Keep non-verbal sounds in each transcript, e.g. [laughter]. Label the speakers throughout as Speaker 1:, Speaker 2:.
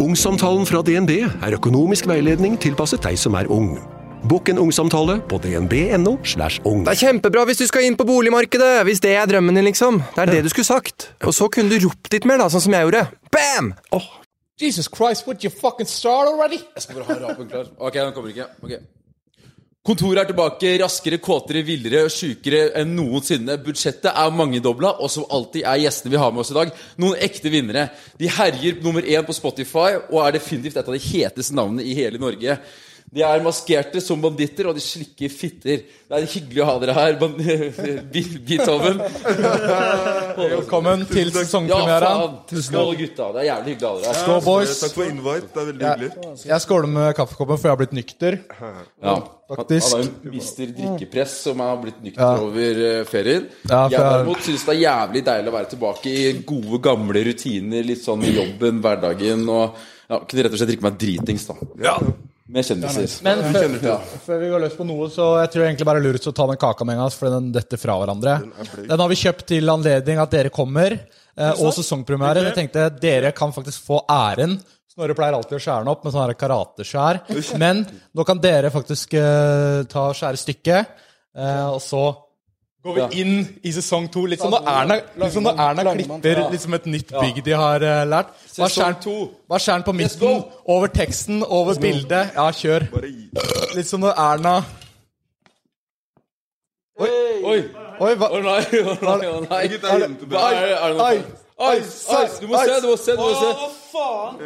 Speaker 1: Ungsamtalen fra DNB er økonomisk veiledning tilpasset deg som er ung. Bokk en ungsamtale på dnb.no. slash ung.
Speaker 2: Det er kjempebra hvis du skal inn på boligmarkedet! Hvis det er drømmen din, liksom. Det er det du skulle sagt. Og så kunne du ropt litt mer, da, sånn som jeg gjorde. Bam!
Speaker 3: Jesus Christ, would you fucking start already?
Speaker 4: Jeg skal bare ha rapen klar. Ok, den kommer ikke. Ok. Kontoret er tilbake, raskere, kåtere, villere og sjukere enn noensinne. Budsjettet er mangedobla, og som alltid er gjestene vi har med oss i dag, noen ekte vinnere. De herjer nummer én på Spotify og er definitivt et av de heteste navnene i hele Norge. De er maskerte som banditter, og de slikker fitter. Det er hyggelig å ha dere her, ban- [laughs] Beethoven.
Speaker 3: Velkommen til
Speaker 4: Ja,
Speaker 3: sesongpremieren.
Speaker 4: faen! Skål, gutta. Det er jævlig hyggelig å ha dere her.
Speaker 3: Skål, boys.
Speaker 5: Eh, Takk for invite. Det er veldig hyggelig.
Speaker 3: Jeg skåler med kaffekoppen, for jeg har blitt nykter.
Speaker 4: Ja,
Speaker 3: Faktisk.
Speaker 4: Han, han er jo en mister drikkepress som har blitt nykter over eh, ferien.
Speaker 3: Ja, for
Speaker 4: jeg
Speaker 3: jeg-
Speaker 4: derimot syns det er jævlig deilig å være tilbake i gode, gamle rutiner. Litt sånn i jobben, hverdagen og ja, Kunne rett og slett drikke meg dritings, da.
Speaker 5: Ja.
Speaker 4: Med kjendiser.
Speaker 3: Men før,
Speaker 5: til det.
Speaker 3: før vi går løs på noe, så jeg tror egentlig bare det er lurt å ta den kaka med en gang, for den detter fra hverandre. Den har vi kjøpt til anledning at dere kommer, eh, og sesongpremiere. Jeg tenkte dere kan faktisk få æren. Snorre pleier alltid å skjære den opp med sånn her karateskjær. Men nå kan dere faktisk eh, ta og skjære stykket, eh, og så Går vi inn i sesong to, litt som når Erna, litt som når Erna klipper liksom et nytt bygg de har eh, lært. Hva er
Speaker 4: Sesong
Speaker 3: skjæren-
Speaker 4: to.
Speaker 3: hva er skjæren på midten? Over teksten, over bildet. Ja, kjør.
Speaker 5: Bare gi
Speaker 3: Litt som når Erna
Speaker 4: Oi!
Speaker 3: Oi, hva
Speaker 4: Å nei, å nei, å nei.
Speaker 5: Gutta, jeg gjemte
Speaker 4: Hva er
Speaker 5: meg.
Speaker 4: det- er det noe?
Speaker 3: Oi,
Speaker 4: Oi, oi, du må se, du må se! du må se
Speaker 5: Hey,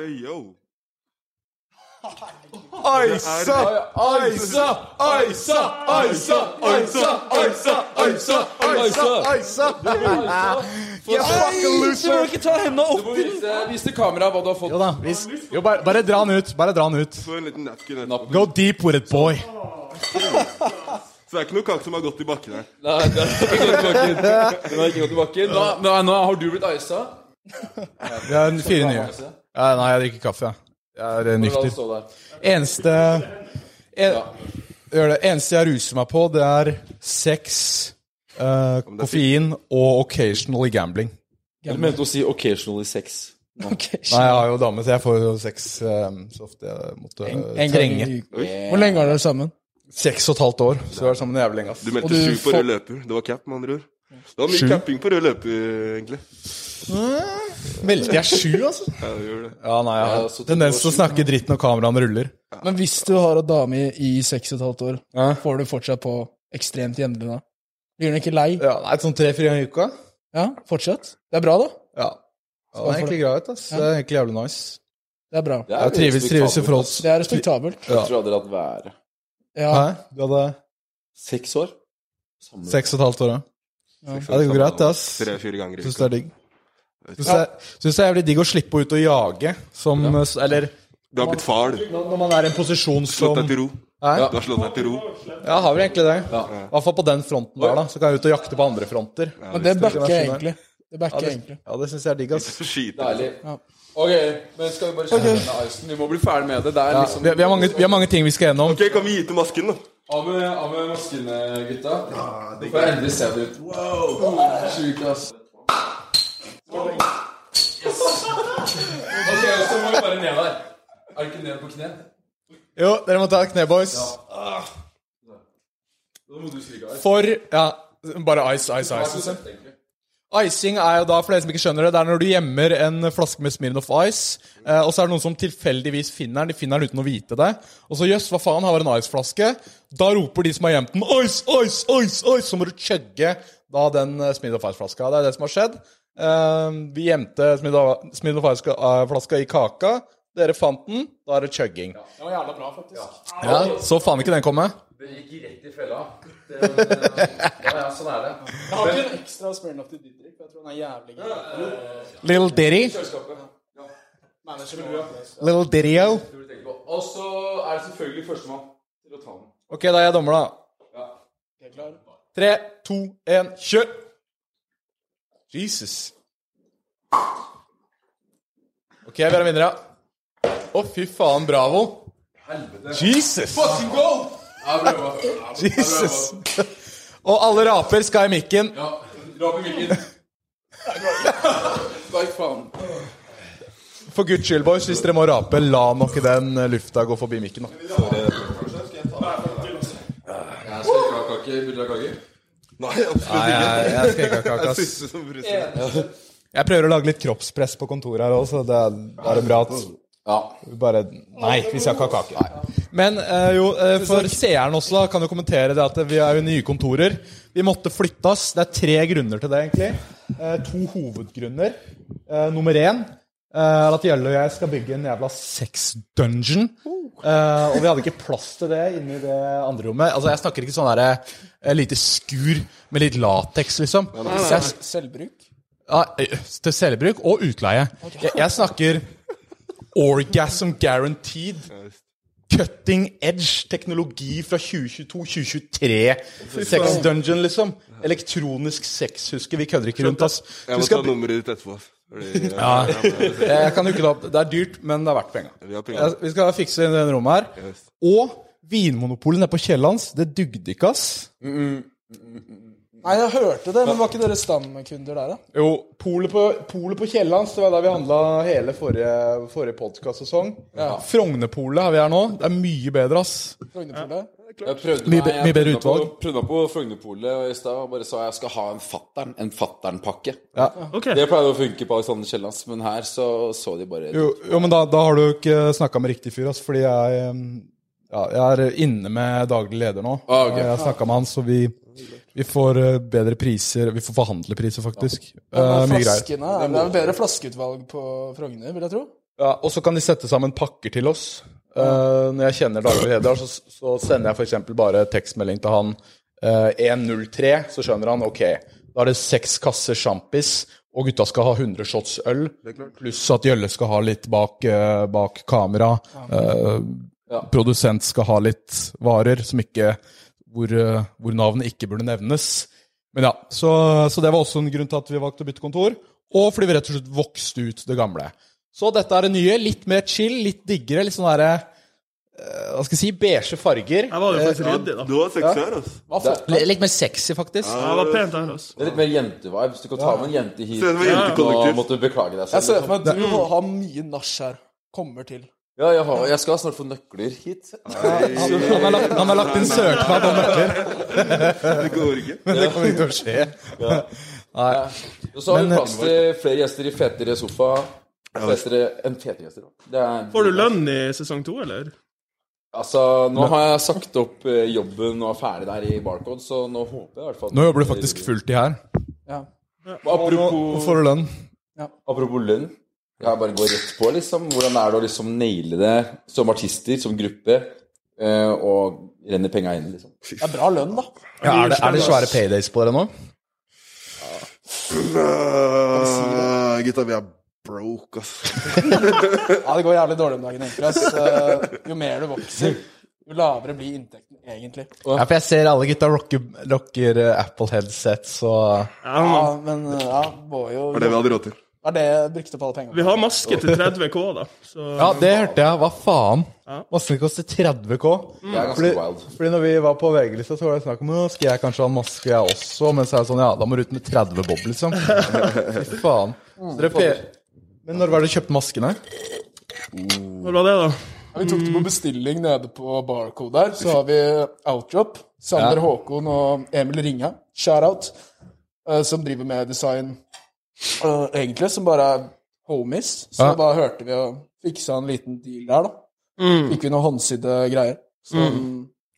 Speaker 5: Eh, yo.
Speaker 3: Oi,
Speaker 5: Er-
Speaker 4: Aisa, aisa, aisa, aisa, aisa, aisa, aisa!
Speaker 3: Aisa!
Speaker 4: Få se.
Speaker 3: Fucking loser!
Speaker 4: Du må vise, vise kameraet hva du har fått.
Speaker 3: Jo da, vis. Jo, bare, bare dra den ut. Bare dra den ut.
Speaker 5: Få en liten napkin etterpå.
Speaker 4: Napp.
Speaker 3: Go deep with it, boy.
Speaker 5: Så det er ikke noe kake som har gått i bakken her.
Speaker 4: Nei, den har ikke gått i bakken. Den har ikke gått i bakken. Nå, nå, nå har du blitt isa.
Speaker 3: Vi har en fire nye. Ja, nei, jeg drikker kaffe, jeg. Jeg er
Speaker 4: La det
Speaker 3: nykter.
Speaker 4: stå der.
Speaker 3: Eneste en, gjør det. Eneste jeg ruser meg på, det er sex, eh, koffein og occasionally gambling.
Speaker 4: Du mente å si 'occasionally sex'.
Speaker 3: Nei, jeg har jo dame, så jeg får jo sex eh, så ofte jeg måtte eh, trenge.
Speaker 6: Hvor lenge har dere vært sammen?
Speaker 3: Seks og et halvt år, så vi har vært sammen jævlig lenge. ass.
Speaker 5: Du
Speaker 6: Og
Speaker 5: meldte
Speaker 6: du
Speaker 5: sju på
Speaker 6: får-
Speaker 5: rød løper. Det var cap, med andre ord. Det var mye capping på rød løper, egentlig.
Speaker 3: Meldte jeg sju, altså?
Speaker 5: Ja, det gjør det.
Speaker 3: Ja, nei, jeg
Speaker 4: Ja,
Speaker 3: har
Speaker 4: så to
Speaker 3: tendens
Speaker 4: år
Speaker 3: til å snakke dritt når kameraene ruller.
Speaker 6: Men hvis du har en dame i- i seks og et halvt år, får du fortsatt på ekstremt jevnlig da? Blir hun ikke lei?
Speaker 3: Ja, nei, Sånn tre-fire ganger i uka?
Speaker 6: Ja, fortsatt. Det er bra, da.
Speaker 3: Ja. det er egentlig greit, ass. Det er egentlig jævlig nice.
Speaker 6: Det er bra.
Speaker 4: Det
Speaker 3: Jeg trives, trives i forhold
Speaker 6: Det er respektabelt.
Speaker 4: Jeg tror jeg hadde latt være.
Speaker 6: Ja.
Speaker 3: Hæ? Du hadde
Speaker 4: Seks år? Samlet.
Speaker 3: seks og et halvt år, ja? Ja, det går greit, ass.
Speaker 5: Tre-fire ganger i
Speaker 3: Syns
Speaker 5: uka.
Speaker 3: det er digg. Syns det, er- synes det er jævlig digg å slippe ut og jage, som Eller
Speaker 5: Du har blitt far, du.
Speaker 3: når man er i en posisjon
Speaker 5: Slått
Speaker 3: som
Speaker 5: deg til ro.
Speaker 3: Hæ?
Speaker 5: Du har slått deg til ro.
Speaker 3: Ja, har vel egentlig det. I hvert fall på den fronten der, da. Så kan jeg ut og jakte på andre fronter.
Speaker 6: Men det backer jeg
Speaker 3: skjønner.
Speaker 6: egentlig. Det backer jeg
Speaker 3: det,
Speaker 6: egentlig.
Speaker 3: ja, det syns jeg er digg, ass.
Speaker 5: Så skiter jeg.
Speaker 4: Deilig.
Speaker 6: Ja.
Speaker 4: Ok, men skal vi bare kjøre denne icen? Vi må bli ferdig med det. Det er
Speaker 3: Ja,
Speaker 4: liksom
Speaker 3: vi, vi, har mange, vi har mange ting vi skal gjennom.
Speaker 5: Ok, kan vi gi til masken, da?
Speaker 4: Av med, av med maskene, gutta. Nå får jeg endelig se det ut. Wow! Sjukt, ass. Yes. Ok, så må vi bare ned der. Er det ikke ned på kne?
Speaker 3: Jo, dere må ta et kne, boys.
Speaker 4: Ah. Da må du stryke her.
Speaker 3: For Ja, bare ice, ice,
Speaker 4: Hva er
Speaker 3: ice.
Speaker 4: konseptet, egentlig?
Speaker 3: Icing er jo da, for dere som ikke skjønner det, det er når du gjemmer en flaske med Smirnoff Ice, eh, og så er det noen som tilfeldigvis finner den. De finner den uten å vite det. Og så jøss, hva faen, her var en iceflaske. Da roper de som har gjemt den, ice, ice, ice, ice, så må du chugge da den eh, Smirnoff Ice-flaska. Det er det som har skjedd. Eh, vi gjemte Smirnoff Smirnoff Ice-flaska i kaka. Dere fant den. Da er det chugging.
Speaker 4: Det var jævla bra, faktisk.
Speaker 3: Ja, så faen ikke den komme.
Speaker 4: Det gikk rett i fella. Det, ja, ja, sånn er det.
Speaker 6: Ekstra Smirnoff til Didrik, jeg tror han er jævlig
Speaker 3: Little Diddy.
Speaker 4: Kjøleskapet.
Speaker 3: Little Diddy-o.
Speaker 4: Det burde du tenke på. Og så er det selvfølgelig førstemann til å ta den.
Speaker 3: Ok, da er jeg dommer, da. Tre, to, én, kjør! Jesus. Ok, vi har en vinner, ja. Å, fy faen, bravo. Jesus!
Speaker 4: Ja, prøv, da.
Speaker 3: Jesus. Og alle raper skal i mikken.
Speaker 4: Ja, dra på mikken. Hva i faen?
Speaker 3: For guds skyld, boys, hvis dere må rape, la nå ikke den eh, lufta gå forbi mikken. da.
Speaker 4: Jeg skal ikke ha kake. Vil du ha kake?
Speaker 5: Nei, absolutt
Speaker 3: Nei,
Speaker 5: ikke.
Speaker 3: jeg, jeg skal ikke ha
Speaker 5: Jeg
Speaker 3: kake,
Speaker 5: er
Speaker 3: ass.
Speaker 5: siste [laughs] som bryr seg.
Speaker 3: Jeg prøver å lage litt kroppspress på kontoret her òg, så det er, er det bra at
Speaker 4: Ja.
Speaker 3: bare Nei, vi skal ikke ha kake. Men eh, jo, eh, for seeren også da, kan jo kommentere det at vi er jo nye kontorer. Vi måtte flytte oss. Det er tre grunner til det, egentlig. Eh, to hovedgrunner. Eh, nummer én eh, er at Gjelle og jeg skal bygge en jævla sex-dungeon. Eh, og vi hadde ikke plass til det inni det andre rommet. Altså, Jeg snakker ikke sånn derre eh, lite skur med litt lateks, liksom. Så jeg
Speaker 6: Selvbruk?
Speaker 3: ja, ø, til selvbruk og utleie. Jeg, jeg snakker orgasm guaranteed. Cutting edge teknologi fra 2022-2023. Sex dungeon, liksom. Elektronisk sex, husker vi kødder ikke rundt, ass.
Speaker 5: Jeg
Speaker 3: Du
Speaker 5: må
Speaker 3: skal,
Speaker 5: ta nummeret ditt etterpå. ass. Fordi, eh,
Speaker 3: jeg kan jo ikke da, det er dyrt, men det er verdt penga.
Speaker 5: Vi
Speaker 3: Ja,
Speaker 5: har penger.
Speaker 3: Vi skal fikse det rommet her.
Speaker 5: Yes.
Speaker 3: Og Vinmonopolet nede på Kiellands, det dugde ikke, ass.
Speaker 6: Nei, jeg hørte det, men var ikke dere stamkunder der, da?
Speaker 3: Jo, polet på, polet på Kiellands, det var der vi handla hele forrige, forrige podkast-sesong. Frognerpolet har vi her nå. Det er mye bedre, ass.
Speaker 6: Frognerpolet?
Speaker 4: Jeg prøvde
Speaker 3: Mye be-
Speaker 4: jeg
Speaker 3: mye bedre
Speaker 4: prøvde meg
Speaker 3: utvalg.
Speaker 4: På, prøvde meg på Frognerpolet i stad og bare sa jeg skal ha en fattern. En fatternpakke.
Speaker 7: Ok.
Speaker 4: Det pleide å funke på Alexander Kiellands, men her så så de bare
Speaker 3: Jo, jo men da, da har du jo ikke snakka med riktig fyr, ass, fordi jeg ehm, ja, jeg er inne med daglig leder nå.
Speaker 4: Ah, ok.
Speaker 3: Jeg har snakka med han, så vi, vi får eh, bedre priser. Vi får forhandlepriser, faktisk. Eh, mye greier.
Speaker 6: Flaskene, er- det er vel bedre flaskeutvalg på Frogner, vil jeg tro.
Speaker 3: Ja, og så kan de sette sammen pakker til oss. Eh, når jeg kjenner daglig leder, så, så sender jeg f.eks. bare tekstmelding til han eh, 103, så skjønner han ok, da er det seks kasser sjampis, og gutta skal ha 100 shots øl, pluss at Jølle skal ha litt bak, eh, bak kamera. eh, Produsent skal ha litt varer som ikke hvor, eh, hvor navnet ikke burde nevnes. Men ja, så, så det var også en grunn til at vi valgte å bytte kontor, og fordi vi rett og slett vokste ut det gamle. Så dette er det nye. Litt mer chill, litt diggere. Litt sånn derre eh, Hva skal jeg si? Beige farger. Eh,
Speaker 7: Jeg var jo faktisk ryddig, da.
Speaker 5: Du har seks her, ass.
Speaker 3: Litt, litt mer sexy, faktisk.
Speaker 7: Jeg var pent her, altså.
Speaker 4: Det er litt mer jentevibe. Hvis du kan ta med en jente hit
Speaker 5: Se, det var jentekollektiv.
Speaker 4: Da måtte du beklage deg
Speaker 6: Jeg
Speaker 4: selv. liksom.
Speaker 6: ser for meg at du har mye nach her. Kommer til.
Speaker 4: Ja, jeg, har, jeg skal snart få nøkler hit.
Speaker 3: Han, han, har lagt, han har lagt inn søknad om nøkler,
Speaker 5: Det går ikke.
Speaker 3: men det kommer ikke til å skje.
Speaker 4: Og så har vi
Speaker 3: Men, eh,
Speaker 4: plass til flere gjester i fetere sofa. Fetere enn fetere gjester. da. Det er-
Speaker 7: Får du lønn i sesong to, eller?
Speaker 4: Altså, nå har jeg sagt opp eh, jobben og er ferdig der i Barcode, så nå håper jeg i hvert fall at-
Speaker 3: Nå jobber du faktisk fulltid her.
Speaker 6: Ja.
Speaker 3: Nå
Speaker 4: Apropos,
Speaker 3: får du lønn.
Speaker 4: apropos lønn. Jeg bare går rett på, liksom. Hvordan er det å liksom naile det som artister, som gruppe, eh, og renne penga inn, liksom?
Speaker 6: Det er bra lønn, da.
Speaker 3: Ja, er, det, er det svære paydays på dere nå?
Speaker 5: Uh, gutta, vi er broke, ass.
Speaker 6: Ja, det går jævlig dårlig om dagen, egentlig. ass. Eh, Jo mer du vokser, jo lavere blir inntekten, egentlig.
Speaker 3: Ja, for jeg ser alle gutta rocker, rocker eh, Apple headsets og
Speaker 7: Ja,
Speaker 6: Ja, men eh, ja, må jo
Speaker 5: Det var det vi hadde råd til.
Speaker 6: Er det brukte opp alle pengene?
Speaker 7: vi har maske til 30K, da. Så
Speaker 3: Ja, det hørte jeg. Hva faen? Masken koster 30K.
Speaker 4: Det er
Speaker 3: Fordi,
Speaker 4: ganske wild.
Speaker 3: fordi når vi var på VG-lista, så var det snakk om «Nå skal jeg kanskje ha en maske, jeg også. Men så er det sånn, ja, da må du ut med 30 bob,
Speaker 4: [laughs]
Speaker 3: liksom. Fy faen. Så dere pe- men når var det du kjøpte maskene?
Speaker 7: Hvor var det, da?
Speaker 6: Ja, Vi tok det på bestilling nede på Barcode her. Så har vi Outdrop. Sander
Speaker 3: Ja.
Speaker 6: Håkon og Emil Ringa, shout-out, eh, som driver med design, eh, egentlig, som bare er homies. Så
Speaker 3: Ja.
Speaker 6: da hørte vi og fiksa en liten deal der, da. Fikk vi noen håndsydde greier. Så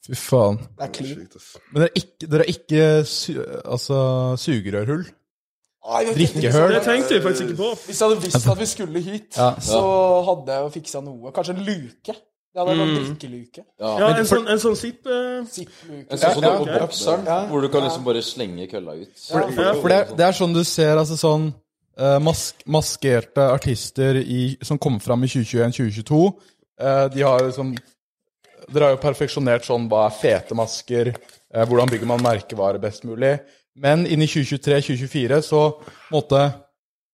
Speaker 3: Fy faen.
Speaker 6: det er clean.
Speaker 5: Sjukt, ass.
Speaker 3: Men dere er ikke, dere er ikke su altså, sugerørhull?
Speaker 6: Ai, jeg vet ikke.
Speaker 3: Drikkehull?
Speaker 7: Det tenkte vi faktisk ikke på.
Speaker 6: Hvis jeg hadde visst at vi skulle hit,
Speaker 3: Ja.
Speaker 6: så hadde jeg jo fiksa noe. Kanskje en luke. Det hadde vært en drikkeluke.
Speaker 7: Ja, en sånn, en sånn sipp eh,
Speaker 6: Sippluke.
Speaker 4: En sånn som det
Speaker 3: Ja,
Speaker 4: er på
Speaker 7: ok.
Speaker 4: Bobseren, hvor du kan liksom bare slenge kølla ut.
Speaker 3: For det, det er sånn du ser altså sånn eh, mask, maskerte artister i, som kom fram i 2021-2022. eh, de har liksom Dere har jo perfeksjonert sånn hva er fete masker, eh, hvordan bygger man merkevarer best mulig. Men inn i 2023-2024 så på en måte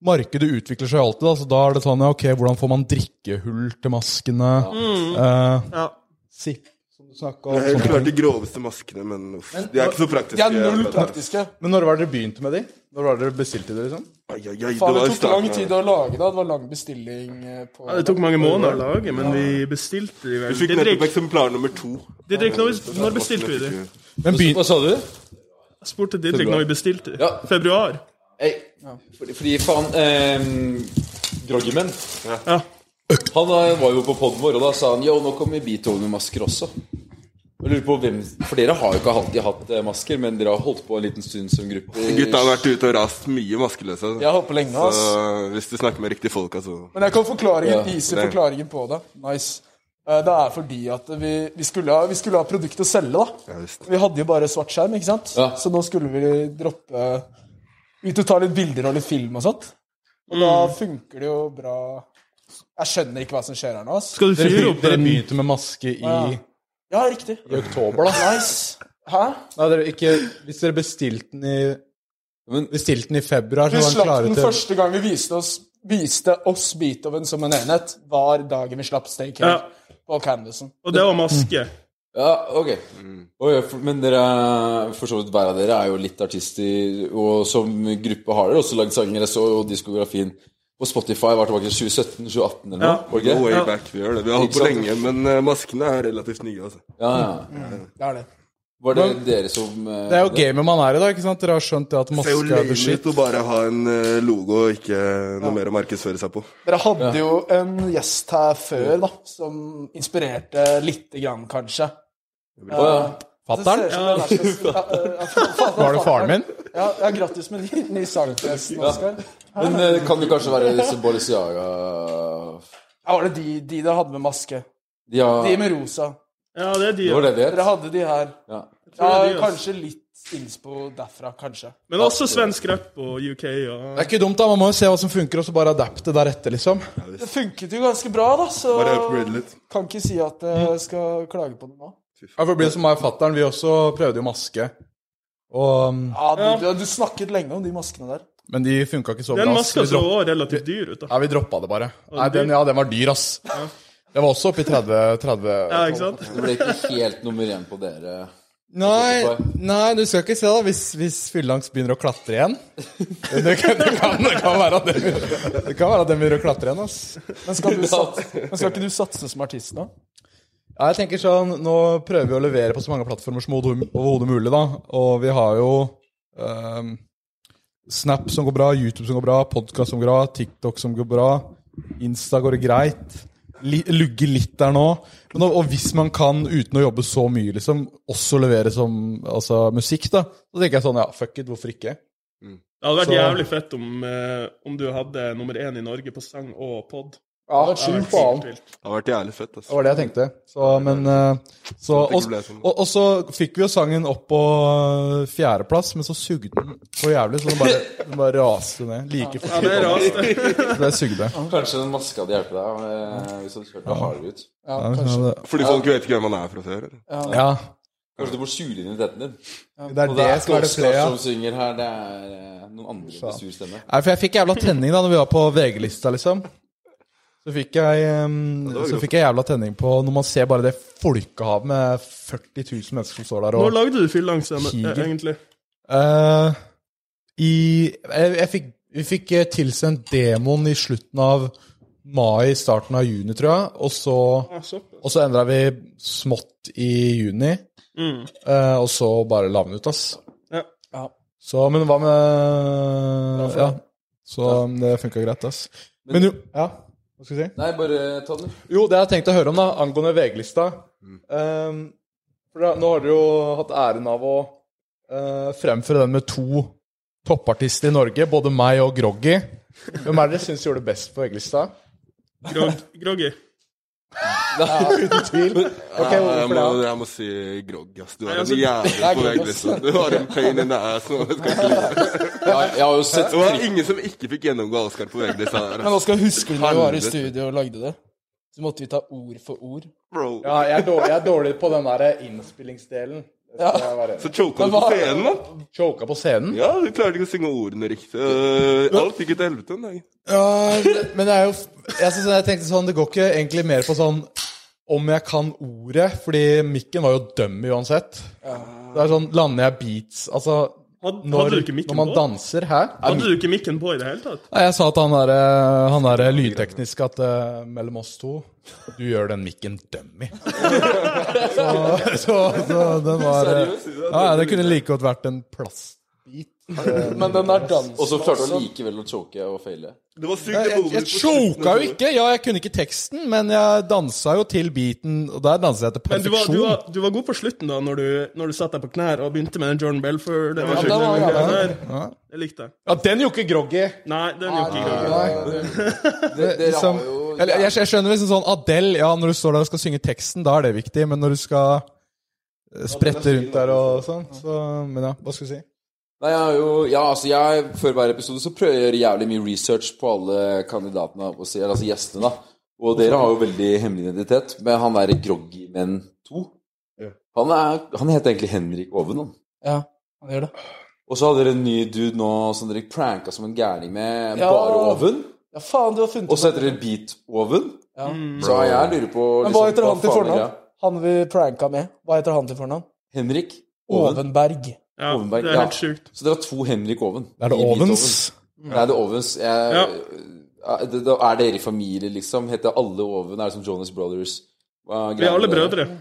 Speaker 3: Markedet utvikler seg jo alltid, da, så da er det sånn ja, ok, hvordan får man drikkehull til maskene? Eh,
Speaker 7: Ja.
Speaker 3: sipp, som du snakke
Speaker 5: Jeg
Speaker 3: om
Speaker 5: klarte de groveste maskene, men uff. De er ikke så praktiske.
Speaker 6: Sånn. De er null
Speaker 5: Akkurat.
Speaker 6: praktiske.
Speaker 3: Men når var det dere begynte med de? Når var det dere bestilte de, liksom?
Speaker 5: Ai, ai, ai, var
Speaker 6: Faen, det
Speaker 5: i
Speaker 6: tok lang
Speaker 5: starten
Speaker 6: tid
Speaker 5: her.
Speaker 6: å lage det. Det var lang bestilling eh, på
Speaker 7: Ja, det tok mange måneder å lage, men vi bestilte de
Speaker 5: Vi
Speaker 7: vel.
Speaker 5: fikk nettopp
Speaker 7: Didrik,
Speaker 5: eksemplar nummer to.
Speaker 7: Didrik når, vi- når bestilte vi de?
Speaker 3: Men begyn-
Speaker 4: Hva sa du?
Speaker 7: Jeg spurte Didrik når vi bestilte de.
Speaker 4: Ja.
Speaker 7: Februar.
Speaker 4: Ei, fordi, fordi faen eh, Groggyman,
Speaker 7: Ja.
Speaker 4: han eh, var jo på poden vår, og da sa han Yo, nå kommer Beethoven-masker også. Jeg lurer på hvem For dere har jo ikke alltid hatt eh, masker, men dere har holdt på en liten stund som gruppe.
Speaker 5: [laughs] Gutta har vært ute og rast mye maskeløse.
Speaker 6: Jeg har holdt på lenge, ass.
Speaker 5: Så øh, hvis du snakker med riktige folk, altså
Speaker 6: Men jeg kan forklaringen,
Speaker 4: Ja,
Speaker 6: ease
Speaker 5: det-
Speaker 6: forklaringen på det. Nice. Eh, Det er fordi at vi, vi, skulle, ha, vi skulle ha produkt å selge, da.
Speaker 5: Ja, visst.
Speaker 6: Vi hadde jo bare svart skjerm, ikke sant?
Speaker 4: Ja.
Speaker 6: Så nå skulle vi droppe ut og ta litt bilder og litt film og sånt. Og da funker det jo bra Jeg skjønner ikke hva som skjer her nå, ass.
Speaker 7: Skal du
Speaker 3: dere,
Speaker 7: fyre
Speaker 3: begynte,
Speaker 7: opp
Speaker 3: dere
Speaker 7: en
Speaker 3: begynte med maske i,
Speaker 6: Ja. Ja, riktig.
Speaker 3: i oktober, da?
Speaker 6: Nice. Hæ?
Speaker 3: Nei, dere, ikke, hvis dere bestilte den i
Speaker 4: Men-
Speaker 3: Bestilte den i februar,
Speaker 6: Vi
Speaker 3: så
Speaker 6: slapp
Speaker 3: var den
Speaker 6: den
Speaker 3: klare til
Speaker 6: første gang vi viste oss, viste oss Beethoven som en enhet, var dagen vi slapp Stay Cave
Speaker 7: Ja.
Speaker 6: på canvasen.
Speaker 7: Og det var maske.
Speaker 4: Ja, ok. Oi, for- men dere, er- for så vidt hver av dere er jo litt artister, og som gruppe har dere også lagd sanger. Jeg så jo diskografien på Spotify var tilbake i 2017-2018 eller noe.
Speaker 7: Ja.
Speaker 4: var det
Speaker 5: Go
Speaker 4: ikke?
Speaker 5: way
Speaker 7: Ja.
Speaker 5: back, vi gjør det. Vi har holdt på
Speaker 4: Ikke sant?
Speaker 5: lenge, men eh, maskene er relativt nye, altså.
Speaker 4: Ja, ja.
Speaker 6: Det er det.
Speaker 4: Var det dere som eh,
Speaker 3: Det er jo gamet man er i, da. ikke sant? Dere har skjønt det at
Speaker 5: Det er jo
Speaker 3: maske er
Speaker 5: lame
Speaker 3: beskytt.
Speaker 5: ut å bare ha en eh, logo og ikke øh, noe mer å markedsføre seg på.
Speaker 6: Dere hadde jo en gjest her før, da, som inspirerte lite grann, kanskje.
Speaker 4: Å, ja.
Speaker 3: Fatter'n?
Speaker 6: [laughs]
Speaker 3: Var
Speaker 6: Var
Speaker 3: det faren [laughs] min?
Speaker 6: eh, Ja, ja grattis med ny, ny sang, forresten, Oskar.
Speaker 4: Men eh, kan det kanskje være disse Balenciaga
Speaker 6: Ja, var det de, de dere hadde med maske?
Speaker 4: De har
Speaker 6: De med rosa.
Speaker 7: Ja, det er de.
Speaker 4: Det var det
Speaker 7: ja.
Speaker 4: de
Speaker 6: Dere
Speaker 4: het.
Speaker 6: hadde de her.
Speaker 4: Ja.
Speaker 6: Ja,
Speaker 7: det er de, ass.
Speaker 6: kanskje litt innspo derfra, kanskje.
Speaker 7: Men også svensk rap og UK og
Speaker 3: Det er ikke dumt, da. Man må jo se hva som funker, og så bare adapte deretter, liksom.
Speaker 6: Det funket jo ganske bra, da, så
Speaker 5: Bare upgrade litt.
Speaker 6: kan ikke si at jeg skal klage på det nå.
Speaker 3: Ja, for det blir som meg og fatter'n. Vi også prøvde jo maske. Og, mm,
Speaker 6: Ja, du, du- du snakket lenge om de maskene der.
Speaker 3: men de funka ikke så bra.
Speaker 7: Den
Speaker 3: ass. Vi
Speaker 7: maska så
Speaker 3: dropp-
Speaker 7: også relativt dyr ut, da.
Speaker 3: Ja, vi droppa det bare. Nei,
Speaker 7: den dyr?
Speaker 3: den, ja, den var dyr, ass. Det var også oppi 30, 30
Speaker 7: Ja, ikke sant?
Speaker 4: Det ble ikke helt nummer én på dere.
Speaker 3: Nei,
Speaker 4: Spotify.
Speaker 3: nei, du skal ikke se da hvis, hvis fyllangst begynner å klatre igjen. Det kan, det kan, det kan være at den begynner- det kan være at den begynner å klatre igjen. ass.
Speaker 6: Men skal, du satse, men skal ikke du satse som artist nå?
Speaker 3: Ja, jeg tenker sånn, Nå prøver vi å levere på så mange plattformer som overhodet overhodet mulig. da, Og vi har jo ehm, Snap som går bra, YouTube som går bra, podkast som går bra, TikTok som går bra. Insta går det greit. Li, lugge litt der nå. Men, og, og hvis man kan, uten å jobbe så mye, liksom, også levere som altså, musikk, da, så tenker jeg sånn ja, fuck it, hvorfor ikke?
Speaker 7: Det hadde vært
Speaker 3: Så-
Speaker 7: jævlig fett om, eh, om du hadde nummer én i Norge på sang og pod.
Speaker 3: Ja, sju faen.
Speaker 7: Helt vilt.
Speaker 5: Det har vært jævlig fett,
Speaker 3: Det
Speaker 5: altså.
Speaker 3: var det jeg tenkte. Så, men, eh, så,
Speaker 5: Sånn at det
Speaker 3: og,
Speaker 5: ikke ble sånn.
Speaker 3: og, og så fikk vi jo sangen opp på eh, fjerdeplass, men så sugde den så jævlig, så den bare, den bare raste ned. Like
Speaker 7: Ja, det er
Speaker 3: fort.
Speaker 7: rart. det.
Speaker 3: Så det sugde.
Speaker 4: Kanskje den maska hadde hjulpet deg eh, hvis du hadde kjørt deg hardere ut.
Speaker 6: Ja,
Speaker 3: Ja,
Speaker 6: kanskje.
Speaker 3: det-
Speaker 5: Fordi folk vet ikke hvem man er fra før. eller?
Speaker 3: Ja,
Speaker 4: Kanskje du må skjule identiteten din.
Speaker 3: det er det
Speaker 4: Og det er
Speaker 3: som
Speaker 4: ikke
Speaker 3: er det
Speaker 4: Oskar
Speaker 3: flere
Speaker 4: som synger her, det er eh, noen andre med sur stemme.
Speaker 3: Nei, for jeg fikk jævla tenning da når vi var på VG-lista, liksom. Så fikk jeg, em,
Speaker 5: var
Speaker 3: så
Speaker 5: grovt.
Speaker 3: fikk jeg jævla tenning på når man ser bare det folkehavet med 40 000 mennesker som står der og
Speaker 7: Når lagde du fyllangs, eh,
Speaker 3: Kiger.
Speaker 7: egentlig?
Speaker 3: Eh, I jeg, jeg fikk, Vi fikk eh, tilsendt demoen i slutten av mai, starten av juni, tror jeg. Og så,
Speaker 7: Ah, såpass.
Speaker 3: og så endra vi smått i juni.
Speaker 7: Mm.
Speaker 3: eh, og så bare la vi den ut, ass.
Speaker 7: Ja.
Speaker 6: Ja.
Speaker 3: Så, men hva med Ja. Så det funka greit, ass. Men jo Ja, hva skal vi si?
Speaker 4: Nei, bare ta den.
Speaker 3: Jo, det jeg tenkte å høre om da, angående VG-lista Ehm, for da, Nå har dere jo hatt æren av å eh, fremføre den med to toppartister i Norge, både meg og Groggy. Hvem er det dere syns gjorde det best på VG-lista?
Speaker 7: Grog, groggy.
Speaker 3: [laughs] Uten tvil. Ok,
Speaker 5: Ja, jeg,
Speaker 3: hvorfor
Speaker 5: må,
Speaker 3: det?
Speaker 5: jeg må si grogg, ass. Du
Speaker 7: Nei,
Speaker 5: har en
Speaker 7: altså-
Speaker 5: jævel på
Speaker 6: grogg,
Speaker 5: vei,
Speaker 6: ass.
Speaker 5: liksom. Du har en pain in the ass. nå, jeg skal ikke lyve.
Speaker 4: Jeg, jeg har jo sett
Speaker 5: Det var ingen som ikke fikk gjennomgå Oscar på VG-lista der.
Speaker 6: Men
Speaker 5: ass.
Speaker 6: Oskar, husker du når vi var i
Speaker 5: Helvete.
Speaker 6: studio og lagde det? Så måtte vi ta ord for ord.
Speaker 5: Bro.
Speaker 3: Ja, jeg er dårlig, jeg er dårlig på den der innspillingsdelen. Det skal jeg være enig i.
Speaker 5: Så choka du på
Speaker 6: hva-
Speaker 5: scenen, da.
Speaker 3: Choka på scenen?
Speaker 5: Ja, du klarte ikke å synge ordene riktig. Øh, Alt gikk jo til helvete en dag.
Speaker 3: Ja, men det er jo jeg, synes, jeg tenkte sånn, det går ikke egentlig mer på sånn om jeg kan ordet, fordi mikken var jo døm uansett. Det er sånn, Lander jeg beats Altså,
Speaker 7: Hadde,
Speaker 3: når,
Speaker 7: hadde du ikke
Speaker 3: når
Speaker 7: mikken
Speaker 3: man
Speaker 7: på?
Speaker 3: danser Hæ?
Speaker 7: Hadde du ikke mikken på i det hele tatt?
Speaker 3: Nei, jeg sa til han der, eh, han der lydteknisk at eh, mellom oss to Du gjør den mikken dummy. så, så, så den var eh, Ja, ja, det kunne like godt vært en plast.
Speaker 6: Men den er dans.
Speaker 4: Og så klarte han likevel å choke og faile.
Speaker 5: Det var sykt
Speaker 3: Jeg, jeg choka jo ikke! Ja, jeg kunne ikke teksten, men jeg dansa jo til beaten, og der danset jeg til
Speaker 7: Men du var, du,
Speaker 3: perfeksjon.
Speaker 7: var, du var god på slutten, da, når du, når du satte deg på knær og begynte med den Jordan Belford. Det,
Speaker 6: det var- ja,
Speaker 7: det likte jeg.
Speaker 3: Ja, den gjorde ikke groggy!
Speaker 7: Nei, den gjorde ikke jeg.
Speaker 3: Liksom, eller, jeg, jeg skjønner liksom sånn Adele, ja, når du står der og skal synge teksten, da er det viktig, men når du skal eh, sprette rundt der og sånn, så Men ja, hva skal du si?
Speaker 4: Nei, jeg har jo Ja, altså, jeg Før hver episode så prøver jeg å gjøre jævlig mye research på alle kandidatene, og se- eller altså gjestene, da. Og dere har jo veldig hemmelig identitet, men han derre Groggymen 2 han, er, han heter egentlig Henrik Oven, han.
Speaker 6: Ja, han gjør det.
Speaker 4: Og så hadde dere en ny dude nå som dere pranka som en gærning med
Speaker 6: Ja.
Speaker 4: bare oven.
Speaker 6: Ja, faen, du har funnet
Speaker 4: Og så heter dere Beat-oven.
Speaker 6: Ja.
Speaker 4: Så jeg lurer på liksom,
Speaker 6: Men hva heter han
Speaker 4: faen
Speaker 6: til
Speaker 4: er
Speaker 6: fornavn?
Speaker 4: greia?
Speaker 6: Han vi pranka med. Hva heter han til fornavn?
Speaker 4: Henrik Oven.
Speaker 6: Ovenberg.
Speaker 7: Ja,
Speaker 4: Ovenberg,
Speaker 7: det er helt
Speaker 4: ja.
Speaker 7: sjukt.
Speaker 4: Så dere har to Henrik Oven.
Speaker 3: Er det
Speaker 4: i Beat-oven.
Speaker 3: ovens?
Speaker 4: Nei, det er Ovens. Jeg,
Speaker 7: Ja.
Speaker 4: Er det- da Er dere i familie, liksom? Heter alle Oven? Er det som Jonas Brothers? Hva
Speaker 7: Vi er
Speaker 4: greia
Speaker 7: alle
Speaker 4: med
Speaker 7: brødre.
Speaker 4: det?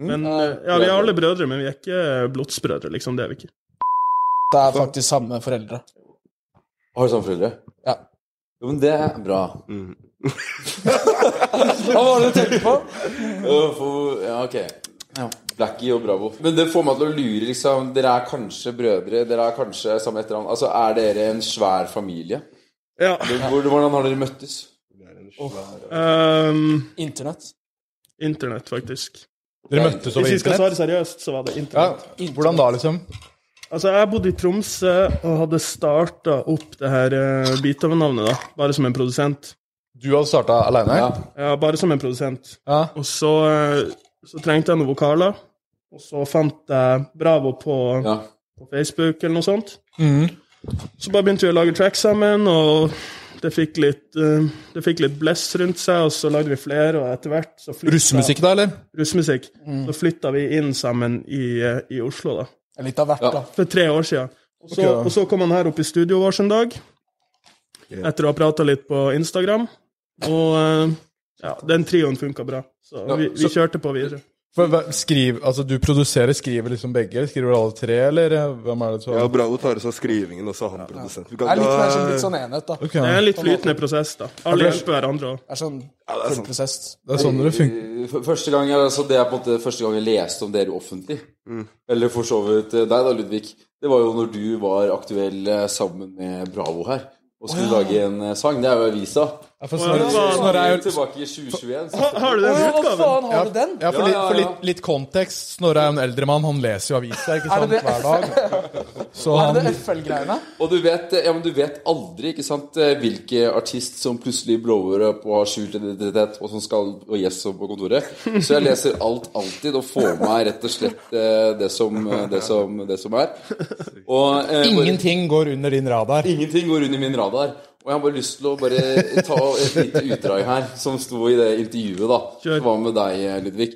Speaker 4: Hm?
Speaker 7: Men, eh, ja, vi er alle brødre, men vi er ikke blodsbrødre, liksom. Det er vi ikke.
Speaker 6: Det er faktisk samme foreldre.
Speaker 4: Har du samme foreldre?
Speaker 6: Ja.
Speaker 4: Jo, men det er bra.
Speaker 6: Hva var det du tenkte på?
Speaker 4: Øh, for- Ja, ok. Blackie og Bravo. Men det får meg til å lure, liksom. Dere er kanskje brødre, dere er kanskje samme etternavn. Altså, er dere en svær familie?
Speaker 7: Ja.
Speaker 4: Hvor- Hvordan har dere møttes?
Speaker 7: ehm,
Speaker 6: Internett.
Speaker 7: internett, faktisk.
Speaker 3: Dere møttes over
Speaker 7: Hvis vi skal
Speaker 3: internett?
Speaker 7: svare seriøst, så var det
Speaker 3: Ja,
Speaker 7: internett.
Speaker 3: hvordan da, liksom?
Speaker 7: Altså, jeg bodde i Tromsø og hadde starta opp det her uh, Beethoven-navnet, da. Bare som en produsent.
Speaker 3: Du hadde starta aleine?
Speaker 4: Ja.
Speaker 7: Ja, bare som en produsent.
Speaker 3: Ja.
Speaker 7: Og så, eh, så trengte jeg noen vokaler, og så fant jeg Bravo på,
Speaker 4: ja.
Speaker 7: på Facebook eller noe sånt. Så bare begynte vi å lage tracks sammen, og det fikk litt, eh, det fikk litt bless rundt seg, og så lagde vi flere, og etter hvert så flytta-
Speaker 3: Russemusikk, da, eller?
Speaker 7: Russmusikk.
Speaker 6: Mm.
Speaker 7: Så flytta vi inn sammen i, eh, i Oslo, da.
Speaker 6: Litt av hvert,
Speaker 4: Ja.
Speaker 6: da.
Speaker 7: For tre år siden. Og
Speaker 3: Ok,
Speaker 7: så,
Speaker 3: ja.
Speaker 7: og så kom han her opp i studioet vårt en dag, etter å ha prata litt på Instagram. Og eh, ja, den trioen funka bra. Så vi, vi kjørte på videre.
Speaker 3: For, hva- skriv, altså, du produserer, skriver liksom begge? Skriver alle tre, eller eh, hvem er det som
Speaker 5: Ja, Bravo tar seg av skrivingen, og så er han produsent. Vi kan
Speaker 6: Det er litt,
Speaker 5: ikke ha-
Speaker 6: mer som litt sånn enhet, da.
Speaker 3: Ok,
Speaker 7: Det er
Speaker 3: ja.
Speaker 7: en litt flytende prosess, da. Alle hjelper hverandre òg.
Speaker 6: Det er sånn
Speaker 5: det er
Speaker 6: full
Speaker 5: sant.
Speaker 6: prosess.
Speaker 3: Det er sånn dere funker.
Speaker 4: Eh, F- Første gang, jeg- altså det er på en måte første gang jeg leste om dere offentlig, eller for så vidt eh, deg da, Ludvig, det var jo når du var aktuell eh, sammen med Bravo her, og skulle lage en eh, sang. Det er jo avisa.
Speaker 3: Ja, for
Speaker 7: Å, ja,
Speaker 3: Snorre,
Speaker 7: faen.
Speaker 3: Snorre er jo
Speaker 4: Tilbake i 2021. så-
Speaker 7: Ha- Har du
Speaker 6: Å
Speaker 7: den
Speaker 6: ja, hva
Speaker 7: utgaven?
Speaker 6: faen, har du den?
Speaker 3: ja, for,
Speaker 4: Ja,
Speaker 3: litt,
Speaker 4: ja,
Speaker 3: for
Speaker 4: ja.
Speaker 3: litt, litt kontekst. Snorre er jo en eldre mann, han leser jo aviser ikke
Speaker 6: Er
Speaker 3: sant,
Speaker 6: det det?
Speaker 3: hver
Speaker 6: [laughs]
Speaker 3: dag. Så
Speaker 6: Er det
Speaker 3: han,
Speaker 6: FL-greiene?
Speaker 4: Og du vet, eh, ja, men du vet aldri ikke sant, eh, hvilke artist som plutselig blower opp og har skjult identitet, og som skal og gjest på kontoret. Så jeg leser alt alltid og får med meg rett og slett eh, det som, det som, det som er. Og, eh, bare-
Speaker 3: ingenting går under din radar.
Speaker 4: [laughs] Ingenting går under min radar. Og jeg har bare lyst til å bare ta et lite utdrag her, som sto i det intervjuet da,
Speaker 7: Kjør.
Speaker 4: som var med deg, Ludvig.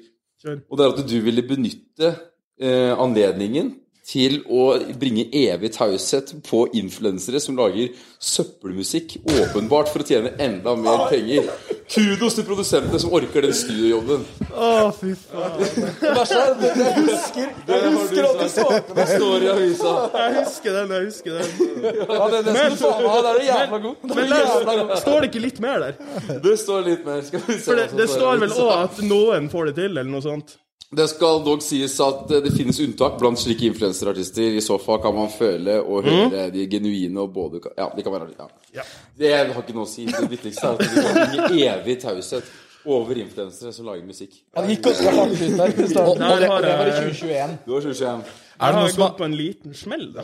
Speaker 7: Kjør.
Speaker 4: Og det er at du ville benytte eh, anledningen til å bringe evig taushet på influensere som lager søppelmusikk, åpenbart for å tjene enda mer penger. Kudos til produsentene som orker den studiojobben.
Speaker 7: Å, fy faen.
Speaker 4: Jeg husker at du svarte Det står i avisa.
Speaker 7: Jeg husker den, jeg husker den.
Speaker 6: Ja, det, det skal du faen meg ha. Den er jævla god. Den
Speaker 7: Men
Speaker 6: er jævla god.
Speaker 7: det, står det ikke litt mer der?
Speaker 4: Det står litt mer. Skal vi se
Speaker 7: For det,
Speaker 4: hva som
Speaker 7: det
Speaker 4: i
Speaker 7: står vel
Speaker 4: avisa.
Speaker 7: òg at noen får det til, eller noe sånt.
Speaker 4: Det skal dog sies at eh, det finnes unntak blant slike influenserartister. I så fall kan man føle
Speaker 7: Mhm.
Speaker 4: og høre de genuine og både kan- Ja, de kan være ja.
Speaker 7: Ja.
Speaker 4: Det har ikke noe å si. Det viktigste er at de kan bringe evig taushet over influensere som lager musikk.
Speaker 6: Han gikk ganske hardt ut [laughs] der. i starten.
Speaker 7: Der har
Speaker 6: Det var i
Speaker 7: jeg,
Speaker 6: 2021.
Speaker 4: Du har ikke skjønt.
Speaker 3: Er
Speaker 7: jeg
Speaker 3: det noe
Speaker 7: har
Speaker 3: som
Speaker 7: gått
Speaker 3: har,
Speaker 7: på en liten smell, da.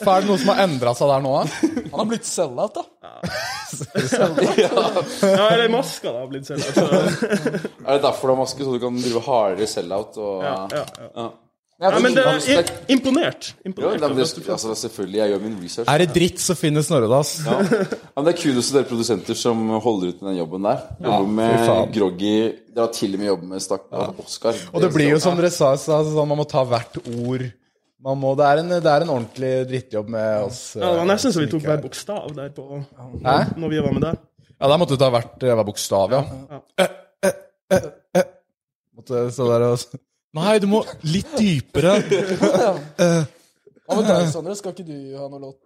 Speaker 3: for er det noe som har endra seg der nå, da?
Speaker 6: Han har blitt sell-out, da.
Speaker 7: Ja, eller maska, da, har blitt selv. Altså,
Speaker 4: Er det derfor du har maske, så du kan drive hardere sell-out? Og,
Speaker 7: ja, ja, ja.
Speaker 4: Ja.
Speaker 7: Ja, men det er
Speaker 4: respekt.
Speaker 7: i- imponert.
Speaker 4: Jo,
Speaker 7: imponert
Speaker 4: nei, men det,
Speaker 7: altså.
Speaker 4: altså, selvfølgelig, jeg gjør min research.
Speaker 3: Er det dritt, så finner Snorre det, ass.
Speaker 4: Ja. Ja, men det er kudos til dere produsenter som holder ut med den jobben der. Jobber
Speaker 3: fy
Speaker 4: med
Speaker 3: faen.
Speaker 4: Groggy Dere har til og med jobbet med stakkar Oscar.
Speaker 3: Og det blir jo som dere sa, så, altså, sånn, man må ta hvert ord. Man må, det, er en, det er en ordentlig drittjobb med oss. eh,
Speaker 7: Ja, det var nesten så vi tok hver bokstav der på
Speaker 3: Hæ?
Speaker 7: Når vi var med der.
Speaker 3: Ja, der måtte du ta hvert eh, hver bokstav, ja.
Speaker 7: Ja.
Speaker 3: Eh, eh, eh, eh. Måtte stå der og s- Nei, du må litt dypere.
Speaker 6: Hva med deg, Sondre? Skal ikke du ha noe låt,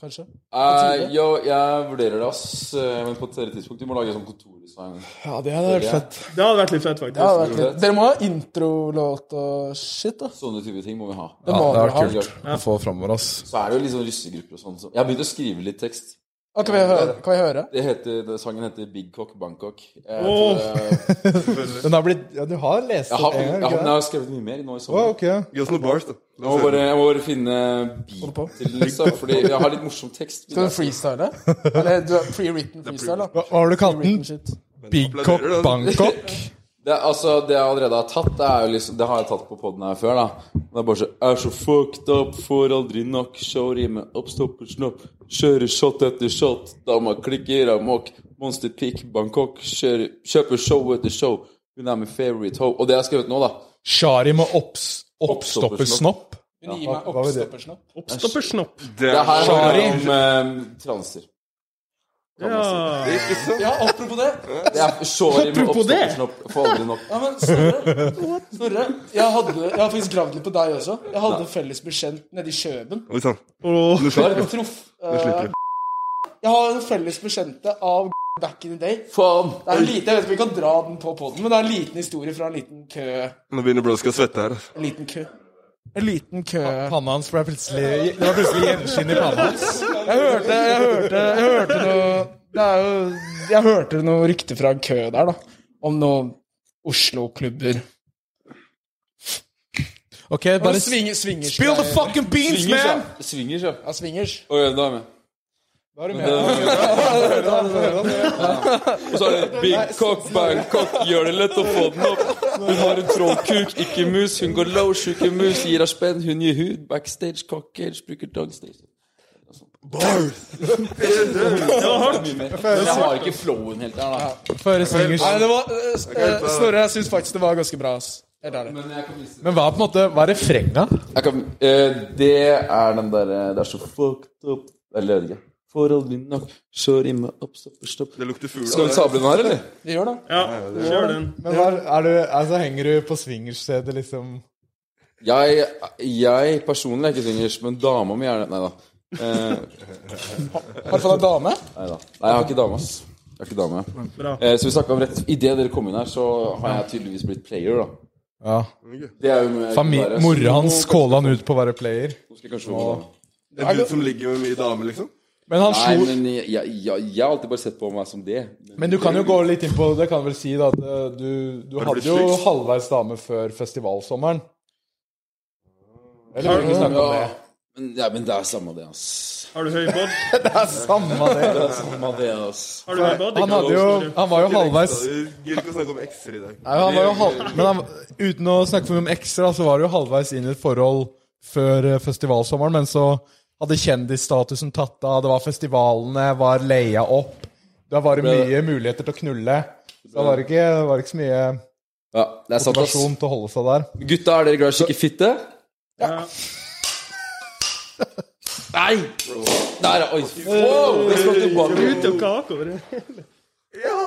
Speaker 6: kanskje?
Speaker 4: Eh, jo, jeg vurderer det, ass. Eh, Men på et tidligere tidspunkt. Du må lage sånn kontordesign.
Speaker 6: Ja, det hadde vært
Speaker 4: fett.
Speaker 7: Det hadde vært litt fett, faktisk.
Speaker 6: Ja, det hadde vært litt. Dere må ha introlåt og shit, da.
Speaker 4: Sånne type ting må vi ha.
Speaker 3: [laughs]
Speaker 6: Det
Speaker 3: Ja,
Speaker 6: må
Speaker 3: det
Speaker 6: dere
Speaker 3: har
Speaker 6: ha.
Speaker 3: vært kult å få framover, ass.
Speaker 4: Så er det jo litt sånn russegrupper og sånn. så- Jeg har begynt å skrive litt tekst.
Speaker 6: Ah, kan, vi høre? kan vi høre?
Speaker 4: Det heter, det, sangen heter Big Cock Bangkok. Jeg,
Speaker 7: Åh.
Speaker 4: tror, eh,
Speaker 3: Den har blitt Ja, du har lest
Speaker 4: jeg, har,
Speaker 3: den en
Speaker 4: jeg,
Speaker 3: gang,
Speaker 4: har,
Speaker 3: ikke [laughs]
Speaker 4: jeg
Speaker 3: det?
Speaker 4: har skrevet mye mer nå i
Speaker 3: Å,
Speaker 4: sommer.
Speaker 3: ok.
Speaker 5: Gi oss noen bars, da.
Speaker 4: Jeg må bare, jeg må bare finne beat til den, så, fordi jeg har litt morsom tekst.
Speaker 6: Skal du freestyle? Eller du er pre-written freestyle, da.
Speaker 3: Hva hva har du kalt den?
Speaker 6: Written shit.
Speaker 3: Big Cock
Speaker 5: Applauderer, da.
Speaker 3: Bangkok?
Speaker 4: Det, er- altså, det jeg allerede har tatt, det, er jo liksom, det har jeg tatt på poden her før. da Det er bare så Er så fucked up, får aldri nok, showrime, oppstopper snopp, kjører shot etter shot, dama klikker amok, monster peak, Bangkok, kjører, kjøper show etter show, hun er min favorite hoe. Og det jeg har skrevet nå, da.
Speaker 3: Shari med opps, oppstoppersnopp?
Speaker 6: Hun gir meg
Speaker 3: var det?
Speaker 6: oppstoppersnopp.
Speaker 7: Oppstoppersnopp.
Speaker 5: Det
Speaker 4: Det
Speaker 5: er sånn-
Speaker 4: her handler om eh, transer.
Speaker 7: Ja.
Speaker 5: sånn.
Speaker 6: Ja, apropos det.
Speaker 4: Det er showrime,
Speaker 7: Apropos det.
Speaker 4: oppstopper snopp, får aldri nok.
Speaker 6: Ja, men Snorre, [laughs] Snorre jeg, hadde, jeg har faktisk gravd litt på deg også. Jeg hadde en felles bekjent nede i Kjøben.
Speaker 5: sånn. Oi sann.
Speaker 7: Og
Speaker 5: Nå slipper
Speaker 6: Jeg Truff.
Speaker 5: nå
Speaker 6: eh,
Speaker 5: slipper du.
Speaker 6: Jeg har en felles bekjente av [laughs] back in the day.
Speaker 4: Faen!
Speaker 6: Det er en liten, jeg vet ikke om vi kan dra den på podden, men det er en liten historie fra en liten kø.
Speaker 5: Nå begynner Broska å svette her. altså.
Speaker 6: En liten kø. En liten kø.
Speaker 3: Panna hans ble plutselig Det var plutselig gjenskinn i panna hans.
Speaker 6: Jeg hørte, jeg hørte, jeg hørte noe Det er jo Jeg hørte noe rykte fra en kø der, da. Om noen Oslo-klubber.
Speaker 3: Ok, bare
Speaker 6: Bare svinger, swingers.
Speaker 3: Spill the fucking beans,
Speaker 4: Swingers, ja.
Speaker 3: man!
Speaker 4: Swingers, ja.
Speaker 6: Ja, swingers.
Speaker 4: Å, ja, da er jeg med. [laughs] Og så er det Big Cock Bangkok, gjør det lett å få den opp. Hun har en trollkuk, ikke mus. Hun går low, sjuke mus. Gir deg spenn, hun gir hud. Backstage, cockage, bruker dogstage. Bars! Det var hardt. Jeg har ikke flowen helt der, da.
Speaker 3: Føre swingers.
Speaker 6: Nei, det var eh, s- eh, Snorre, jeg syns faktisk det var ganske bra, ass. Helt ærlig.
Speaker 4: Men jeg kan vise
Speaker 3: Men hva er på en måte Hva er refrenga?
Speaker 4: jeg kan, eh, Det er den derre Det er så fucked up Eller jeg vet ikke. Forhold min nok, kjør i meg opp, stopp, stopp.
Speaker 5: Det lukter fugl.
Speaker 4: Skal vi
Speaker 5: av det.
Speaker 4: sable den her, eller?
Speaker 6: Vi gjør det.
Speaker 7: Ja, kjør den.
Speaker 3: Men hva er, er du, altså, henger du på swingerstedet, liksom?
Speaker 4: Jeg, jeg personlig er ikke swingers, men dama mi er det. Nei da.
Speaker 6: Har du fått deg dame?
Speaker 4: Nei da. Nei, jeg har ikke dame, ass. Jeg har ikke dame.
Speaker 7: Bra.
Speaker 4: Eh, så vi snakket om rett Idet dere kom inn her, så har jeg tydeligvis blitt player, da.
Speaker 3: Ja.
Speaker 4: Det er jo noe jeg
Speaker 3: Fami
Speaker 4: kan være.
Speaker 3: Mora hans kåla han ut på å være player.
Speaker 4: Nå skal jeg kanskje få meg dame.
Speaker 5: En dude som ligger med mye damer, liksom?
Speaker 3: Men han
Speaker 4: Nei,
Speaker 3: slo
Speaker 4: men jeg, jeg, jeg, jeg har alltid bare sett på meg som det.
Speaker 3: Men du kan jo gå litt inn på Det kan vel si da at eh, du, du
Speaker 5: Har du
Speaker 3: hadde jo
Speaker 5: blitt slik?
Speaker 3: halvveis dame før festivalsommeren. Eller vil du ikke snakke om det?
Speaker 4: ja. Men, ja, men det er samme det, ass.
Speaker 7: Har du høy bod?
Speaker 3: Det er samme det.
Speaker 4: Det er samme det, ass.
Speaker 7: Har du høy bod?
Speaker 3: Han, hadde jo, han var jo halvveis Nei,
Speaker 5: Vi gidder ikke å snakke om ekser i dag.
Speaker 3: han var jo halv, Men han, uten å snakke for mye om ekstra, så var det jo halvveis inn i et forhold før eh, festivalsommeren, men så hadde kjendisstatusen tatt av, det var festivalene, var leia opp Da var det mye muligheter til å knulle. Så det var ikke, det var ikke så mye
Speaker 4: Ja, det er sant, ass.
Speaker 3: motivasjon til å holde seg der.
Speaker 4: Gutta, er dere glad i å kikke fitte?
Speaker 7: Ja.
Speaker 4: Nei! Der, oi. Wow, det skal tilbake.
Speaker 7: Ut og kakover.
Speaker 6: Ja,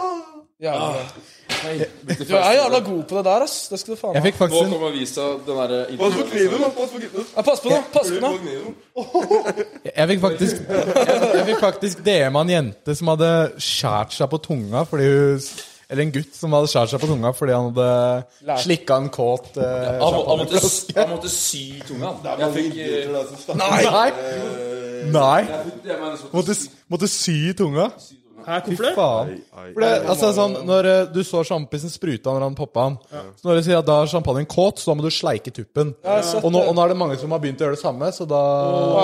Speaker 6: du er jævla god på det der, ass. Det skal du faen
Speaker 3: Jeg
Speaker 6: ha.
Speaker 3: fikk faktisk
Speaker 4: Nå
Speaker 3: en
Speaker 4: kommer avisa, den derre
Speaker 5: Pass på kniven, da! Pass på kniven.
Speaker 6: Ja, pass på nå! Pass på nå!
Speaker 5: Pass på kniven.
Speaker 3: Jeg fikk faktisk, jeg, jeg fikk faktisk DM av en jente som hadde skjært seg på tunga fordi hun Eller en gutt som hadde skjært seg på tunga fordi han hadde slikka en kåt eh,
Speaker 4: Han, må- han,
Speaker 3: champagne.
Speaker 4: måtte, han måtte sy tunga. Jeg fikk eh,
Speaker 3: Nei! Nei!
Speaker 4: jeg fikk- jeg mener så-
Speaker 3: Måtte, s- måtte sy i tunga.
Speaker 7: Hæ,
Speaker 3: Fy
Speaker 7: hvorfor det?
Speaker 3: faen. For det, altså, sånn, når eh, du så sjampisen spruta når han poppa han Så når du sier at da er champagnen kåt, så da må du sleike tuppen.
Speaker 6: sett
Speaker 3: Og, nå,
Speaker 6: det.
Speaker 3: og nå er det mange som har begynt å gjøre det samme, så da,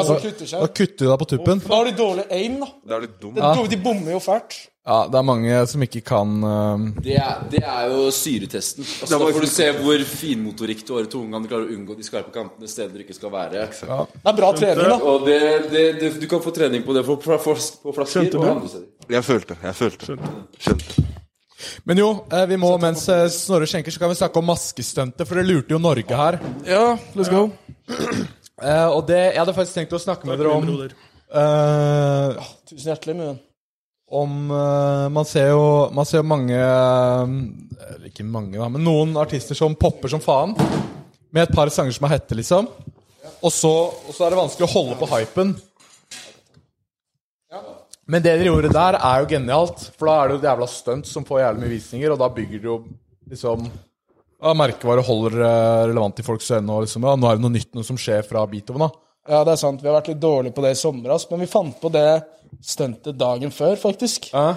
Speaker 6: altså,
Speaker 3: da,
Speaker 6: kutter seg.
Speaker 3: da kutter du deg på tuppen.
Speaker 6: Da har de dårlig aim, da.
Speaker 5: Det er litt dumt.
Speaker 6: De, de bommer jo fælt.
Speaker 3: Ja, det er mange som ikke kan eh,
Speaker 4: Det er, det er jo syretesten. Altså, da får du
Speaker 7: sånn-
Speaker 4: se hvor finmotorikk du har i tunga. om Du klarer å unngå de skarpe kantene steder du ikke skal være.
Speaker 6: Det er bra trening, da.
Speaker 4: Og det, det, det, du kan få trening på det for, for, for, på flasker og andre steder.
Speaker 5: Jeg følte, jeg følte. Skjønte.
Speaker 3: Men jo, eh, vi må, mens eh, Snorre skjenker, så kan vi snakke om maskestuntet, for det lurte jo Norge her.
Speaker 6: Ja, let's go.
Speaker 3: Eh, og det, jeg hadde faktisk tenkt å snakke med dere om
Speaker 7: broder.
Speaker 3: eh,
Speaker 6: Tusen hjertelig, min venn.
Speaker 3: Om eh, Man ser jo, man ser jo mange eh, Eller ikke mange, da, men noen artister som popper som faen. Med et par sanger som er hette, liksom. Og så, og så er det vanskelig å holde på hypen. Men det dere gjorde der, er jo genialt. For da er det jo et jævla stunt som får jævlig mye visninger, og da bygger det jo liksom ja, Merkevare holder eh, relevant i folks øyne. Og liksom, ja, nå er det noe nytt noe som skjer fra Beethoven, da.
Speaker 6: Ja, det er sant. Vi har vært litt dårlige på det i sommer, ass. men vi fant på det stuntet dagen før, faktisk.
Speaker 3: Ja.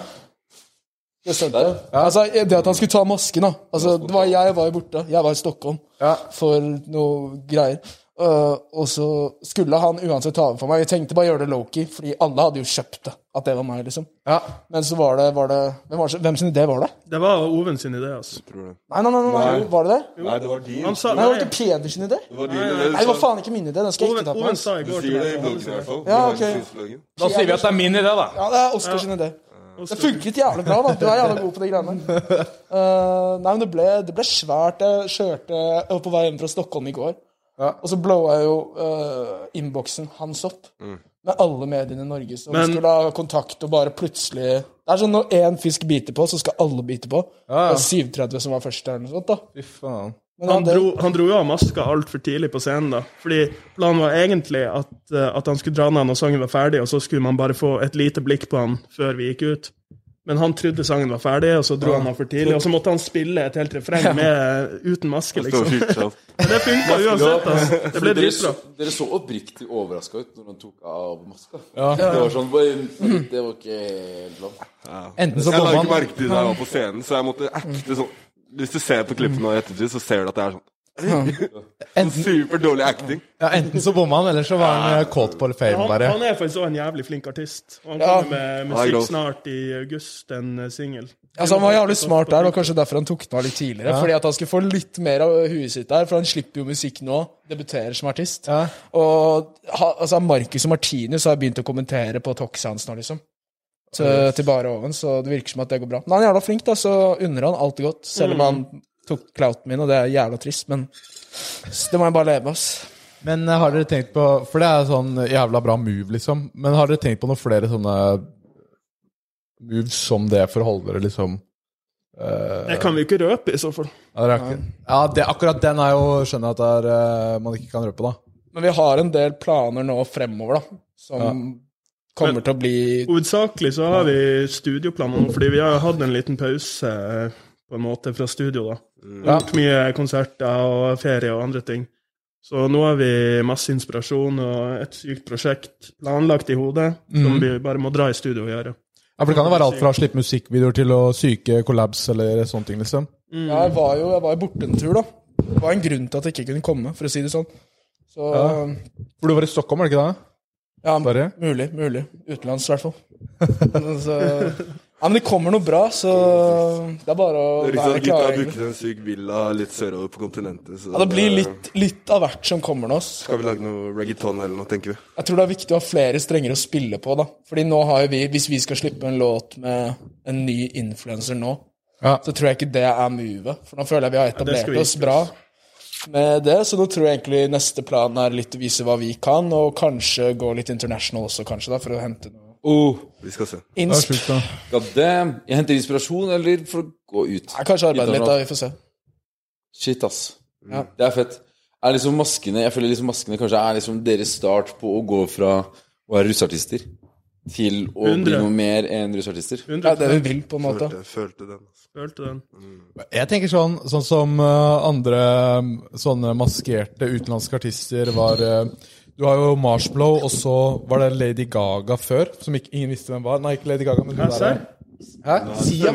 Speaker 6: Det stuntet. Altså, det at han skulle ta masken, da. Altså, det var, jeg var jo borte. Jeg var i Stockholm
Speaker 3: Ja.
Speaker 6: for noe greier. Øh, og så skulle han uansett ta over for meg. Jeg tenkte bare gjøre det lowkey, fordi alle hadde jo kjøpt det. At det var meg, liksom.
Speaker 3: Ja.
Speaker 6: Men så var det, var det Hvem, var det, hvem sin idé var det?
Speaker 7: Det var Oven sin idé, altså.
Speaker 6: Nei, nei, nei, nei, nei. var det det?
Speaker 5: Nei, det var din.
Speaker 7: Han sa
Speaker 6: Nei, det var
Speaker 7: Nei,
Speaker 6: ikke Peders sin idé.
Speaker 5: Det var din, eller?
Speaker 6: Nei, det var faen ikke min idé. Den skal jeg ikke
Speaker 7: Oven,
Speaker 6: ta på
Speaker 7: Oven
Speaker 6: meg.
Speaker 7: sånn- sa i
Speaker 5: Du
Speaker 7: går til
Speaker 5: sier det i
Speaker 7: meg
Speaker 5: bloggen i hvert fall.
Speaker 6: Ja,
Speaker 5: Du har
Speaker 6: ok.
Speaker 5: synsbloggen.
Speaker 3: Da sier vi at det er min idé, da.
Speaker 6: Ja, det er Oscars sin idé. Det funket jævlig bra, da. Du er jævla god på de greiene. Eh, nei, men det ble, det ble svært. Jeg kjørte jeg var på vei hjem fra Stockholm i går. Og så blowa jeg jo eh, innboksen hans opp med alle mediene i Norge som
Speaker 7: Men-
Speaker 6: skulle ha kontakt, og bare plutselig Det er sånn når én fisk biter på, så skal alle bite på.
Speaker 3: ja.
Speaker 6: Det var 7.30 som var først der, eller noe sånt, da.
Speaker 3: Fy faen.
Speaker 6: Men
Speaker 7: Han
Speaker 6: han,
Speaker 7: dro, han dro jo av maska altfor tidlig på scenen, da. Fordi planen var egentlig at, eh, at han skulle dra ned når sangen var ferdig, og så skulle man bare få et lite blikk på han før vi gikk ut. Men han trodde sangen var ferdig, og så dro han av for tidlig. Og så måtte han spille et helt refreng med, eh, uten maske,
Speaker 5: Det var
Speaker 7: liksom.
Speaker 5: fyrt sånn.
Speaker 7: Men det funka uansett, altså. Det ble
Speaker 4: Dere så,
Speaker 7: dritbra.
Speaker 4: dere så oppriktig overraska ut når han tok av maska. Det var sånn Det var ikke helt blant.
Speaker 3: Enten så
Speaker 5: Jeg la
Speaker 3: bommer
Speaker 5: ikke
Speaker 3: han
Speaker 5: merke til det da jeg var på scenen, så jeg måtte acte sånn. Hvis du ser på klippene nå i ettertid, så ser du at det er sånn
Speaker 3: Enten,
Speaker 5: superdårlig acting.
Speaker 3: ja, enten så bomma han, eller så var han eh, kåt på fame,
Speaker 7: Han,
Speaker 3: bare.
Speaker 7: han er faktisk også en jævlig flink artist. Og han kommer med
Speaker 5: Ja,
Speaker 7: musikk
Speaker 5: grov.
Speaker 7: snart i august, en eh, singel.
Speaker 6: altså, han var jævlig smart der, og kanskje derfor han tok den av litt tidligere. Fordi at han skulle få litt mer av huet sitt der, for han slipper jo musikk nå. Debuterer som artist.
Speaker 3: Ja.
Speaker 6: Og ha, altså, Marcus og Martinus har begynt å kommentere på talks hans nå, liksom. Så, til bare oven, så det virker som at det går bra. Men han er jævla flink, da, så unner han alt godt. Selv om han tok clouten min, og det er jævla trist, men s- det må jeg bare leve med, ass.
Speaker 3: Men eh, har dere tenkt på For det er sånn jævla bra move, liksom. Men har dere tenkt på noen flere sånne moves som det for å holde dere liksom
Speaker 7: Det kan vi jo ikke røpe, i så fall.
Speaker 3: Ja, dere har ikke- ja det, akkurat den er jo skjønner jeg at det er, eh, man ikke kan røpe, da.
Speaker 6: Men vi har en del planer nå fremover, da, som kommer til å bli
Speaker 7: Hovedsakelig så har vi studioplaner nå, fordi vi har hatt en liten pause eh, på en måte fra studio, da. Vi har Gjort mye konserter og ferie og andre ting. Så nå har vi masse inspirasjon og et sykt prosjekt planlagt i hodet, som vi bare må dra i studio og gjøre.
Speaker 3: Ja, for Det kan jo være alt fra å slippe musikkvideoer til å syke collabs eller sånne ting, liksom.
Speaker 6: Ja, jeg var jo jeg var jo borte en tur, da. Det var en grunn til at jeg ikke kunne komme, for å si det sånn. Så
Speaker 3: Ja. For du var i Stockholm, var det ikke det?
Speaker 6: Ja,
Speaker 3: Bare?
Speaker 6: mulig. mulig. Utenlands, i hvert fall. Men så, ja, men det kommer noe bra, så det er bare å
Speaker 5: Det er liksom
Speaker 6: være
Speaker 5: at gutta
Speaker 6: klar.
Speaker 5: har
Speaker 6: egentlig.
Speaker 5: booket en syk villa litt sørover på kontinentet. Så eh,
Speaker 6: Ja, det blir litt, litt av hvert som kommer nå. ass.
Speaker 5: Skal vi lage noe reggaeton eller noe, tenker vi.
Speaker 6: Jeg tror det er viktig å ha flere strenger å spille på, da. Fordi nå har jo vi, hvis vi skal slippe en låt med en ny influenser nå,
Speaker 3: Ja.
Speaker 6: så tror jeg ikke det er movet. For nå føler jeg vi har
Speaker 7: det
Speaker 6: etablert
Speaker 7: skal vi
Speaker 6: oss
Speaker 7: ikke.
Speaker 6: bra med det, så nå tror jeg egentlig neste plan er litt å vise hva vi kan, og kanskje gå litt international også, kanskje, da, for å hente noe
Speaker 5: Vi skal se.
Speaker 3: Det
Speaker 6: insp.
Speaker 3: er sjukt, da.
Speaker 4: God damn. Jeg henter inspirasjon, eller for å gå ut.
Speaker 6: Ja, kanskje arbeide litt, da. Vi får se.
Speaker 4: Shit, ass.
Speaker 6: Ja.
Speaker 4: Det er fett. Er liksom maskene, Jeg føler liksom maskene kanskje er liksom deres start på å gå fra å være russeartister til å
Speaker 7: 100.
Speaker 4: bli noe mer enn russeartister.
Speaker 6: Ja,
Speaker 7: 100
Speaker 6: det vi vil, på en måte.
Speaker 5: Følte, følte den. altså.
Speaker 7: følte den.
Speaker 3: Jeg tenker sånn, sånn som eh, andre mm, sånne maskerte utenlandske artister var eh, Du har jo Marshmallow, og så var det Lady Gaga før, som ikke, ingen visste hvem var. Nei, ikke Lady Gaga, men hun
Speaker 7: Jeg
Speaker 3: der.
Speaker 7: ser.
Speaker 3: Hæ? Sia?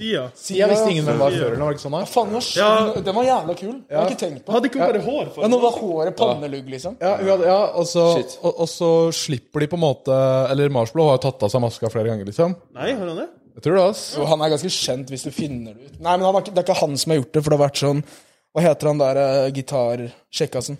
Speaker 7: Sia.
Speaker 3: Sia visste ingen hvem var før, eller var det ikke sånn? da?
Speaker 6: Faen, hva skj-
Speaker 7: Ja.
Speaker 6: Den var jævla kul. Jeg har ikke tenkt på den.
Speaker 7: Hadde ikke hun bare hår?
Speaker 6: Ja,
Speaker 7: For
Speaker 6: nå var håret pannelugg, liksom.
Speaker 3: Ja, hun hadde, ja og, så,
Speaker 4: Shit.
Speaker 3: og, og så slipper de på en måte Eller Marshmallow har jo tatt av seg maska flere ganger, liksom.
Speaker 7: Nei, har han det?
Speaker 3: Jeg Jeg tror det, ass.
Speaker 6: Jo, han er ganske kjent hvis du finner det ut. Nei, men han har, ikke- det er ikke han som har gjort det, for det har vært sånn Hva heter han der uh, gitarsjekkasen?